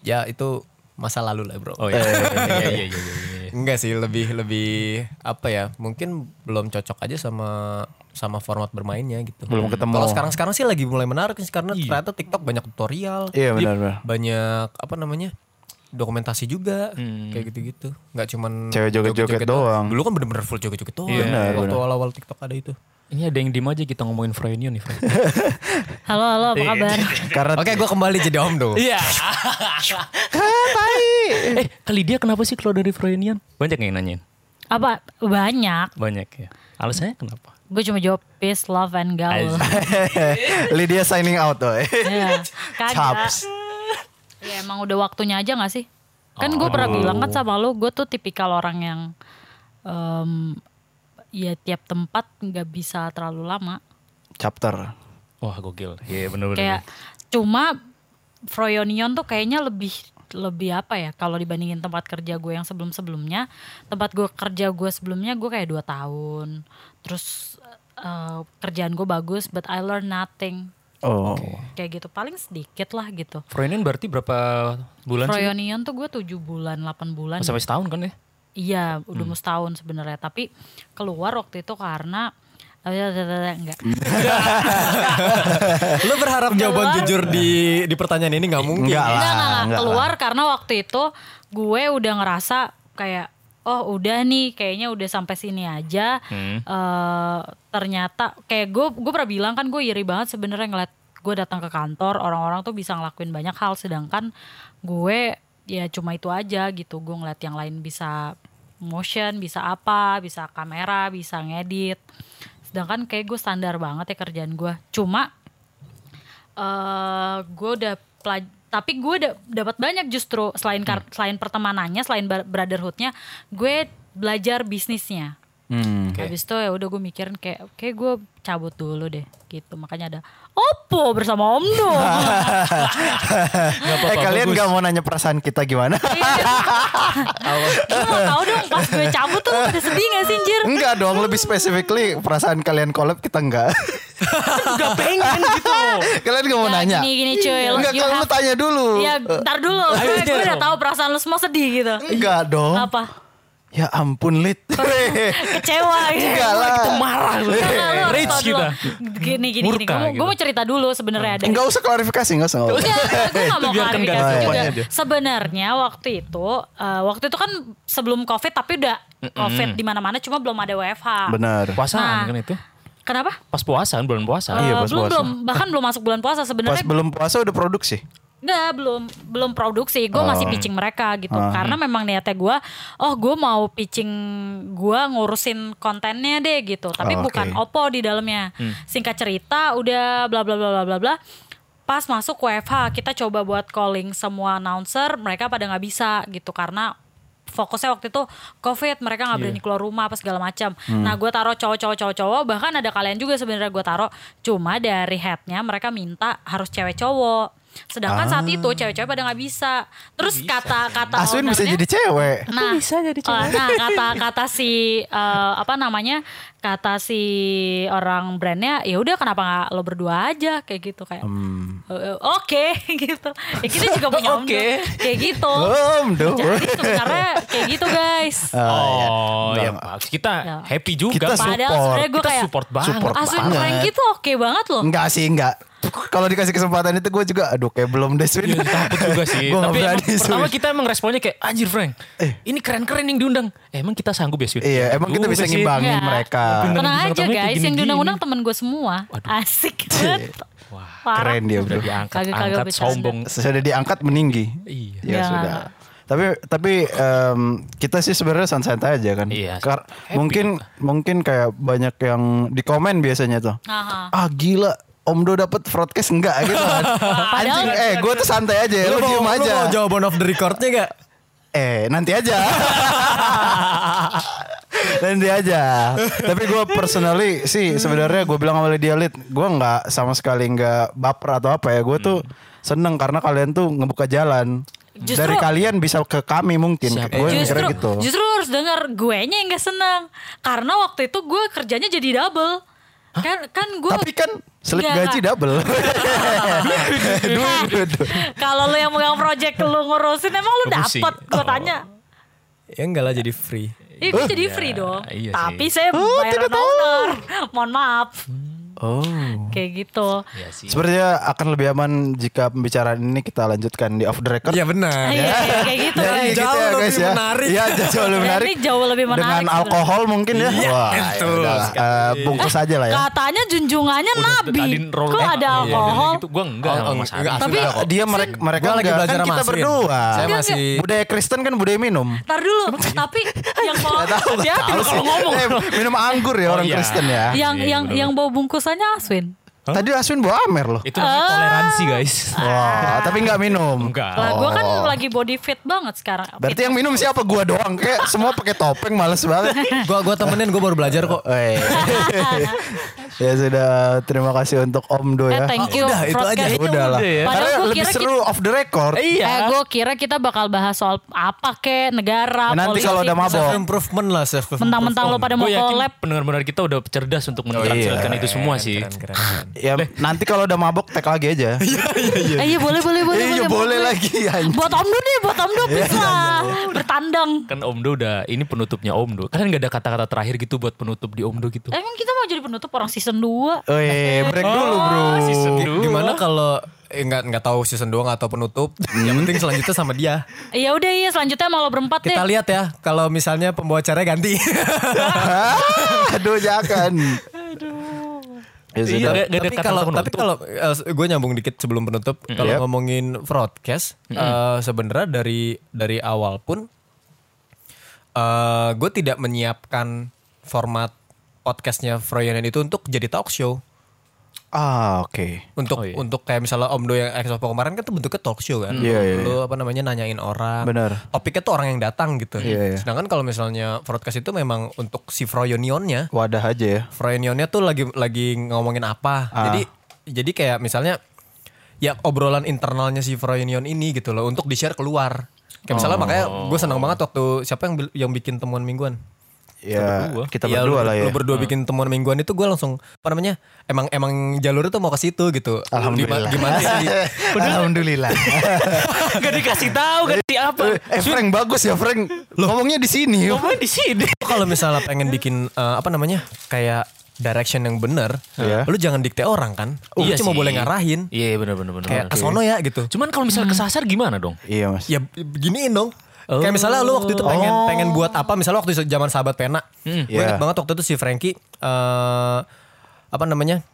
Speaker 4: ya itu masa lalu lah bro.
Speaker 2: Oh iya iya iya iya. iya.
Speaker 4: Enggak sih lebih lebih apa ya mungkin belum cocok aja sama sama format bermainnya gitu.
Speaker 5: Belum ketemu.
Speaker 4: Kalau sekarang sekarang sih lagi mulai menarik sih karena
Speaker 2: Iya.
Speaker 4: ternyata TikTok banyak tutorial,
Speaker 5: Iya benar benar.
Speaker 4: banyak apa namanya dokumentasi juga
Speaker 2: Hmm.
Speaker 4: kayak gitu-gitu. Nggak cuman
Speaker 5: Cewek joget-joget doang. Iya,
Speaker 4: Dulu kan bener-bener full joget-joget doang.
Speaker 5: Benar,
Speaker 4: Waktu awal-awal TikTok ada itu.
Speaker 2: Ini ada yang diem aja kita ngomongin Frenion nih. Fren.
Speaker 3: Halo, halo, apa kabar?
Speaker 5: Karena
Speaker 4: Oke, gua kembali jadi Om Do.
Speaker 2: Iya. eh kali dia kenapa sih keluar dari Frenion? Banyak yang nanyain.
Speaker 3: apa banyak?
Speaker 2: Banyak ya. Alasannya kenapa?
Speaker 3: Gue cuma jawab peace, love, and gaul.
Speaker 5: Lydia signing out tuh.
Speaker 3: Iya, kagak.
Speaker 5: Caps.
Speaker 3: Ya emang udah waktunya aja gak sih? Kan gue pernah bilang kan sama lo, gue tuh tipikal orang yang em, ya tiap tempat nggak bisa terlalu lama.
Speaker 5: Chapter.
Speaker 2: Wah gokil. Iya bener bener.
Speaker 3: Kayak cuma Froyonion tuh kayaknya lebih lebih apa ya kalau dibandingin tempat kerja gue yang sebelum sebelumnya tempat gue kerja gue sebelumnya gue kayak dua tahun terus eh, kerjaan gue bagus but I learn nothing
Speaker 5: Oh.
Speaker 3: kayak gitu paling sedikit lah gitu
Speaker 2: Frenion berarti berapa bulan sih?
Speaker 3: Froyonion tuh gue tujuh bulan 8 bulan
Speaker 2: Sampai setahun kan ya?
Speaker 3: Iya, udah
Speaker 2: Hmm.
Speaker 3: mau setahun sebenarnya, tapi keluar waktu itu karena eh, enggak.
Speaker 4: Lu berharap jawaban jujur di di pertanyaan ini nggak mungkin.
Speaker 5: Enggak
Speaker 3: Enggak, enggak,
Speaker 5: lah.
Speaker 3: enggak.
Speaker 5: Enggak lah.
Speaker 3: keluar karena waktu itu gue udah ngerasa kayak oh udah nih kayaknya udah sampai sini aja.
Speaker 5: Hmm.
Speaker 3: Eh, ternyata kayak gue gue pernah bilang kan gue iri banget sebenarnya ngeliat gue datang ke kantor orang-orang tuh bisa ngelakuin banyak hal sedangkan gue ya cuma itu aja gitu gue ngeliat yang lain bisa motion bisa apa bisa kamera bisa ngedit sedangkan kayak gue standar banget ya kerjaan gue cuma eh gue udah pelaj- tapi gue da- dapat banyak justru selain kar- selain pertemanannya selain bar- brotherhoodnya gue belajar bisnisnya
Speaker 5: Hmm.
Speaker 3: habis itu ya udah gue mikirin kayak kayak gue cabut dulu deh gitu makanya ada Oppo bersama Om Do
Speaker 5: eh kalian gak mau nanya perasaan kita gimana?
Speaker 3: Iya. Lu mau Iya, tahu dong pas gue cabut tuh lu pada sedih gak sih anjir
Speaker 5: enggak dong, lebih specifically perasaan kalian collab kita enggak.
Speaker 2: Gak pengen gitu.
Speaker 5: kalian gak mau
Speaker 3: Ya,
Speaker 5: nanya?
Speaker 3: gini gini cuy lu-
Speaker 5: enggak,
Speaker 3: you
Speaker 5: kalau lu
Speaker 3: have-
Speaker 5: tanya dulu.
Speaker 3: ya ntar dulu gue, gue udah tahu perasaan lu semua sedih gitu
Speaker 5: Enggak dong.
Speaker 3: apa
Speaker 5: Ya ampun, Lid.
Speaker 3: kecewa gitu
Speaker 5: enggak lah. Kita marah.
Speaker 3: Enggak, lu harus
Speaker 2: Rage
Speaker 3: tahu dulu.
Speaker 2: kita.
Speaker 3: Gini gini gini.
Speaker 2: Murka
Speaker 3: Gue mau,
Speaker 2: gitu.
Speaker 3: gua mau cerita dulu sebenarnya ada.
Speaker 5: Enggak usah klarifikasi, enggak usah.
Speaker 3: Enggak, gue gak iya, mau
Speaker 2: Itu biarkan gak ada
Speaker 3: klarifikasi juga.
Speaker 2: jawabannya dia.
Speaker 3: Sebenarnya waktu itu, eh, waktu itu kan sebelum COVID tapi udah COVID di mana-mana, cuma belum ada WFH.
Speaker 5: Benar.
Speaker 2: Puasaan
Speaker 3: Nah.
Speaker 2: kan itu?
Speaker 3: Kenapa?
Speaker 2: Pas puasaan bulan puasa.
Speaker 5: Iya,
Speaker 3: Eh,
Speaker 5: pas
Speaker 3: belum
Speaker 5: puasa.
Speaker 3: belum bahkan belum masuk bulan puasa
Speaker 5: Pas
Speaker 3: sebenarnya
Speaker 5: belum puasa udah produksi.
Speaker 3: Nggak, belum belum produksi.
Speaker 5: Oh.
Speaker 3: Gue masih pitching mereka gitu.
Speaker 5: Ah.
Speaker 3: Karena memang niatnya gue, oh gue mau pitching gue ngurusin kontennya deh gitu.
Speaker 5: Oh,
Speaker 3: Tapi
Speaker 5: oke.
Speaker 3: bukan Oppo di dalamnya.
Speaker 5: Hmm.
Speaker 3: Singkat cerita, udah bla bla bla bla bla bla. Pas masuk WFH, kita coba buat calling semua announcer, mereka pada nggak bisa gitu karena fokusnya waktu itu covid mereka nggak
Speaker 5: Iya.
Speaker 3: berani keluar rumah apa segala macam
Speaker 5: Hmm.
Speaker 3: nah gue taruh cowok-cowok cowok-cowok bahkan ada kalian juga sebenarnya gue taruh cuma dari headnya mereka minta harus cewek cowok Sedangkan saat
Speaker 5: Ah.
Speaker 3: itu cewek-cewek pada nggak bisa. Terus
Speaker 5: ya.
Speaker 3: kata-kata
Speaker 5: Aswin bisa
Speaker 3: ownernya-
Speaker 5: jadi cewek.
Speaker 3: Nah, eh, nah kata kata si eh, apa namanya kata si orang brandnya ya udah kenapa nggak lo berdua aja kayak gitu kayak
Speaker 5: Hmm.
Speaker 3: "Eh, eh, oke gitu ya kita juga punya om
Speaker 2: Oke.
Speaker 3: dong. kayak gitu
Speaker 5: Om dong.
Speaker 3: jadi sebenarnya kayak gitu guys
Speaker 2: Oh,
Speaker 5: iya.
Speaker 2: ya, Pak. kita happy juga.
Speaker 5: Eh, Kita
Speaker 2: Pak.
Speaker 5: support.
Speaker 3: padahal sebenarnya gue
Speaker 2: Kita
Speaker 3: kayak
Speaker 2: support banget.
Speaker 5: Support
Speaker 3: Aswin
Speaker 5: banget.
Speaker 3: Franky tuh oke banget loh
Speaker 5: Enggak sih, enggak. Kalau dikasih kesempatan itu gue juga aduh kayak belum deh Swin.
Speaker 2: Iya, takut juga sih.
Speaker 5: Gua nggak
Speaker 2: Tapi emang,
Speaker 5: berani,
Speaker 2: pertama
Speaker 5: Swin.
Speaker 2: kita emang responnya kayak anjir Frank.
Speaker 4: Eh.
Speaker 2: ini keren-keren yang diundang. Eh, emang kita sanggup ya, Swin?
Speaker 5: Iya, emang kita
Speaker 2: Sanggup
Speaker 5: bisa
Speaker 2: sih.
Speaker 5: ngimbangin
Speaker 3: Enggak.
Speaker 5: mereka.
Speaker 2: Bener.
Speaker 3: Iya. tenang
Speaker 2: Undang-undang
Speaker 3: aja
Speaker 2: tamunya kayak
Speaker 3: guys yang
Speaker 2: gini-gini.
Speaker 3: diundang-undang temen gue semua asik banget Parah.
Speaker 5: Keren dia
Speaker 2: Udah
Speaker 5: bro.
Speaker 2: diangkat,
Speaker 3: Kagak-kagak
Speaker 2: angkat
Speaker 3: bercanda.
Speaker 2: sombong.
Speaker 5: Sudah diangkat meninggi.
Speaker 2: Iya.
Speaker 5: Ya,
Speaker 3: Ya.
Speaker 5: sudah. Tapi tapi em, kita sih sebenarnya santai-santai aja kan.
Speaker 2: Iya.
Speaker 5: Kar-
Speaker 2: Happy.
Speaker 5: mungkin mungkin kayak banyak yang di komen biasanya tuh.
Speaker 3: Aha.
Speaker 5: Ah gila, Om Do dapat broadcast enggak gitu kan. Anjing, eh gue tuh santai aja, lu, diem aja.
Speaker 4: mau jawaban off the recordnya gak?
Speaker 5: Eh nanti aja. nanti aja. Tapi gue personally sih sebenarnya gue bilang sama dia Lid, gue nggak sama sekali nggak baper atau apa ya. Gue tuh seneng karena kalian tuh ngebuka jalan.
Speaker 3: Justru-
Speaker 5: Dari kalian bisa ke kami mungkin.
Speaker 2: Siapa
Speaker 5: Gue
Speaker 2: yang
Speaker 5: mikirnya
Speaker 3: justru
Speaker 5: gitu.
Speaker 3: justru harus dengar gue nya yang gak senang karena waktu itu gue kerjanya jadi double kan kan gue
Speaker 5: Tapi kan slip
Speaker 3: Enggak,
Speaker 5: gaji
Speaker 3: enggak.
Speaker 5: double.
Speaker 3: Nah,
Speaker 5: duit, duit.
Speaker 3: kalau lu yang megang project lu ngurusin emang lu
Speaker 2: Bagus sih.
Speaker 3: dapet gue tanya
Speaker 4: Ya enggak lah jadi free.
Speaker 3: Iya gue jadi free dong
Speaker 2: iya sih.
Speaker 3: Tapi saya bayar owner Mohon maaf
Speaker 5: Oh.
Speaker 3: Kayak gitu
Speaker 2: Iya sih.
Speaker 5: Sepertinya akan lebih aman jika pembicaraan ini kita lanjutkan di off the record.
Speaker 4: Iya benar.
Speaker 3: Iya kayak gitu
Speaker 5: Jadi
Speaker 4: Jauh
Speaker 5: gitu ya
Speaker 4: lebih
Speaker 5: guys ya.
Speaker 4: menarik.
Speaker 5: Iya jauh lebih
Speaker 3: Ini
Speaker 5: menarik.
Speaker 3: jauh lebih menarik
Speaker 5: Dengan
Speaker 3: sebenarnya.
Speaker 5: alkohol mungkin ya. Wah, ya
Speaker 4: Iya, betul
Speaker 5: udahlah. Eh, bungkus aja lah ya.
Speaker 3: Katanya junjungannya nabi
Speaker 2: Tadi roll
Speaker 3: Kok
Speaker 2: back.
Speaker 3: ada
Speaker 2: Iya,
Speaker 3: alkohol
Speaker 2: Gitu. Gue
Speaker 4: Oh,
Speaker 2: enggak sama Mas Ari.
Speaker 5: Tapi dia mereka mereka
Speaker 4: Gua lagi
Speaker 5: enggak.
Speaker 4: belajar
Speaker 5: kan
Speaker 4: sama
Speaker 5: kita
Speaker 4: Asrin.
Speaker 5: berdua.
Speaker 4: Saya
Speaker 3: Enggak,
Speaker 4: masih
Speaker 5: Budaya Kristen kan budaya minum.
Speaker 3: Ntar dulu Tapi yang bawa Hati-hati lu kalau ngomong
Speaker 5: Eh, minum anggur
Speaker 4: Oh,
Speaker 5: ya orang
Speaker 2: iya.
Speaker 5: Kristen ya.
Speaker 3: Yang
Speaker 2: Iya,
Speaker 3: yang
Speaker 2: bener.
Speaker 3: yang bawa bungkusannya Aswin
Speaker 5: Tadi Aswin bawa amer loh.
Speaker 2: Itu
Speaker 3: Ah.
Speaker 2: namanya toleransi, guys.
Speaker 5: Wah, tapi nggak minum. Oh.
Speaker 2: Enggak.
Speaker 3: Lah gue kan lagi body fit banget sekarang.
Speaker 5: Berarti yang minum siapa? Gua doang. Kayak semua pakai topeng males banget.
Speaker 3: Nah.
Speaker 4: gua gua temenin gua baru belajar
Speaker 2: Oh,
Speaker 4: kok.
Speaker 5: Eh.
Speaker 2: iya.
Speaker 5: ya sudah terima kasih untuk Om Do
Speaker 3: Eh,
Speaker 5: ya.
Speaker 3: thank you.
Speaker 4: udah, itu
Speaker 3: broadcast.
Speaker 4: aja.
Speaker 5: Ya udah lah.
Speaker 2: Udah ya.
Speaker 5: Karena
Speaker 3: Padahal gua
Speaker 5: lebih
Speaker 3: kira
Speaker 5: seru off the record.
Speaker 2: Iya.
Speaker 3: Eh gue kira kita bakal bahas soal apa kek negara.
Speaker 5: Nanti
Speaker 3: politik.
Speaker 5: kalau udah mabok.
Speaker 4: Self improvement lah self improvement.
Speaker 3: Mentang-mentang lo pada mau
Speaker 2: Gue Oh, yakin
Speaker 3: collab.
Speaker 2: pendengar-pendengar kita udah cerdas
Speaker 4: Oh,
Speaker 2: untuk
Speaker 4: iya.
Speaker 2: mentransilkan itu semua sih.
Speaker 4: Keren,
Speaker 5: Ya nanti kalau udah mabok tag lagi aja.
Speaker 3: Eh, iya boleh boleh boleh.
Speaker 5: Iya boleh lagi anjing.
Speaker 3: Buat Om Du deh, buat Om Du please lah. Bertandang.
Speaker 2: Kan Omdo udah ini penutupnya Omdo. Kalian gak ada kata-kata terakhir gitu buat penutup di Omdo
Speaker 4: Iya,
Speaker 2: gitu.
Speaker 3: Emang Eh, kan kita mau jadi penutup orang season 2
Speaker 5: Weh, break dulu bro.
Speaker 2: Season dua.
Speaker 4: Gimana kalau eh, nggak nggak tahu season doang atau penutup?
Speaker 2: Hmm.
Speaker 4: Yang penting selanjutnya sama dia.
Speaker 3: Ya udah iya selanjutnya mau lo berempat deh.
Speaker 4: Kita lihat ya kalau misalnya pembawa acara ganti.
Speaker 2: Iya,
Speaker 5: Aduh jangan. Ya
Speaker 2: Iya,
Speaker 5: sudah.
Speaker 2: nggak- nggak ada
Speaker 4: tapi
Speaker 2: kata
Speaker 4: kalau
Speaker 2: penutup. Hmm.
Speaker 4: tapi kalau gue nyambung dikit sebelum penutup kalau
Speaker 5: Yep.
Speaker 4: ngomongin broadcast eh, sebenarnya dari dari awal pun eh gue tidak menyiapkan format podcastnya Froyonen itu untuk jadi talk show
Speaker 5: Ah oke.
Speaker 4: untuk
Speaker 2: Oh, iya.
Speaker 4: untuk kayak misalnya Om Do yang Expo kemarin kan tuh bentuknya talk show kan.
Speaker 5: Iya, iya,
Speaker 4: Lu apa namanya nanyain orang.
Speaker 5: Benar.
Speaker 4: Topiknya tuh orang yang datang gitu.
Speaker 5: Iya, iya.
Speaker 4: Sedangkan kalau misalnya broadcast itu memang untuk si Froyonionnya.
Speaker 5: Wadah aja ya.
Speaker 4: Froyonionnya tuh lagi lagi ngomongin apa.
Speaker 5: Ah.
Speaker 4: Jadi jadi kayak misalnya ya obrolan internalnya si Froyonion ini gitu loh untuk di-share keluar. Kayak misalnya
Speaker 2: Oh.
Speaker 4: makanya gue senang banget waktu siapa yang bil- yang bikin temuan mingguan?
Speaker 5: Ya kita
Speaker 4: Iya,
Speaker 5: berdua
Speaker 4: lu-
Speaker 5: lah ya.
Speaker 4: Lu berdua bikin temuan mingguan itu gue langsung apa namanya? Emang emang jalur itu mau ke situ gitu.
Speaker 5: Alhamdulillah.
Speaker 4: Gima- Gimana sih?
Speaker 5: Alhamdulillah.
Speaker 2: Gak dikasih tahu ganti apa.
Speaker 5: eh Frank bagus ya Frank. Ngomongnya di sini. yuk.
Speaker 2: Ngomongnya di sini.
Speaker 4: Lu kalau misalnya pengen bikin eh, apa namanya? kayak direction yang bener
Speaker 5: Iya.
Speaker 4: lu jangan dikte orang kan. Lu
Speaker 2: Iya
Speaker 4: cuma
Speaker 2: sih.
Speaker 4: boleh ngarahin.
Speaker 2: Iya benar-benar benar.
Speaker 4: Kayak kesono ya gitu.
Speaker 2: Cuman kalau misalnya
Speaker 3: Hmm.
Speaker 2: kesasar gimana dong?
Speaker 5: Iya mas.
Speaker 4: ya giniin dong kayak Oh. misalnya lu waktu itu pengen pengen buat apa misalnya waktu zaman sahabat pena gue
Speaker 5: Oh. Iya.
Speaker 4: inget banget waktu itu si Frankie eh apa namanya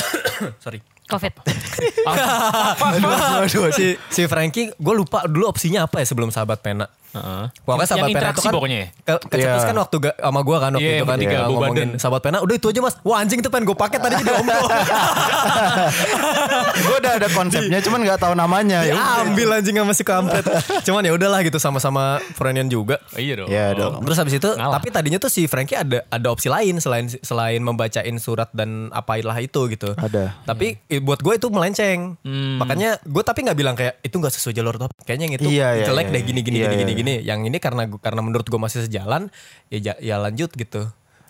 Speaker 4: sorry
Speaker 3: Covid.
Speaker 4: si si Frankie gue lupa dulu opsinya apa ya sebelum sahabat pena
Speaker 2: Heeh.
Speaker 4: Pokoknya
Speaker 2: Yang
Speaker 4: sahabat pena itu
Speaker 2: interaksi
Speaker 4: kan
Speaker 2: pokoknya ya?
Speaker 4: Ke, kecepis
Speaker 5: Iya.
Speaker 4: kan waktu ga, sama gua kan waktu
Speaker 2: Iya,
Speaker 4: itu kan
Speaker 2: bertiga,
Speaker 4: kita
Speaker 2: Bob Baden.
Speaker 4: ngomongin sahabat pena udah itu aja mas wah anjing itu pengen gue pakai tadi jadi omong
Speaker 5: gue udah ada konsepnya cuman nggak tahu namanya ya udah.
Speaker 4: ambil
Speaker 2: Iya.
Speaker 4: anjing sama si kampret cuman ya udahlah gitu sama-sama friendian juga
Speaker 2: Oh, iya dong.
Speaker 5: Iya dong.
Speaker 4: Terus habis itu,
Speaker 2: Ngalah.
Speaker 4: tapi tadinya tuh si Frankie ada ada opsi lain selain selain membacain surat dan apailah itu gitu.
Speaker 5: Ada.
Speaker 4: Tapi i- buat gue itu melenceng.
Speaker 2: Hmm.
Speaker 4: Makanya gue tapi nggak bilang kayak itu nggak sesuai jalur top. Kayaknya yang itu
Speaker 5: Iya, iya,
Speaker 4: jelek
Speaker 5: iya,
Speaker 4: deh gini gini
Speaker 5: iya,
Speaker 4: gini
Speaker 5: iya,
Speaker 4: gini gini. Yang ini karena gua- karena menurut gue masih sejalan, ya ja- ya lanjut gitu.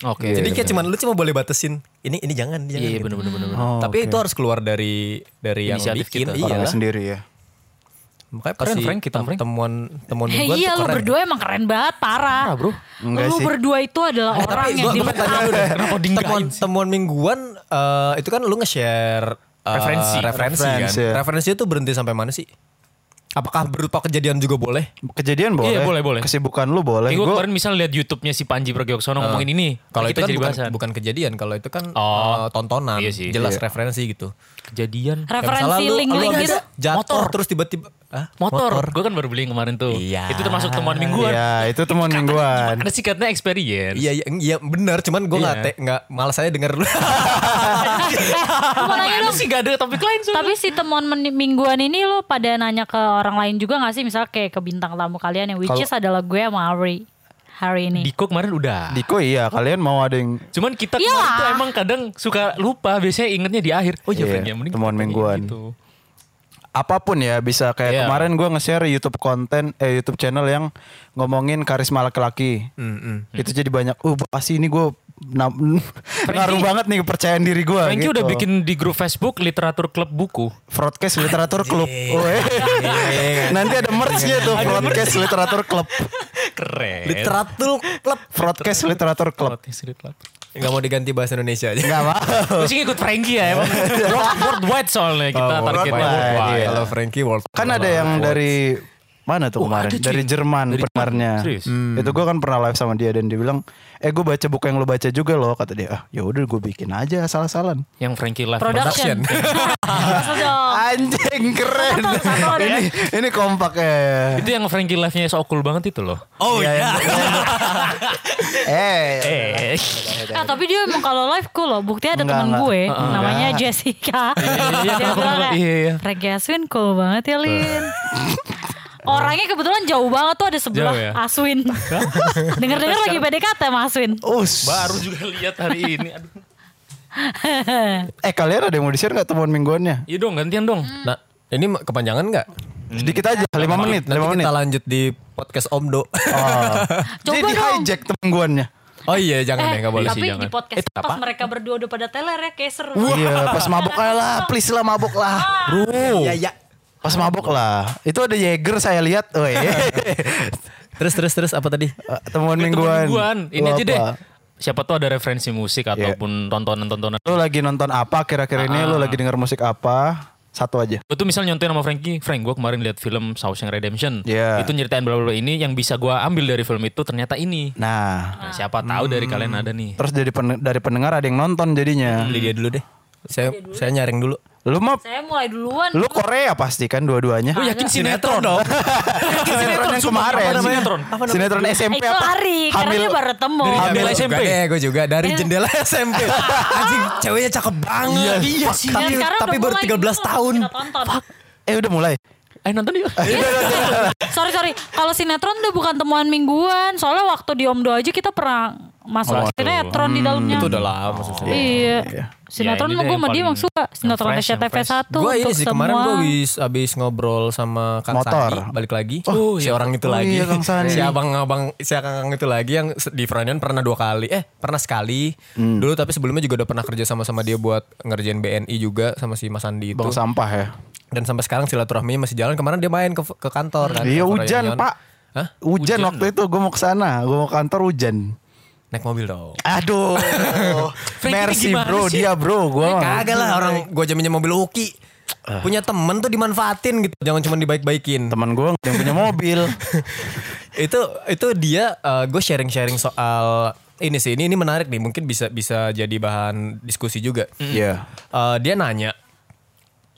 Speaker 2: Oke.
Speaker 4: Jadi
Speaker 5: Iya,
Speaker 4: kayak cuman lu cuma boleh batasin ini ini jangan ini jangan.
Speaker 2: Iya,
Speaker 4: gitu.
Speaker 2: bener bener bener. bener.
Speaker 5: Oh,
Speaker 4: tapi itu harus keluar dari dari yang
Speaker 2: Inisiatif
Speaker 4: bikin.
Speaker 2: kita.
Speaker 5: Orangnya
Speaker 4: Iya.
Speaker 5: sendiri ya
Speaker 4: Makanya
Speaker 2: Keren,
Speaker 4: pasti
Speaker 2: Frank, kita,
Speaker 4: tem-
Speaker 2: Frank.
Speaker 4: temuan temuan
Speaker 2: Eh,
Speaker 4: gue
Speaker 3: iya
Speaker 4: tuh
Speaker 3: lu
Speaker 4: keren.
Speaker 3: berdua emang keren banget parah.
Speaker 2: Parah, bro.
Speaker 5: Enggak
Speaker 3: lu
Speaker 5: sih.
Speaker 3: berdua itu adalah
Speaker 4: Eh,
Speaker 3: orang
Speaker 4: tapi
Speaker 3: yang
Speaker 4: gua- gua tanya lu
Speaker 3: diletakkan
Speaker 4: deh,
Speaker 2: Kenapa dinggain
Speaker 4: temuan, temuan mingguan eh, itu kan lu nge-share eh,
Speaker 2: Referensi. iya.
Speaker 4: referensi kan.
Speaker 5: Referensi, ya.
Speaker 4: Referensi itu berhenti sampai mana sih? Apakah berupa kejadian juga boleh?
Speaker 5: kejadian boleh
Speaker 2: boleh, boleh.
Speaker 5: kesibukan lu boleh
Speaker 2: Kayak gue
Speaker 5: Gua-
Speaker 2: kemarin misal lihat YouTube-nya si Panji Pragiwaksono ngomongin ini.
Speaker 4: Kalau
Speaker 2: Nah,
Speaker 4: itu
Speaker 2: kita
Speaker 4: kan
Speaker 2: jadi
Speaker 4: bukan,
Speaker 2: bahasan.
Speaker 4: bukan kejadian, kalau itu kan
Speaker 2: Oh.
Speaker 4: eh, tontonan,
Speaker 2: Iya sih.
Speaker 4: jelas referensi gitu.
Speaker 2: Kejadian
Speaker 4: Kayak
Speaker 3: referensi
Speaker 4: misalnya lu-
Speaker 3: link-link
Speaker 4: lu habis
Speaker 3: gitu.
Speaker 4: Jatuh
Speaker 2: Motor.
Speaker 4: terus tiba-tiba Hah?
Speaker 2: motor. Gue kan baru beli yang kemarin tuh.
Speaker 4: Iya.
Speaker 2: Itu termasuk temuan mingguan.
Speaker 5: Iya, itu temuan mingguan.
Speaker 2: Ada sikatnya experience.
Speaker 4: Iya, iya, iya benar, cuman gue nggak
Speaker 2: Iya.
Speaker 4: te- nggak malas saya denger lu.
Speaker 3: Lu mau nanya
Speaker 2: Mana
Speaker 3: dong,
Speaker 2: sih gak ada topik lain soalnya.
Speaker 3: Tapi si temuan meni- mingguan ini lo pada nanya ke orang lain juga gak sih? Misal kayak ke bintang tamu kalian yang which is adalah gue sama Ari hari ini.
Speaker 2: Diko kemarin udah.
Speaker 5: Diko iya kalian mau ada yang
Speaker 2: Cuman kita
Speaker 3: Iya
Speaker 2: kemarin tuh
Speaker 3: lah.
Speaker 2: emang kadang suka lupa. Biasanya ingetnya di akhir. Oh
Speaker 5: Iya,
Speaker 2: iya, Frank, ya, mending
Speaker 5: temuan
Speaker 2: kita kayak
Speaker 5: mingguan.
Speaker 2: gitu.
Speaker 5: apapun ya bisa kayak
Speaker 2: Iya.
Speaker 5: kemarin gua nge-share YouTube konten eh YouTube channel yang ngomongin karisma laki-laki. Itu jadi banyak. Uh pasti ini gue ngaruh banget nih kepercayaan diri gue.
Speaker 2: Franky
Speaker 5: gitu.
Speaker 2: udah bikin di grup Facebook literatur klub buku.
Speaker 5: broadcast literatur club. Weh. Nanti ada merchnya tuh broadcast literatur club.
Speaker 2: Keren.
Speaker 4: Literatur klub.
Speaker 5: Broadcast literatur club.
Speaker 4: Gak mau diganti bahasa Indonesia aja.
Speaker 5: Gak apa.
Speaker 2: Terus ini ikut Franky ya emang. World- Worldwide soalnya kita
Speaker 4: Oh,
Speaker 2: targetnya
Speaker 5: worldwide,
Speaker 2: worldwide.
Speaker 5: iya.
Speaker 4: Kalau Frankie world.
Speaker 5: Kan ada yang dari mana tuh kemarin?
Speaker 2: ada, cuy.
Speaker 5: dari Jerman
Speaker 2: Dari Jerman,
Speaker 5: pendengarnya.
Speaker 2: serius?
Speaker 5: Itu gua kan pernah live sama dia dan dia bilang, "Eh, gue baca buku yang lo baca juga loh." Kata dia, "Ah, ya udah gue bikin aja asal-asalan."
Speaker 2: Yang Franky live.
Speaker 3: Production. Maksud Eh, dong.
Speaker 5: Anjing keren.
Speaker 3: ya.
Speaker 5: ini ini kompak eh.
Speaker 2: Itu yang Franky live-nya seokul banget itu loh.
Speaker 4: Oh iya.
Speaker 5: Eh.
Speaker 2: Eh.
Speaker 3: Ah, tapi dia emang kalau live cool loh. Buktinya ada
Speaker 5: Enggak,
Speaker 3: teman
Speaker 5: enggak.
Speaker 3: gue namanya Jessica.
Speaker 2: iya,
Speaker 3: Dia bilang kayak,
Speaker 2: iya, iya.
Speaker 3: Frankie Aswin cool banget ya Lin. Orangnya kebetulan jauh banget tuh ada sebelah
Speaker 2: Jauh ya?
Speaker 3: Aswin. Dengar-dengar lagi PDKT sama Aswin.
Speaker 2: Oh,
Speaker 5: Us.
Speaker 2: Baru juga lihat hari ini. Aduh.
Speaker 5: Eh kalian ada yang mau di share nggak temuan mingguannya?
Speaker 2: Iya dong gantian dong.
Speaker 4: Nah, ini ma- kepanjangan nggak?
Speaker 5: Sedikit aja, 5 menit,
Speaker 4: Nanti
Speaker 5: 5 menit.
Speaker 4: kita lanjut di podcast Omdo.
Speaker 5: Oh.
Speaker 3: Coba
Speaker 5: Jadi
Speaker 3: dong.
Speaker 5: hijack mingguannya.
Speaker 4: oh iya, jangan deh,
Speaker 3: Eh,
Speaker 4: nggak boleh
Speaker 2: sih,
Speaker 3: tapi
Speaker 2: jangan.
Speaker 3: di podcast
Speaker 2: Eh,
Speaker 3: pas
Speaker 2: apa?
Speaker 3: mereka berdua udah pada teler ya kayak seru.
Speaker 5: Iya, pas mabok aja lah, please lah mabok lah.
Speaker 4: Iya, iya.
Speaker 5: Pas mabok lah. Itu ada Jaeger saya lihat. Oh,
Speaker 4: Terus, terus, terus apa tadi?
Speaker 5: Eh, temuan
Speaker 2: Temen
Speaker 5: mingguan.
Speaker 2: mingguan.
Speaker 5: Lu
Speaker 2: Ini aja deh.
Speaker 5: apa?
Speaker 2: Siapa tuh ada referensi musik ataupun tontonan-tontonan.
Speaker 5: Lu lagi nonton apa kira-kira ini?
Speaker 2: Ah.
Speaker 5: Lu lagi denger musik apa? Satu aja.
Speaker 2: Gue tuh misal nyontoin sama Frankie, Frank gue kemarin lihat film Shawshank Redemption.
Speaker 5: Iya.
Speaker 2: Itu nyeritain bla bla bla ini yang bisa gue ambil dari film itu ternyata ini.
Speaker 5: Nah,
Speaker 2: Nah, siapa tahu dari kalian ada nih.
Speaker 5: terus dari pen- dari pendengar ada yang nonton jadinya.
Speaker 4: Beli dia dulu deh. Saya saya nyaring dulu.
Speaker 5: Lu mah
Speaker 3: Saya mulai duluan.
Speaker 5: Lu Korea pasti kan dua-duanya.
Speaker 2: Gue yakin sinetron dong.
Speaker 5: sinetron yang kemarin.
Speaker 2: iya, Apa namanya?
Speaker 5: Sinetron. Sinetron SMP
Speaker 3: Eh, itu
Speaker 5: apa?
Speaker 3: Ari, karena dia baru temu.
Speaker 2: Dari Hamil
Speaker 4: Gue
Speaker 2: SMP.
Speaker 4: Iya, juga deh, gue juga dari jendela SMP. Anjing, ceweknya cakep banget. Iya, sih.
Speaker 3: Dan
Speaker 4: Tapi,
Speaker 3: sekarang
Speaker 4: tapi
Speaker 3: udah
Speaker 4: baru
Speaker 3: mulai
Speaker 4: 13
Speaker 3: gitu,
Speaker 4: tahun.
Speaker 3: kita tonton.
Speaker 5: Eh udah mulai.
Speaker 2: Eh nonton yuk.
Speaker 3: sorry sorry, kalau sinetron udah bukan temuan mingguan. Soalnya waktu di Omdo aja kita pernah masuk sinetron
Speaker 2: Hmm,
Speaker 3: di dalamnya.
Speaker 4: Itu udah lama maksudnya.
Speaker 3: Iya. Sinetron
Speaker 2: Ya, ini
Speaker 3: mah
Speaker 2: deh
Speaker 3: gue
Speaker 2: yang
Speaker 3: sama dia
Speaker 2: paling-
Speaker 3: emang suka.
Speaker 2: yang
Speaker 3: Sinetron
Speaker 2: fresh, yang
Speaker 3: SCTV
Speaker 2: fresh.
Speaker 3: 1
Speaker 4: Gue ini
Speaker 3: untuk
Speaker 4: sih
Speaker 3: semua.
Speaker 4: kemarin gue abis, abis ngobrol sama Kang
Speaker 5: Motor.
Speaker 4: Sandi balik lagi.
Speaker 5: Oh,
Speaker 4: si
Speaker 5: iya.
Speaker 4: orang itu
Speaker 5: Oh,
Speaker 4: lagi.
Speaker 5: iya, Kang Sandi.
Speaker 4: Si abang-abang si Kang itu lagi yang se- di Frontian pernah dua kali. Eh, pernah sekali.
Speaker 5: Hmm.
Speaker 4: Dulu tapi sebelumnya juga udah pernah kerja sama-sama dia buat ngerjain BNI juga sama si Mas Sandi itu.
Speaker 5: Bang sampah ya.
Speaker 4: Dan sampai sekarang silaturahminya masih jalan. Kemarin dia main ke, ke kantor kan.
Speaker 5: Iya
Speaker 4: ke
Speaker 5: hujan
Speaker 4: Frontian.
Speaker 5: pak.
Speaker 4: Hah?
Speaker 5: Hujan, waktu itu gue mau ke sana, gue mau ke kantor hujan.
Speaker 4: Naik mobil dong.
Speaker 5: Aduh.
Speaker 2: ini
Speaker 5: Mercy
Speaker 2: gimana
Speaker 5: bro,
Speaker 2: sih?
Speaker 5: dia bro, gue.
Speaker 4: Eh, Kagak lah orang gue jaminnya mobil Uki.
Speaker 5: Ah.
Speaker 4: Punya temen tuh dimanfaatin gitu. Jangan cuma dibaik-baikin.
Speaker 5: Teman gue yang punya mobil.
Speaker 4: itu itu dia gue sharing sharing soal ini sih ini ini menarik nih mungkin bisa bisa jadi bahan diskusi juga
Speaker 5: Iya.
Speaker 4: Eh, dia nanya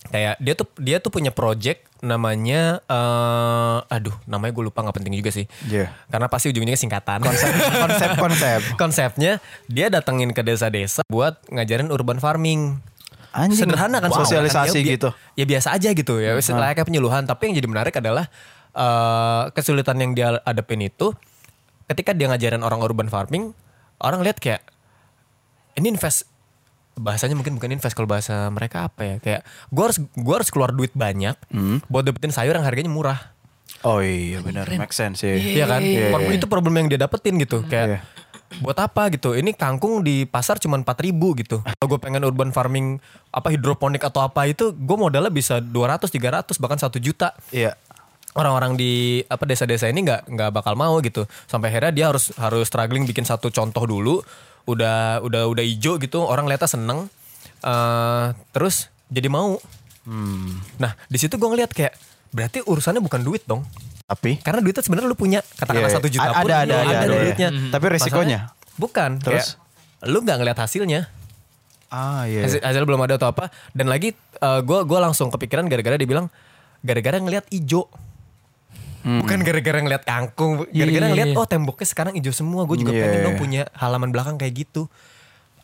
Speaker 4: kayak dia tuh dia tuh punya project namanya eh aduh namanya gue lupa nggak penting juga sih
Speaker 5: Iya.
Speaker 4: karena pasti ujung-ujungnya singkatan
Speaker 5: konsep konsep
Speaker 4: konsepnya dia datengin ke desa-desa buat ngajarin urban farming
Speaker 5: Anjing.
Speaker 4: sederhana kan
Speaker 5: Wow.
Speaker 4: sebenarnya kan.
Speaker 5: Sosialisasi
Speaker 4: Ya, bi-
Speaker 5: gitu. Hmm.
Speaker 4: ya biasa aja gitu ya setelah kayak penyuluhan tapi yang jadi menarik adalah eh, kesulitan yang dia hadapin itu ketika dia ngajarin orang urban farming orang lihat kayak ini invest bahasanya mungkin bukan invest kalau bahasa mereka apa ya kayak gue harus gua harus keluar duit banyak
Speaker 5: Hmm.
Speaker 4: buat dapetin sayur yang harganya murah
Speaker 5: Oh iya benar, make sense ya.
Speaker 4: Iya kan? Problem- Itu problem yang dia dapetin gitu. Kayak
Speaker 5: Iya.
Speaker 4: buat apa gitu? Ini kangkung di pasar cuma 4000 gitu. Kalau gue pengen urban farming apa hidroponik atau apa itu gue modalnya bisa 200, 300 bahkan 1 juta.
Speaker 5: Iya.
Speaker 4: Orang-orang di apa desa-desa ini nggak nggak bakal mau gitu. Sampai akhirnya dia harus harus struggling bikin satu contoh dulu. Udah udah udah ijo gitu, orang lihatnya seneng. Eh, terus jadi mau. Nah, di situ gue ngeliat kayak berarti urusannya bukan duit dong.
Speaker 5: Tapi
Speaker 4: Karena duitnya sebenarnya lu punya katakanlah
Speaker 5: Iya,
Speaker 4: satu juta
Speaker 5: ada-
Speaker 4: pun
Speaker 5: ada- ada- ada,
Speaker 4: lu
Speaker 5: iya.
Speaker 4: duitnya.
Speaker 5: Mhm. Tapi resikonya?
Speaker 4: Masalahnya, bukan.
Speaker 5: Terus?
Speaker 4: Kayak, lu nggak ngelihat hasilnya.
Speaker 5: ah iya.
Speaker 4: Hasil, hasil belum ada atau apa. Dan lagi eh, gua gue langsung kepikiran gara-gara dibilang gara-gara ngelihat ijo.
Speaker 5: Hmm.
Speaker 4: Bukan gara-gara ngelihat kangkung, gara-gara
Speaker 2: iya,
Speaker 4: ngelihat
Speaker 2: iya.
Speaker 4: oh temboknya sekarang ijo semua. Gue juga
Speaker 5: Iya,
Speaker 4: pengen
Speaker 5: iya.
Speaker 4: dong punya halaman belakang kayak gitu.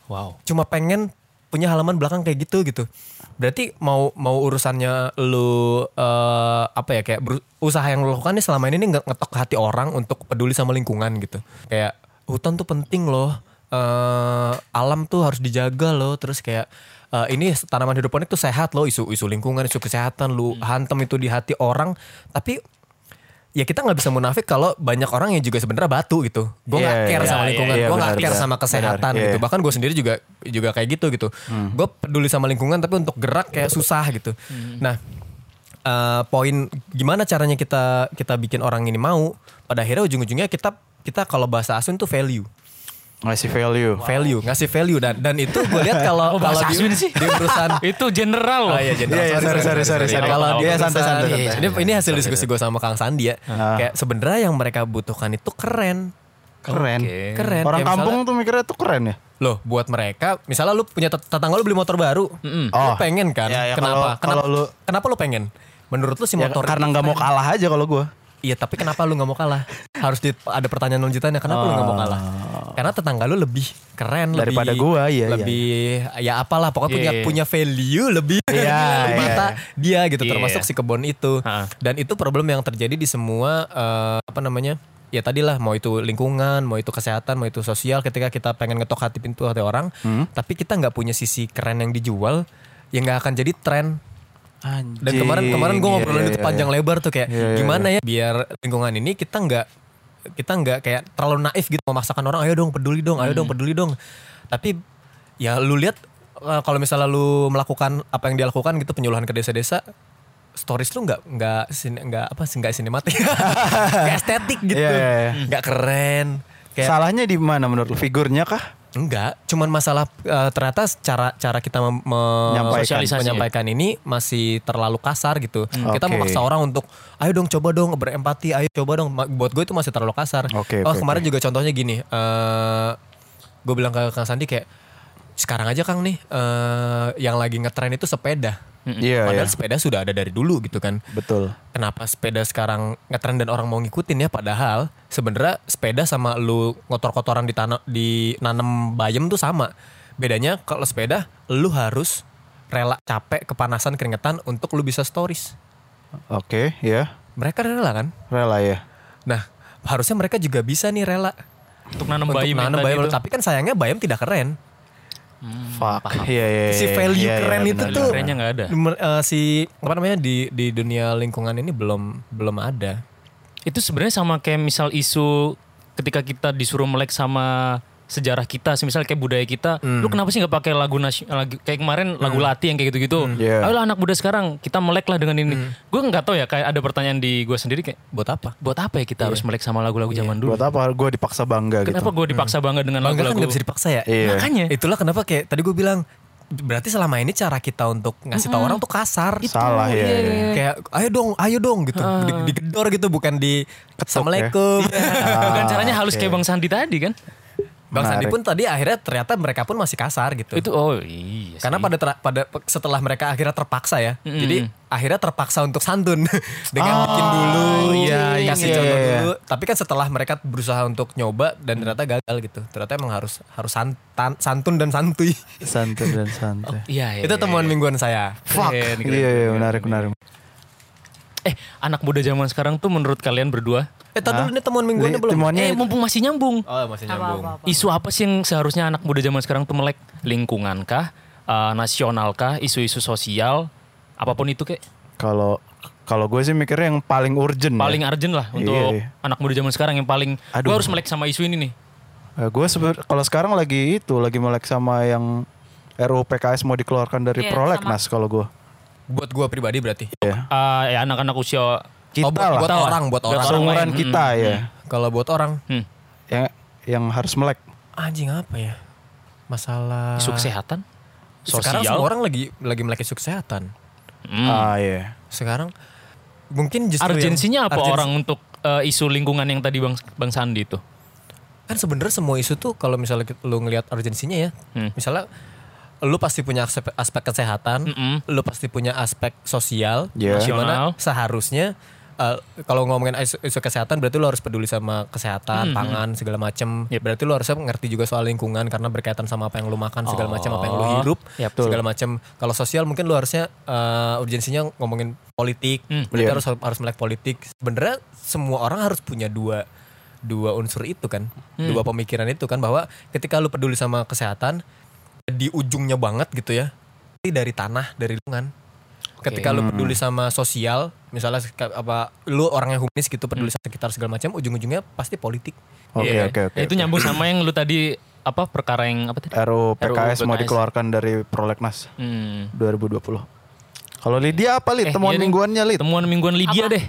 Speaker 4: Wow. Cuma pengen punya halaman belakang kayak gitu gitu. Berarti mau mau urusannya lu eh, apa ya kayak beru- usaha yang lu lakukan nih selama ini nih nge- ngetok hati orang untuk peduli sama lingkungan gitu. Kayak hutan tuh penting loh. eh, alam tuh harus dijaga loh. Terus kayak eh, ini tanaman hidroponik tuh sehat loh isu isu lingkungan, isu kesehatan lu hantem itu di hati orang. Tapi ya kita nggak bisa munafik kalau banyak orang yang juga sebenarnya batu gitu. Gue
Speaker 5: Iya,
Speaker 4: nggak care
Speaker 5: iya,
Speaker 4: sama
Speaker 5: iya,
Speaker 4: lingkungan,
Speaker 5: iya,
Speaker 4: gue nggak
Speaker 5: benar,
Speaker 4: care
Speaker 5: benar.
Speaker 4: sama kesehatan
Speaker 5: Benar,
Speaker 4: gitu.
Speaker 5: iya. Hmm.
Speaker 4: Bahkan gue sendiri juga juga kayak gitu gitu. Gue peduli sama lingkungan tapi untuk gerak kayak susah gitu.
Speaker 5: Hmm.
Speaker 4: Nah, eh, poin gimana caranya kita kita bikin orang ini mau? Pada akhirnya ujung-ujungnya kita kita kalau bahasa asun tuh value
Speaker 5: Ngasih value.
Speaker 4: value ngasih value dan dan itu gue lihat kalau
Speaker 2: Oh,
Speaker 4: kalau
Speaker 2: bahasa
Speaker 4: di,
Speaker 2: Aswin sih.
Speaker 4: di urusan
Speaker 2: Itu general loh.
Speaker 4: Oh iya, general.
Speaker 5: Iya, iya, sorry, sorry, sorry, sorry.
Speaker 4: Kalau
Speaker 5: Iya,
Speaker 4: dia
Speaker 5: santai, santai, Ah.
Speaker 4: iya,
Speaker 5: santai.
Speaker 4: Ini, ini hasil diskusi gue sama Kang Sandi ya. Kayak sebenarnya yang mereka butuhkan itu keren.
Speaker 5: Keren.
Speaker 4: Keren. Ya,
Speaker 5: Orang
Speaker 4: Kayak
Speaker 5: kampung tuh mikirnya tuh keren ya.
Speaker 4: misalnya, loh buat mereka, misalnya lu punya tet- tetangga lu beli motor baru. Lu
Speaker 5: Oh.
Speaker 4: pengen kan?
Speaker 5: Iya, iya, kalau-
Speaker 4: kenapa? kenapa,
Speaker 5: kalau lu-
Speaker 4: kenapa lu pengen? Menurut lu si
Speaker 5: Ya,
Speaker 4: motor
Speaker 5: karena nggak mau kalah aja kalau gua.
Speaker 4: Iya tapi kenapa lu nggak mau kalah? Harus di- ada pertanyaan lanjutannya kenapa lu nggak mau kalah? Karena tetangga lu lebih keren
Speaker 5: Oh. Daripada
Speaker 4: lebih,
Speaker 5: gua, iya,
Speaker 4: lebih ya apalah pokoknya punya
Speaker 2: Iya.
Speaker 4: punya value lebih
Speaker 5: Iya,
Speaker 4: di mata dia gitu
Speaker 2: Iya.
Speaker 4: termasuk si kebon itu
Speaker 2: Ha.
Speaker 4: dan itu problem yang terjadi di semua eh, apa namanya ya tadilah mau itu lingkungan mau itu kesehatan mau itu sosial ketika kita pengen ngetok hati pintu hati orang
Speaker 5: Hmm.
Speaker 4: tapi kita nggak punya sisi keren yang dijual yang nggak akan jadi tren dan kemarin kemarin gue ngobrolin itu panjang lebar tuh kayak
Speaker 5: Iya, iya,
Speaker 4: gimana ya biar lingkungan ini kita nggak kita nggak kayak terlalu naif gitu memaksakan orang ayo dong peduli dong ayo dong
Speaker 5: Hmm.
Speaker 4: peduli dong tapi ya lu lihat eh, kalau misalnya lu melakukan apa yang dia lakukan gitu penyuluhan ke desa-desa stories lu nggak nggak sin- nggak apa sih nggak sinematik nggak estetik gitu
Speaker 5: Iya, iya, iya.
Speaker 4: nggak keren kayak
Speaker 5: Salahnya di mana menurut lu? Figurnya kah?
Speaker 4: Enggak, cuman masalah eh, ternyata cara cara kita mem- me-
Speaker 5: Menyampaikan. Hmm.
Speaker 4: sosialisasi. menyampaikan ini masih terlalu kasar gitu. Kita
Speaker 5: Oke.
Speaker 4: memaksa orang untuk ayo dong coba dong berempati, ayo coba dong. Ma- Buat gue itu masih terlalu kasar.
Speaker 5: Oke,
Speaker 4: oh
Speaker 5: oke,
Speaker 4: kemarin juga contohnya gini, eh gue bilang ke Kang Sandi kayak sekarang aja Kang nih eh, yang lagi ngetren itu sepeda.
Speaker 5: Iya, iya.
Speaker 4: Padahal sepeda sudah ada dari dulu gitu kan.
Speaker 5: Betul.
Speaker 4: Kenapa sepeda sekarang ngetren dan orang mau ngikutin ya padahal sebenarnya sepeda sama lu ngotor-kotoran di tanah di nanam bayam tuh sama. Bedanya kalau sepeda lu harus rela capek kepanasan keringetan untuk lu bisa stories.
Speaker 5: Oke, ya.
Speaker 4: Mereka rela kan?
Speaker 5: Rela ya.
Speaker 4: Nah, harusnya mereka juga bisa nih rela
Speaker 2: Untuk nanam
Speaker 4: untuk
Speaker 2: bayam. yang
Speaker 4: nanam
Speaker 2: tadi
Speaker 4: bayam,
Speaker 2: itu.
Speaker 4: tapi kan sayangnya bayam tidak keren.
Speaker 5: Fuck. Iya, iya.
Speaker 4: Hmm, Si
Speaker 5: iya,
Speaker 4: value
Speaker 5: iya, iya,
Speaker 4: keren itu
Speaker 5: benar,
Speaker 4: tuh
Speaker 5: benar.
Speaker 2: Kerennya nggak ada.
Speaker 4: mer- eh, si apa namanya di di dunia lingkungan ini belum belum ada.
Speaker 2: Itu sebenarnya sama kayak misal isu ketika kita disuruh melek sama sejarah kita, misal kayak budaya kita,
Speaker 4: Hmm.
Speaker 2: lu kenapa sih nggak pakai lagu nasi, lagu- kayak kemarin lagu latih yang kayak gitu-gitu.
Speaker 4: Hmm.
Speaker 5: Iya.
Speaker 2: Ayolah anak muda sekarang kita melek lah dengan ini. Gue nggak tahu ya kayak ada pertanyaan di gue sendiri kayak
Speaker 4: Buat apa? Iya.
Speaker 2: buat apa ya kita harus melek sama lagu-lagu zaman dulu?
Speaker 5: Buat apa gue dipaksa bangga gitu?
Speaker 2: Kenapa gue dipaksa bangga dengan
Speaker 4: Hmm. Bangga kan
Speaker 2: lagu-lagu?
Speaker 4: nggak bisa dipaksa ya.
Speaker 5: Iya.
Speaker 2: Makanya
Speaker 4: Itulah kenapa kayak tadi gue bilang berarti selama ini cara kita untuk ngasih tahu orang tuh kasar.
Speaker 5: Salah
Speaker 4: gitu?
Speaker 5: ya. iya.
Speaker 4: Kayak ayo dong, ayo dong gitu. Di- digedor gitu bukan di
Speaker 5: ya. Iya.
Speaker 4: Assalamualaikum. Ah,
Speaker 2: bukan caranya halus kayak Bang Sandi tadi kan?
Speaker 4: Bang Sandi
Speaker 5: Menarik.
Speaker 4: pun tadi akhirnya ternyata mereka pun masih kasar gitu.
Speaker 2: Itu oh iya. sih.
Speaker 4: Karena pada ter- pada pe- setelah mereka akhirnya terpaksa ya.
Speaker 2: Mm-mm.
Speaker 4: Jadi akhirnya terpaksa untuk santun dengan bikin dulu,
Speaker 5: iya, iya, Ah.
Speaker 4: kasih
Speaker 5: iya,
Speaker 4: contoh
Speaker 5: iya, iya.
Speaker 4: dulu. Tapi kan setelah mereka berusaha untuk nyoba dan ternyata gagal gitu. Ternyata emang harus harus santan, santun dan santuy.
Speaker 5: santai dan santai.
Speaker 4: Oh,
Speaker 2: Iya, iya,
Speaker 4: Itu
Speaker 2: iya,
Speaker 4: temuan
Speaker 2: iya.
Speaker 4: mingguan saya.
Speaker 5: Fuck.
Speaker 4: Keren, keren.
Speaker 5: Iya, iya, menarik, menarik.
Speaker 2: Eh, anak muda zaman sekarang tuh menurut kalian berdua
Speaker 4: Eh, tar dulu ini temuan mingguannya
Speaker 5: Li-
Speaker 4: belum.
Speaker 5: temuannya-
Speaker 2: eh mumpung masih nyambung.
Speaker 4: Oh, masih nyambung.
Speaker 3: Apa-apa.
Speaker 2: Isu apa sih yang seharusnya anak muda zaman sekarang tuh melek? Lingkungan kah? Eh, nasional kah? Isu-isu sosial? Apapun itu kek.
Speaker 5: Iya. Kalau kalau gue sih mikirnya yang paling urgent.
Speaker 2: Paling
Speaker 5: Ya.
Speaker 2: urgent lah untuk
Speaker 5: Iya.
Speaker 2: anak muda zaman sekarang yang paling
Speaker 5: Aduh.
Speaker 2: gue harus melek sama isu ini nih.
Speaker 5: Eh, gue sebe- kalau sekarang lagi itu lagi melek sama yang RUU PKS mau dikeluarkan dari
Speaker 3: Iya,
Speaker 5: prolegnas kalau gue.
Speaker 4: Buat gua pribadi berarti.
Speaker 5: Ya.
Speaker 2: Eh, ya anak-anak usia
Speaker 5: Kita
Speaker 4: Oh, buat,
Speaker 5: lah.
Speaker 4: buat
Speaker 2: Kita lah.
Speaker 4: orang, buat
Speaker 2: Buat
Speaker 4: orang.
Speaker 2: orang.
Speaker 5: Seumuran
Speaker 2: lain.
Speaker 5: kita ya.
Speaker 4: Kalau buat orang,
Speaker 2: hmm,
Speaker 5: Yang yang harus melek.
Speaker 4: anjing apa ya?
Speaker 5: Ah.
Speaker 4: Masalah
Speaker 2: isu kesehatan, sosial.
Speaker 4: Sekarang semua orang lagi lagi melek isu kesehatan.
Speaker 2: Hmm.
Speaker 5: Ah iya.
Speaker 4: Sekarang mungkin justru yang-
Speaker 2: Urgensinya apa
Speaker 4: urgensi-
Speaker 2: orang untuk eh, isu lingkungan yang tadi Bang Bang Sandi itu?
Speaker 4: kan sebenarnya semua isu tuh kalau misalnya ki- lu ngelihat urgensinya ya
Speaker 2: Hmm.
Speaker 4: misalnya lu pasti punya aspek, aspek kesehatan
Speaker 2: Mm-mm.
Speaker 4: lu pasti punya aspek sosial
Speaker 5: Iya.
Speaker 4: dimana
Speaker 2: Nasional.
Speaker 4: seharusnya uh, kalau ngomongin isu, isu kesehatan berarti lu harus peduli sama kesehatan pangan segala macem
Speaker 2: Yep.
Speaker 4: berarti lu harusnya ngerti juga soal lingkungan karena berkaitan sama apa yang lu makan segala macam apa yang lu
Speaker 2: Oh.
Speaker 4: hirup
Speaker 2: Yap.
Speaker 4: segala macam kalau sosial mungkin lu harusnya uh, urgensinya ngomongin politik
Speaker 2: Hmm.
Speaker 4: berarti
Speaker 5: Iya.
Speaker 4: harus harus melek politik sebenarnya semua orang harus punya dua dua unsur itu kan dua pemikiran itu kan bahwa ketika lu peduli sama kesehatan di ujungnya banget gitu ya ini dari tanah dari lingkungan ketika
Speaker 5: Hmm.
Speaker 4: lu peduli sama sosial misalnya seka- apa lu orangnya humanis gitu peduli sama sekitar segala macam ujung-ujungnya pasti politik
Speaker 5: Oke
Speaker 2: Iya.
Speaker 5: oke oke.
Speaker 2: Nah, Itu nyambung sama yang lu tadi apa perkara yang apa tadi?
Speaker 5: RUU PKS mau
Speaker 2: PKS.
Speaker 5: dikeluarkan dari prolegnas
Speaker 2: Hmm.
Speaker 5: 2020. Kalau Lydia apa Lid?
Speaker 2: Eh,
Speaker 5: Temuan
Speaker 2: iya nih.
Speaker 5: mingguannya Lid?
Speaker 2: Temuan mingguan Lydia
Speaker 3: Apa?
Speaker 2: deh.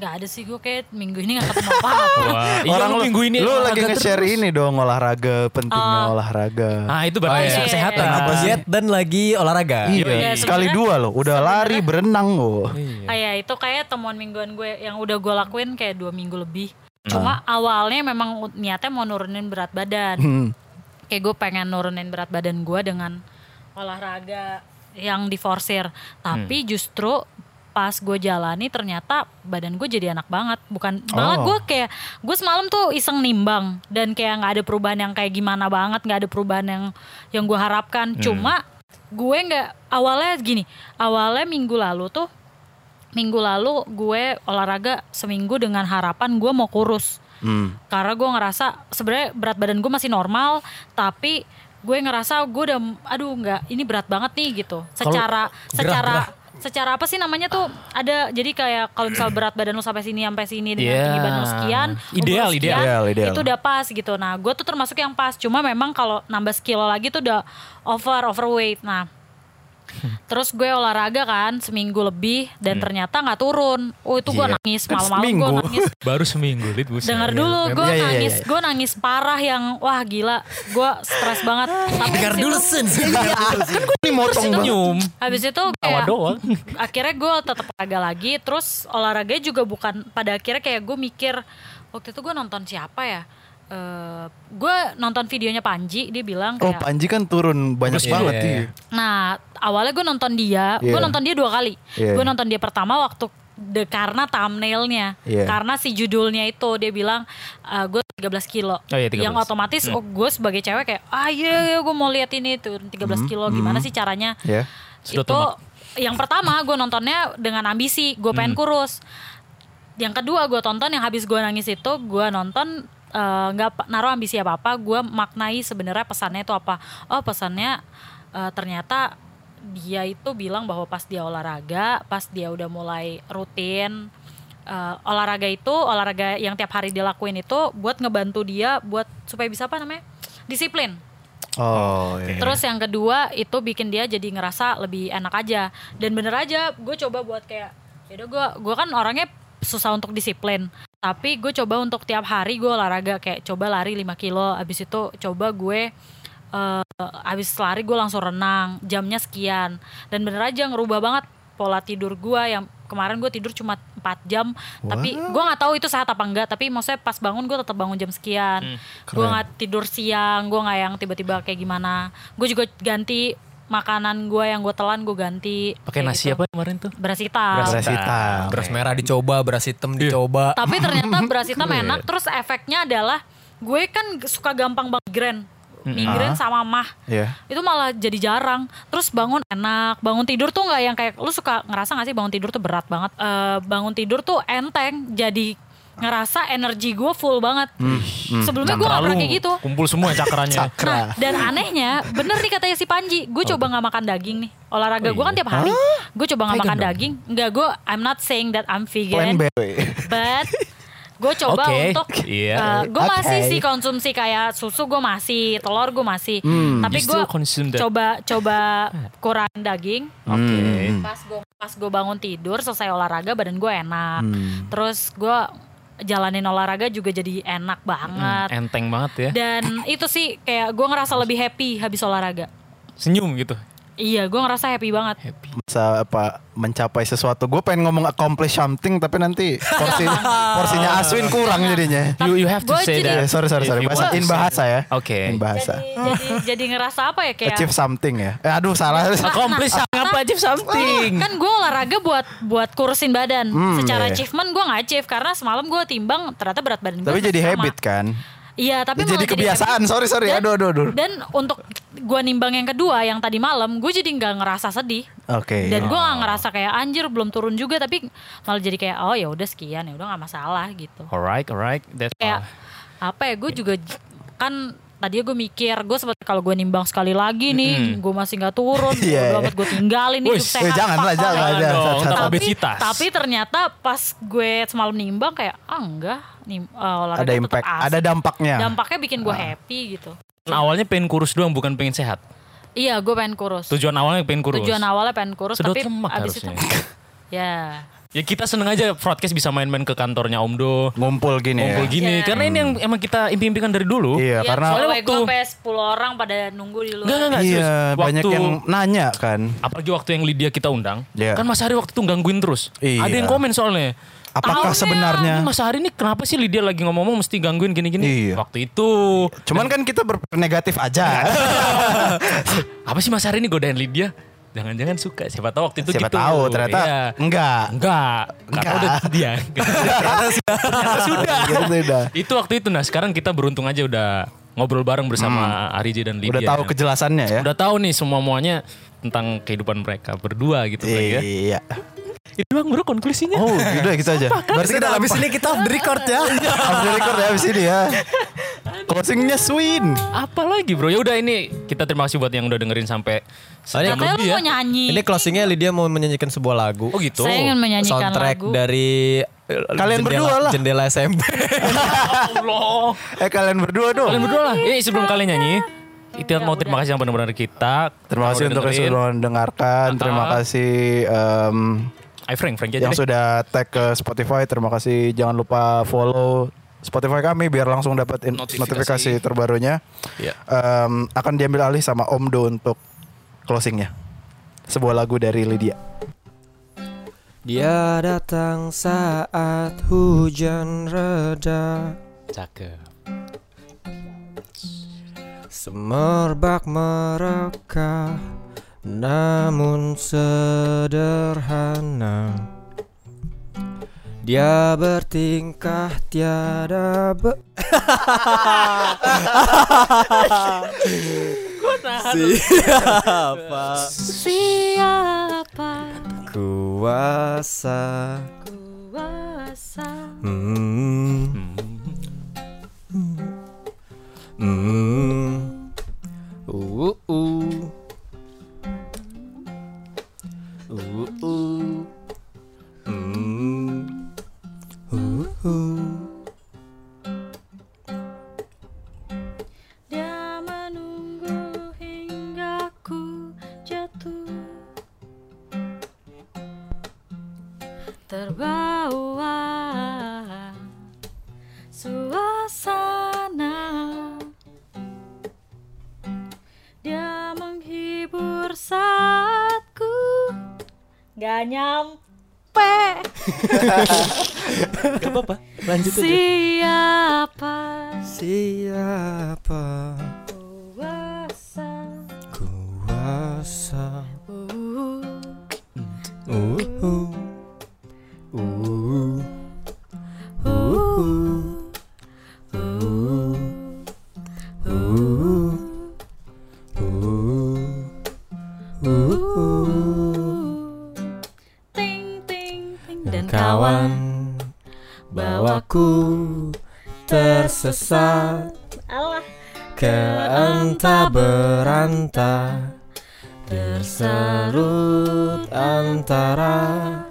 Speaker 3: Gak ada sih gue kayak minggu ini gak ketemu apa-apa.
Speaker 2: Wah, iya, lu
Speaker 5: lu-
Speaker 2: minggu ini
Speaker 5: lu lagi
Speaker 2: olahraga
Speaker 5: nge-share
Speaker 2: terus.
Speaker 5: ini dong olahraga pentingnya olahraga.
Speaker 2: Ah, itu berarti isu
Speaker 4: iya.
Speaker 2: kesehatan.
Speaker 4: apa diet dan lagi olahraga
Speaker 5: Iya,
Speaker 3: iya.
Speaker 5: sekali dua loh. Udah lari, berenang loh.
Speaker 2: Iya.
Speaker 3: Ah, ya, itu kayak temuan mingguan gue yang udah gue lakuin kayak dua minggu lebih.
Speaker 2: Hmm.
Speaker 3: Cuma awalnya memang u- niatnya mau nurunin berat badan.
Speaker 2: Hmm.
Speaker 3: Kayak gue pengen nurunin berat badan gue dengan olahraga yang diforsir. Tapi justru pas gue jalani ternyata badan gue jadi enak banget. Bukan malah
Speaker 5: Oh.
Speaker 3: gue kayak gue semalam tuh iseng nimbang dan kayak nggak ada perubahan yang kayak gimana banget, nggak ada perubahan yang yang gue harapkan. Cuma gue nggak awalnya gini, awalnya minggu lalu tuh minggu lalu gue olahraga seminggu dengan harapan gue mau kurus
Speaker 5: Hmm.
Speaker 3: karena gue ngerasa sebenarnya berat badan gue masih normal tapi gue ngerasa gue udah aduh nggak ini berat banget nih gitu secara
Speaker 4: gerah,
Speaker 3: secara
Speaker 4: gerah.
Speaker 3: secara apa sih namanya tuh ada jadi kayak kalau misal berat badan lu sampai sini sampai sini dengan
Speaker 2: Yeah.
Speaker 3: tinggi badan lu sekian umur
Speaker 2: Ideal,
Speaker 3: sekian,
Speaker 2: ideal.
Speaker 5: Ideal, ideal.
Speaker 3: itu udah pas gitu nah gue tuh termasuk yang pas cuma memang kalau nambah sekilo lagi tuh udah over overweight nah Terus gue olahraga kan seminggu lebih dan ternyata nggak turun. Oh itu gue
Speaker 5: Hmm. Iya.
Speaker 3: nangis
Speaker 5: Kan
Speaker 3: malam-malam gue
Speaker 5: seminggu.
Speaker 3: nangis.
Speaker 2: Baru seminggu Lid buset.
Speaker 3: Dengar dulu gue
Speaker 5: Iya, iya, iya,
Speaker 3: nangis,
Speaker 5: iya.
Speaker 3: gue nangis parah yang wah gila, gue stres banget. Tapi
Speaker 5: kan
Speaker 4: dengar
Speaker 3: abis
Speaker 4: dulu
Speaker 3: itu-
Speaker 4: sen dengar dulu, Sen.
Speaker 5: Ini motong banget.
Speaker 2: Senyum.
Speaker 3: Habis itu
Speaker 2: Tawa
Speaker 3: kayak
Speaker 2: doang.
Speaker 3: akhirnya gue tetap olahraga lagi terus olahraga juga bukan pada akhirnya kayak gue mikir waktu itu gue nonton siapa ya Eh gue nonton videonya Panji dia bilang
Speaker 5: Oh,
Speaker 3: kayak
Speaker 5: Panji kan turun banyak
Speaker 4: Iya,
Speaker 5: banget
Speaker 4: iya,
Speaker 5: iya.
Speaker 4: iya.
Speaker 3: Nah, awalnya gue nonton dia,
Speaker 5: Iya.
Speaker 3: gue nonton dia dua kali.
Speaker 5: Iya.
Speaker 3: Gue nonton dia pertama waktu de, karena thumbnailnya,
Speaker 5: Iya.
Speaker 3: karena si judulnya itu dia bilang "Ah, gue 13 kilo,
Speaker 2: Oh, iya, 13.
Speaker 3: yang otomatis oh, gue sebagai cewek kayak ah iya, iya, gue mau lihat ini tuh 13
Speaker 5: Hmm,
Speaker 3: kilo, gimana sih caranya?
Speaker 5: Ya.
Speaker 2: Sedot
Speaker 3: itu
Speaker 2: lemak.
Speaker 3: yang pertama gue nontonnya dengan ambisi, gue pengen kurus. Yang kedua gue tonton yang habis gue nangis itu gue nonton eh, nggak pa- naruh ambisi apa apa, gue maknai sebenarnya pesannya itu apa. Oh pesannya eh, ternyata dia itu bilang bahwa pas dia olahraga, pas dia udah mulai rutin eh, olahraga itu olahraga yang tiap hari dilakuin itu buat ngebantu dia buat supaya bisa apa namanya disiplin.
Speaker 5: Oh, iya.
Speaker 3: Terus yang kedua itu bikin dia jadi ngerasa lebih enak aja. Dan bener aja, gue coba buat kayak, yaudah gue gue kan orangnya susah untuk disiplin. Tapi gue coba untuk tiap hari gue olahraga kayak coba lari 5 kilo, abis itu coba gue eh, abis lari gue langsung renang jamnya sekian dan bener aja ngerubah banget pola tidur gue yang kemarin gue tidur cuma 4 jam tapi gue nggak tahu itu sehat apa enggak tapi maksudnya pas bangun gue tetap bangun jam sekian gue nggak tidur siang gue nggak yang tiba-tiba kayak gimana gue juga ganti makanan gue yang gue telan gue ganti
Speaker 2: Pakai
Speaker 3: kayak
Speaker 2: nasi
Speaker 3: gitu.
Speaker 2: apa kemarin tuh?
Speaker 3: beras hitam
Speaker 2: Beras
Speaker 5: Beras hitam.
Speaker 4: Beras merah dicoba, beras hitam dicoba.
Speaker 3: tapi ternyata beras hitam enak terus efeknya adalah gue kan suka gampang banget migrain migrain sama mah
Speaker 5: Iya.
Speaker 3: itu malah jadi jarang terus bangun enak bangun tidur tuh nggak yang kayak lu suka ngerasa nggak sih bangun tidur tuh berat banget Eh, bangun tidur tuh enteng jadi ngerasa energi gue full banget sebelumnya gue nggak
Speaker 2: Cakra
Speaker 3: pernah
Speaker 2: lu
Speaker 3: kayak gitu
Speaker 2: Kumpul semua cakranya.
Speaker 3: Nah, dan anehnya, bener nih katanya si Panji, gue coba nggak makan daging nih. Olahraga gue kan tiap hari, gue coba nggak makan daging. Enggak, gue I'm not saying that I'm
Speaker 5: Plan
Speaker 3: vegan,
Speaker 5: B.
Speaker 3: but gue coba
Speaker 2: Oke.
Speaker 3: untuk,
Speaker 2: Iya.
Speaker 3: uh, gue masih
Speaker 5: Oke.
Speaker 3: sih konsumsi kayak susu gue masih, telur gue masih, tapi
Speaker 2: You
Speaker 3: gue
Speaker 2: still consume that.
Speaker 3: coba coba kurangin daging. Hmm.
Speaker 2: Oke.
Speaker 5: Hmm.
Speaker 3: Pas gue pas gue bangun tidur selesai olahraga badan gue enak,
Speaker 2: Hmm.
Speaker 3: terus gue jalanin olahraga juga jadi enak banget.
Speaker 2: Enteng banget ya.
Speaker 3: Dan itu sih kayak gue ngerasa lebih happy habis olahraga.
Speaker 2: Senyum gitu.
Speaker 3: Iya, gue ngerasa happy banget.
Speaker 2: Happy.
Speaker 5: Bisa apa mencapai sesuatu. Gue pengen ngomong accomplish something tapi nanti porsi porsinya Aswin kurang jadinya.
Speaker 2: You, you have to
Speaker 3: Gua
Speaker 2: say
Speaker 5: Eh,
Speaker 2: that.
Speaker 3: jadi-
Speaker 5: sorry sorry
Speaker 2: if
Speaker 5: sorry
Speaker 2: you
Speaker 5: bahasa
Speaker 2: want
Speaker 5: in
Speaker 2: to say
Speaker 5: bahasa ya.
Speaker 2: that. Oke.
Speaker 5: In bahasa.
Speaker 3: Jadi, jadi jadi ngerasa apa ya kayak
Speaker 5: Achieve something ya. Eh, aduh salah.
Speaker 2: Accomplish apa aja something.
Speaker 3: Nah, kan gue olahraga buat buat kurusin badan.
Speaker 5: Hmm, iya,
Speaker 3: Secara
Speaker 5: iya.
Speaker 3: achievement gue nggak achieve karena semalam gue timbang ternyata berat badan gue
Speaker 5: Tapi jadi habit kan.
Speaker 3: Iya, tapi
Speaker 5: Jadi
Speaker 3: malah
Speaker 5: kebiasaan.
Speaker 3: habit.
Speaker 5: Sorry, sorry.
Speaker 3: Dan-
Speaker 5: Aduh, aduh, aduh.
Speaker 3: Dan untuk gue nimbang yang kedua yang tadi malam, gue jadi nggak ngerasa sedih.
Speaker 5: Oke. Oh.
Speaker 3: Dan gue nggak ngerasa kayak anjir belum turun juga, tapi malah jadi kayak oh ya udah sekian ya udah nggak masalah gitu.
Speaker 2: Alright, alright. That's
Speaker 3: kayak apa ya gue juga j- kan tadi gue mikir gue sempat kalau gue nimbang sekali lagi nih gue masih nggak turun
Speaker 5: Iya,
Speaker 3: gue
Speaker 5: iya.
Speaker 3: gue tinggalin
Speaker 2: Wih,
Speaker 3: nih hidup
Speaker 5: Eh,
Speaker 3: sehat,
Speaker 5: jangan lah,
Speaker 3: apa-apa.
Speaker 5: jangan,
Speaker 2: Jangan
Speaker 5: jangan.
Speaker 2: dong,
Speaker 5: Sat- sat-
Speaker 2: ntar obes-
Speaker 5: sat.
Speaker 3: tapi,
Speaker 2: Obesitas.
Speaker 3: tapi ternyata pas gue semalam nimbang kayak ah enggak nim, eh, olahraga
Speaker 5: Ada
Speaker 3: tetap
Speaker 5: impact,
Speaker 3: asik.
Speaker 5: ada dampaknya. Ah.
Speaker 3: dampaknya bikin gue happy gitu
Speaker 2: Nah, awalnya pengen kurus doang bukan pengen sehat.
Speaker 3: iya gue pengen kurus
Speaker 2: Tujuan awalnya pengen kurus.
Speaker 3: tujuan awalnya pengen kurus
Speaker 2: Sedot
Speaker 3: tapi
Speaker 2: lemak
Speaker 3: abis
Speaker 2: harusnya.
Speaker 3: itu ya
Speaker 2: Ya kita seneng aja broadcast bisa main-main ke kantornya Om Do.
Speaker 5: Ngumpul gini
Speaker 2: Ngumpul gitu
Speaker 5: ya.
Speaker 2: gini.
Speaker 3: Iya.
Speaker 2: Karena ini yang emang kita impi-impikan dari dulu.
Speaker 5: Iya,
Speaker 3: Iya,
Speaker 5: karena
Speaker 2: soalnya
Speaker 3: gue
Speaker 2: waktu-
Speaker 3: sampai 10 orang pada nunggu di luar
Speaker 2: Enggak, enggak, enggak.
Speaker 5: iya,
Speaker 2: serius.
Speaker 5: banyak
Speaker 2: Waktu-
Speaker 5: yang nanya kan.
Speaker 2: Apalagi waktu yang Lydia kita undang.
Speaker 5: Iya.
Speaker 2: Kan Mas Hari waktu itu gangguin terus.
Speaker 5: Iya.
Speaker 2: Ada yang komen soalnya.
Speaker 5: Apakah
Speaker 3: Tahunnya,
Speaker 5: sebenarnya
Speaker 2: Ini Mas Hari ini kenapa sih Lydia lagi ngomong-ngomong mesti gangguin gini-gini?
Speaker 5: Iya.
Speaker 2: Waktu itu.
Speaker 5: Cuman kan kita bernegatif aja.
Speaker 2: Apa sih Mas Hari ini godain Lydia? Jangan-jangan suka. Siapa tahu waktu itu
Speaker 5: Siapa
Speaker 2: gitu.
Speaker 5: tahu ternyata
Speaker 2: Iya.
Speaker 5: enggak.
Speaker 2: Enggak. Enggak.
Speaker 5: Enggak.
Speaker 2: udah dia. Ternyata sudah.
Speaker 5: Gitu sudah.
Speaker 2: Itu waktu itu. Nah sekarang kita beruntung aja udah ngobrol bareng bersama Ari J dan Lydia.
Speaker 5: Hmm. Udah tahu kejelasannya ya.
Speaker 2: Udah tahu nih semua muanya tentang kehidupan mereka berdua gitu kan ya.
Speaker 5: Iya.
Speaker 2: Itu doang bro konklusinya.
Speaker 5: Oh, udah gitu aja.
Speaker 4: Berarti kita habis ini kita off the record ya.
Speaker 5: Abis record ya abis ini ya. Closingnya Swin.
Speaker 2: Apa lagi bro? Ya udah ini kita terima kasih buat yang udah dengerin sampai sejam
Speaker 3: katanya lu
Speaker 2: lebih ya.
Speaker 3: mau nyanyi
Speaker 4: Ini closingnya Lydia mau menyanyikan sebuah lagu.
Speaker 2: Oh gitu.
Speaker 3: saya ingin menyanyikan
Speaker 4: Soundtrack
Speaker 3: lagu
Speaker 4: dari eh,
Speaker 5: Kalian berdua lah.
Speaker 4: Jendela SMP.
Speaker 2: Allah.
Speaker 5: Eh kalian berdua dong.
Speaker 2: Kalian berdua lah. Ya sebelum kalian nyanyi. Itu mau terima kasih yang benar-benar kita.
Speaker 5: Terima kasih
Speaker 2: Udah
Speaker 5: untuk yang
Speaker 2: dengerin.
Speaker 5: sudah mendengarkan. Terima
Speaker 2: Ah. Ya,
Speaker 5: kasih em,
Speaker 2: Ay Frank, Frank aja
Speaker 5: yang
Speaker 2: deh.
Speaker 5: sudah tag ke Spotify. Terima kasih. Jangan lupa follow Spotify kami biar langsung dapat in-
Speaker 2: Notifikasi.
Speaker 5: notifikasi. terbarunya.
Speaker 2: Iya.
Speaker 5: Em, akan diambil alih sama Om Do untuk closingnya. Sebuah lagu dari Lydia.
Speaker 1: Dia datang saat hujan reda
Speaker 2: Cakep.
Speaker 1: Semerbak mereka Namun sederhana Dia bertingkah tiada be Siapa
Speaker 3: Iya, Siapa
Speaker 1: kuasa
Speaker 3: kuasa
Speaker 1: Hmm. Hmm. Uh, uh. Uh, uh. Hmm. Uh, uh.
Speaker 3: Dia menunggu hingga ku jatuh Terbawa suasana Dia menghibur saat ku Gak nyampe
Speaker 2: Gak apa-apa. Lanjut aja.
Speaker 3: Siapa
Speaker 4: Siapa
Speaker 3: kuasa
Speaker 4: kuasa
Speaker 3: uh,
Speaker 4: Uh, uh, uh, uh,
Speaker 3: Uh-huh.
Speaker 4: uh, uh, uh,
Speaker 1: Hmm.
Speaker 4: uh, uh.
Speaker 3: ting ting ting
Speaker 4: Dan kawan bawaku tersesat
Speaker 3: Allah
Speaker 4: ke anta beranta Terserut antara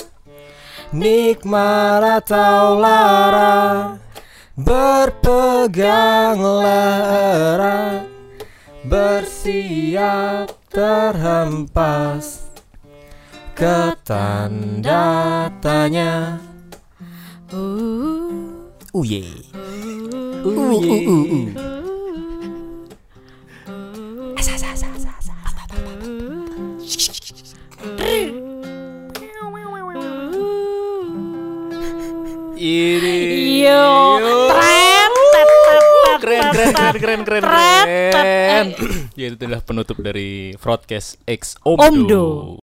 Speaker 4: Nikmat atau lara Berpeganglah erat Bersiap terhempas Ke tanda tanya Uh-huh.
Speaker 3: uh,
Speaker 4: Uye
Speaker 3: Iya. Yo, tren, tet, tet, tet,
Speaker 2: Iya. Keren,
Speaker 3: tet,
Speaker 2: keren,
Speaker 3: tet.
Speaker 2: keren, keren, keren,
Speaker 3: Tret, tet,
Speaker 2: keren.
Speaker 3: eh.
Speaker 2: Ya itu adalah penutup dari broadcast X
Speaker 3: Omdo.
Speaker 2: Omdo.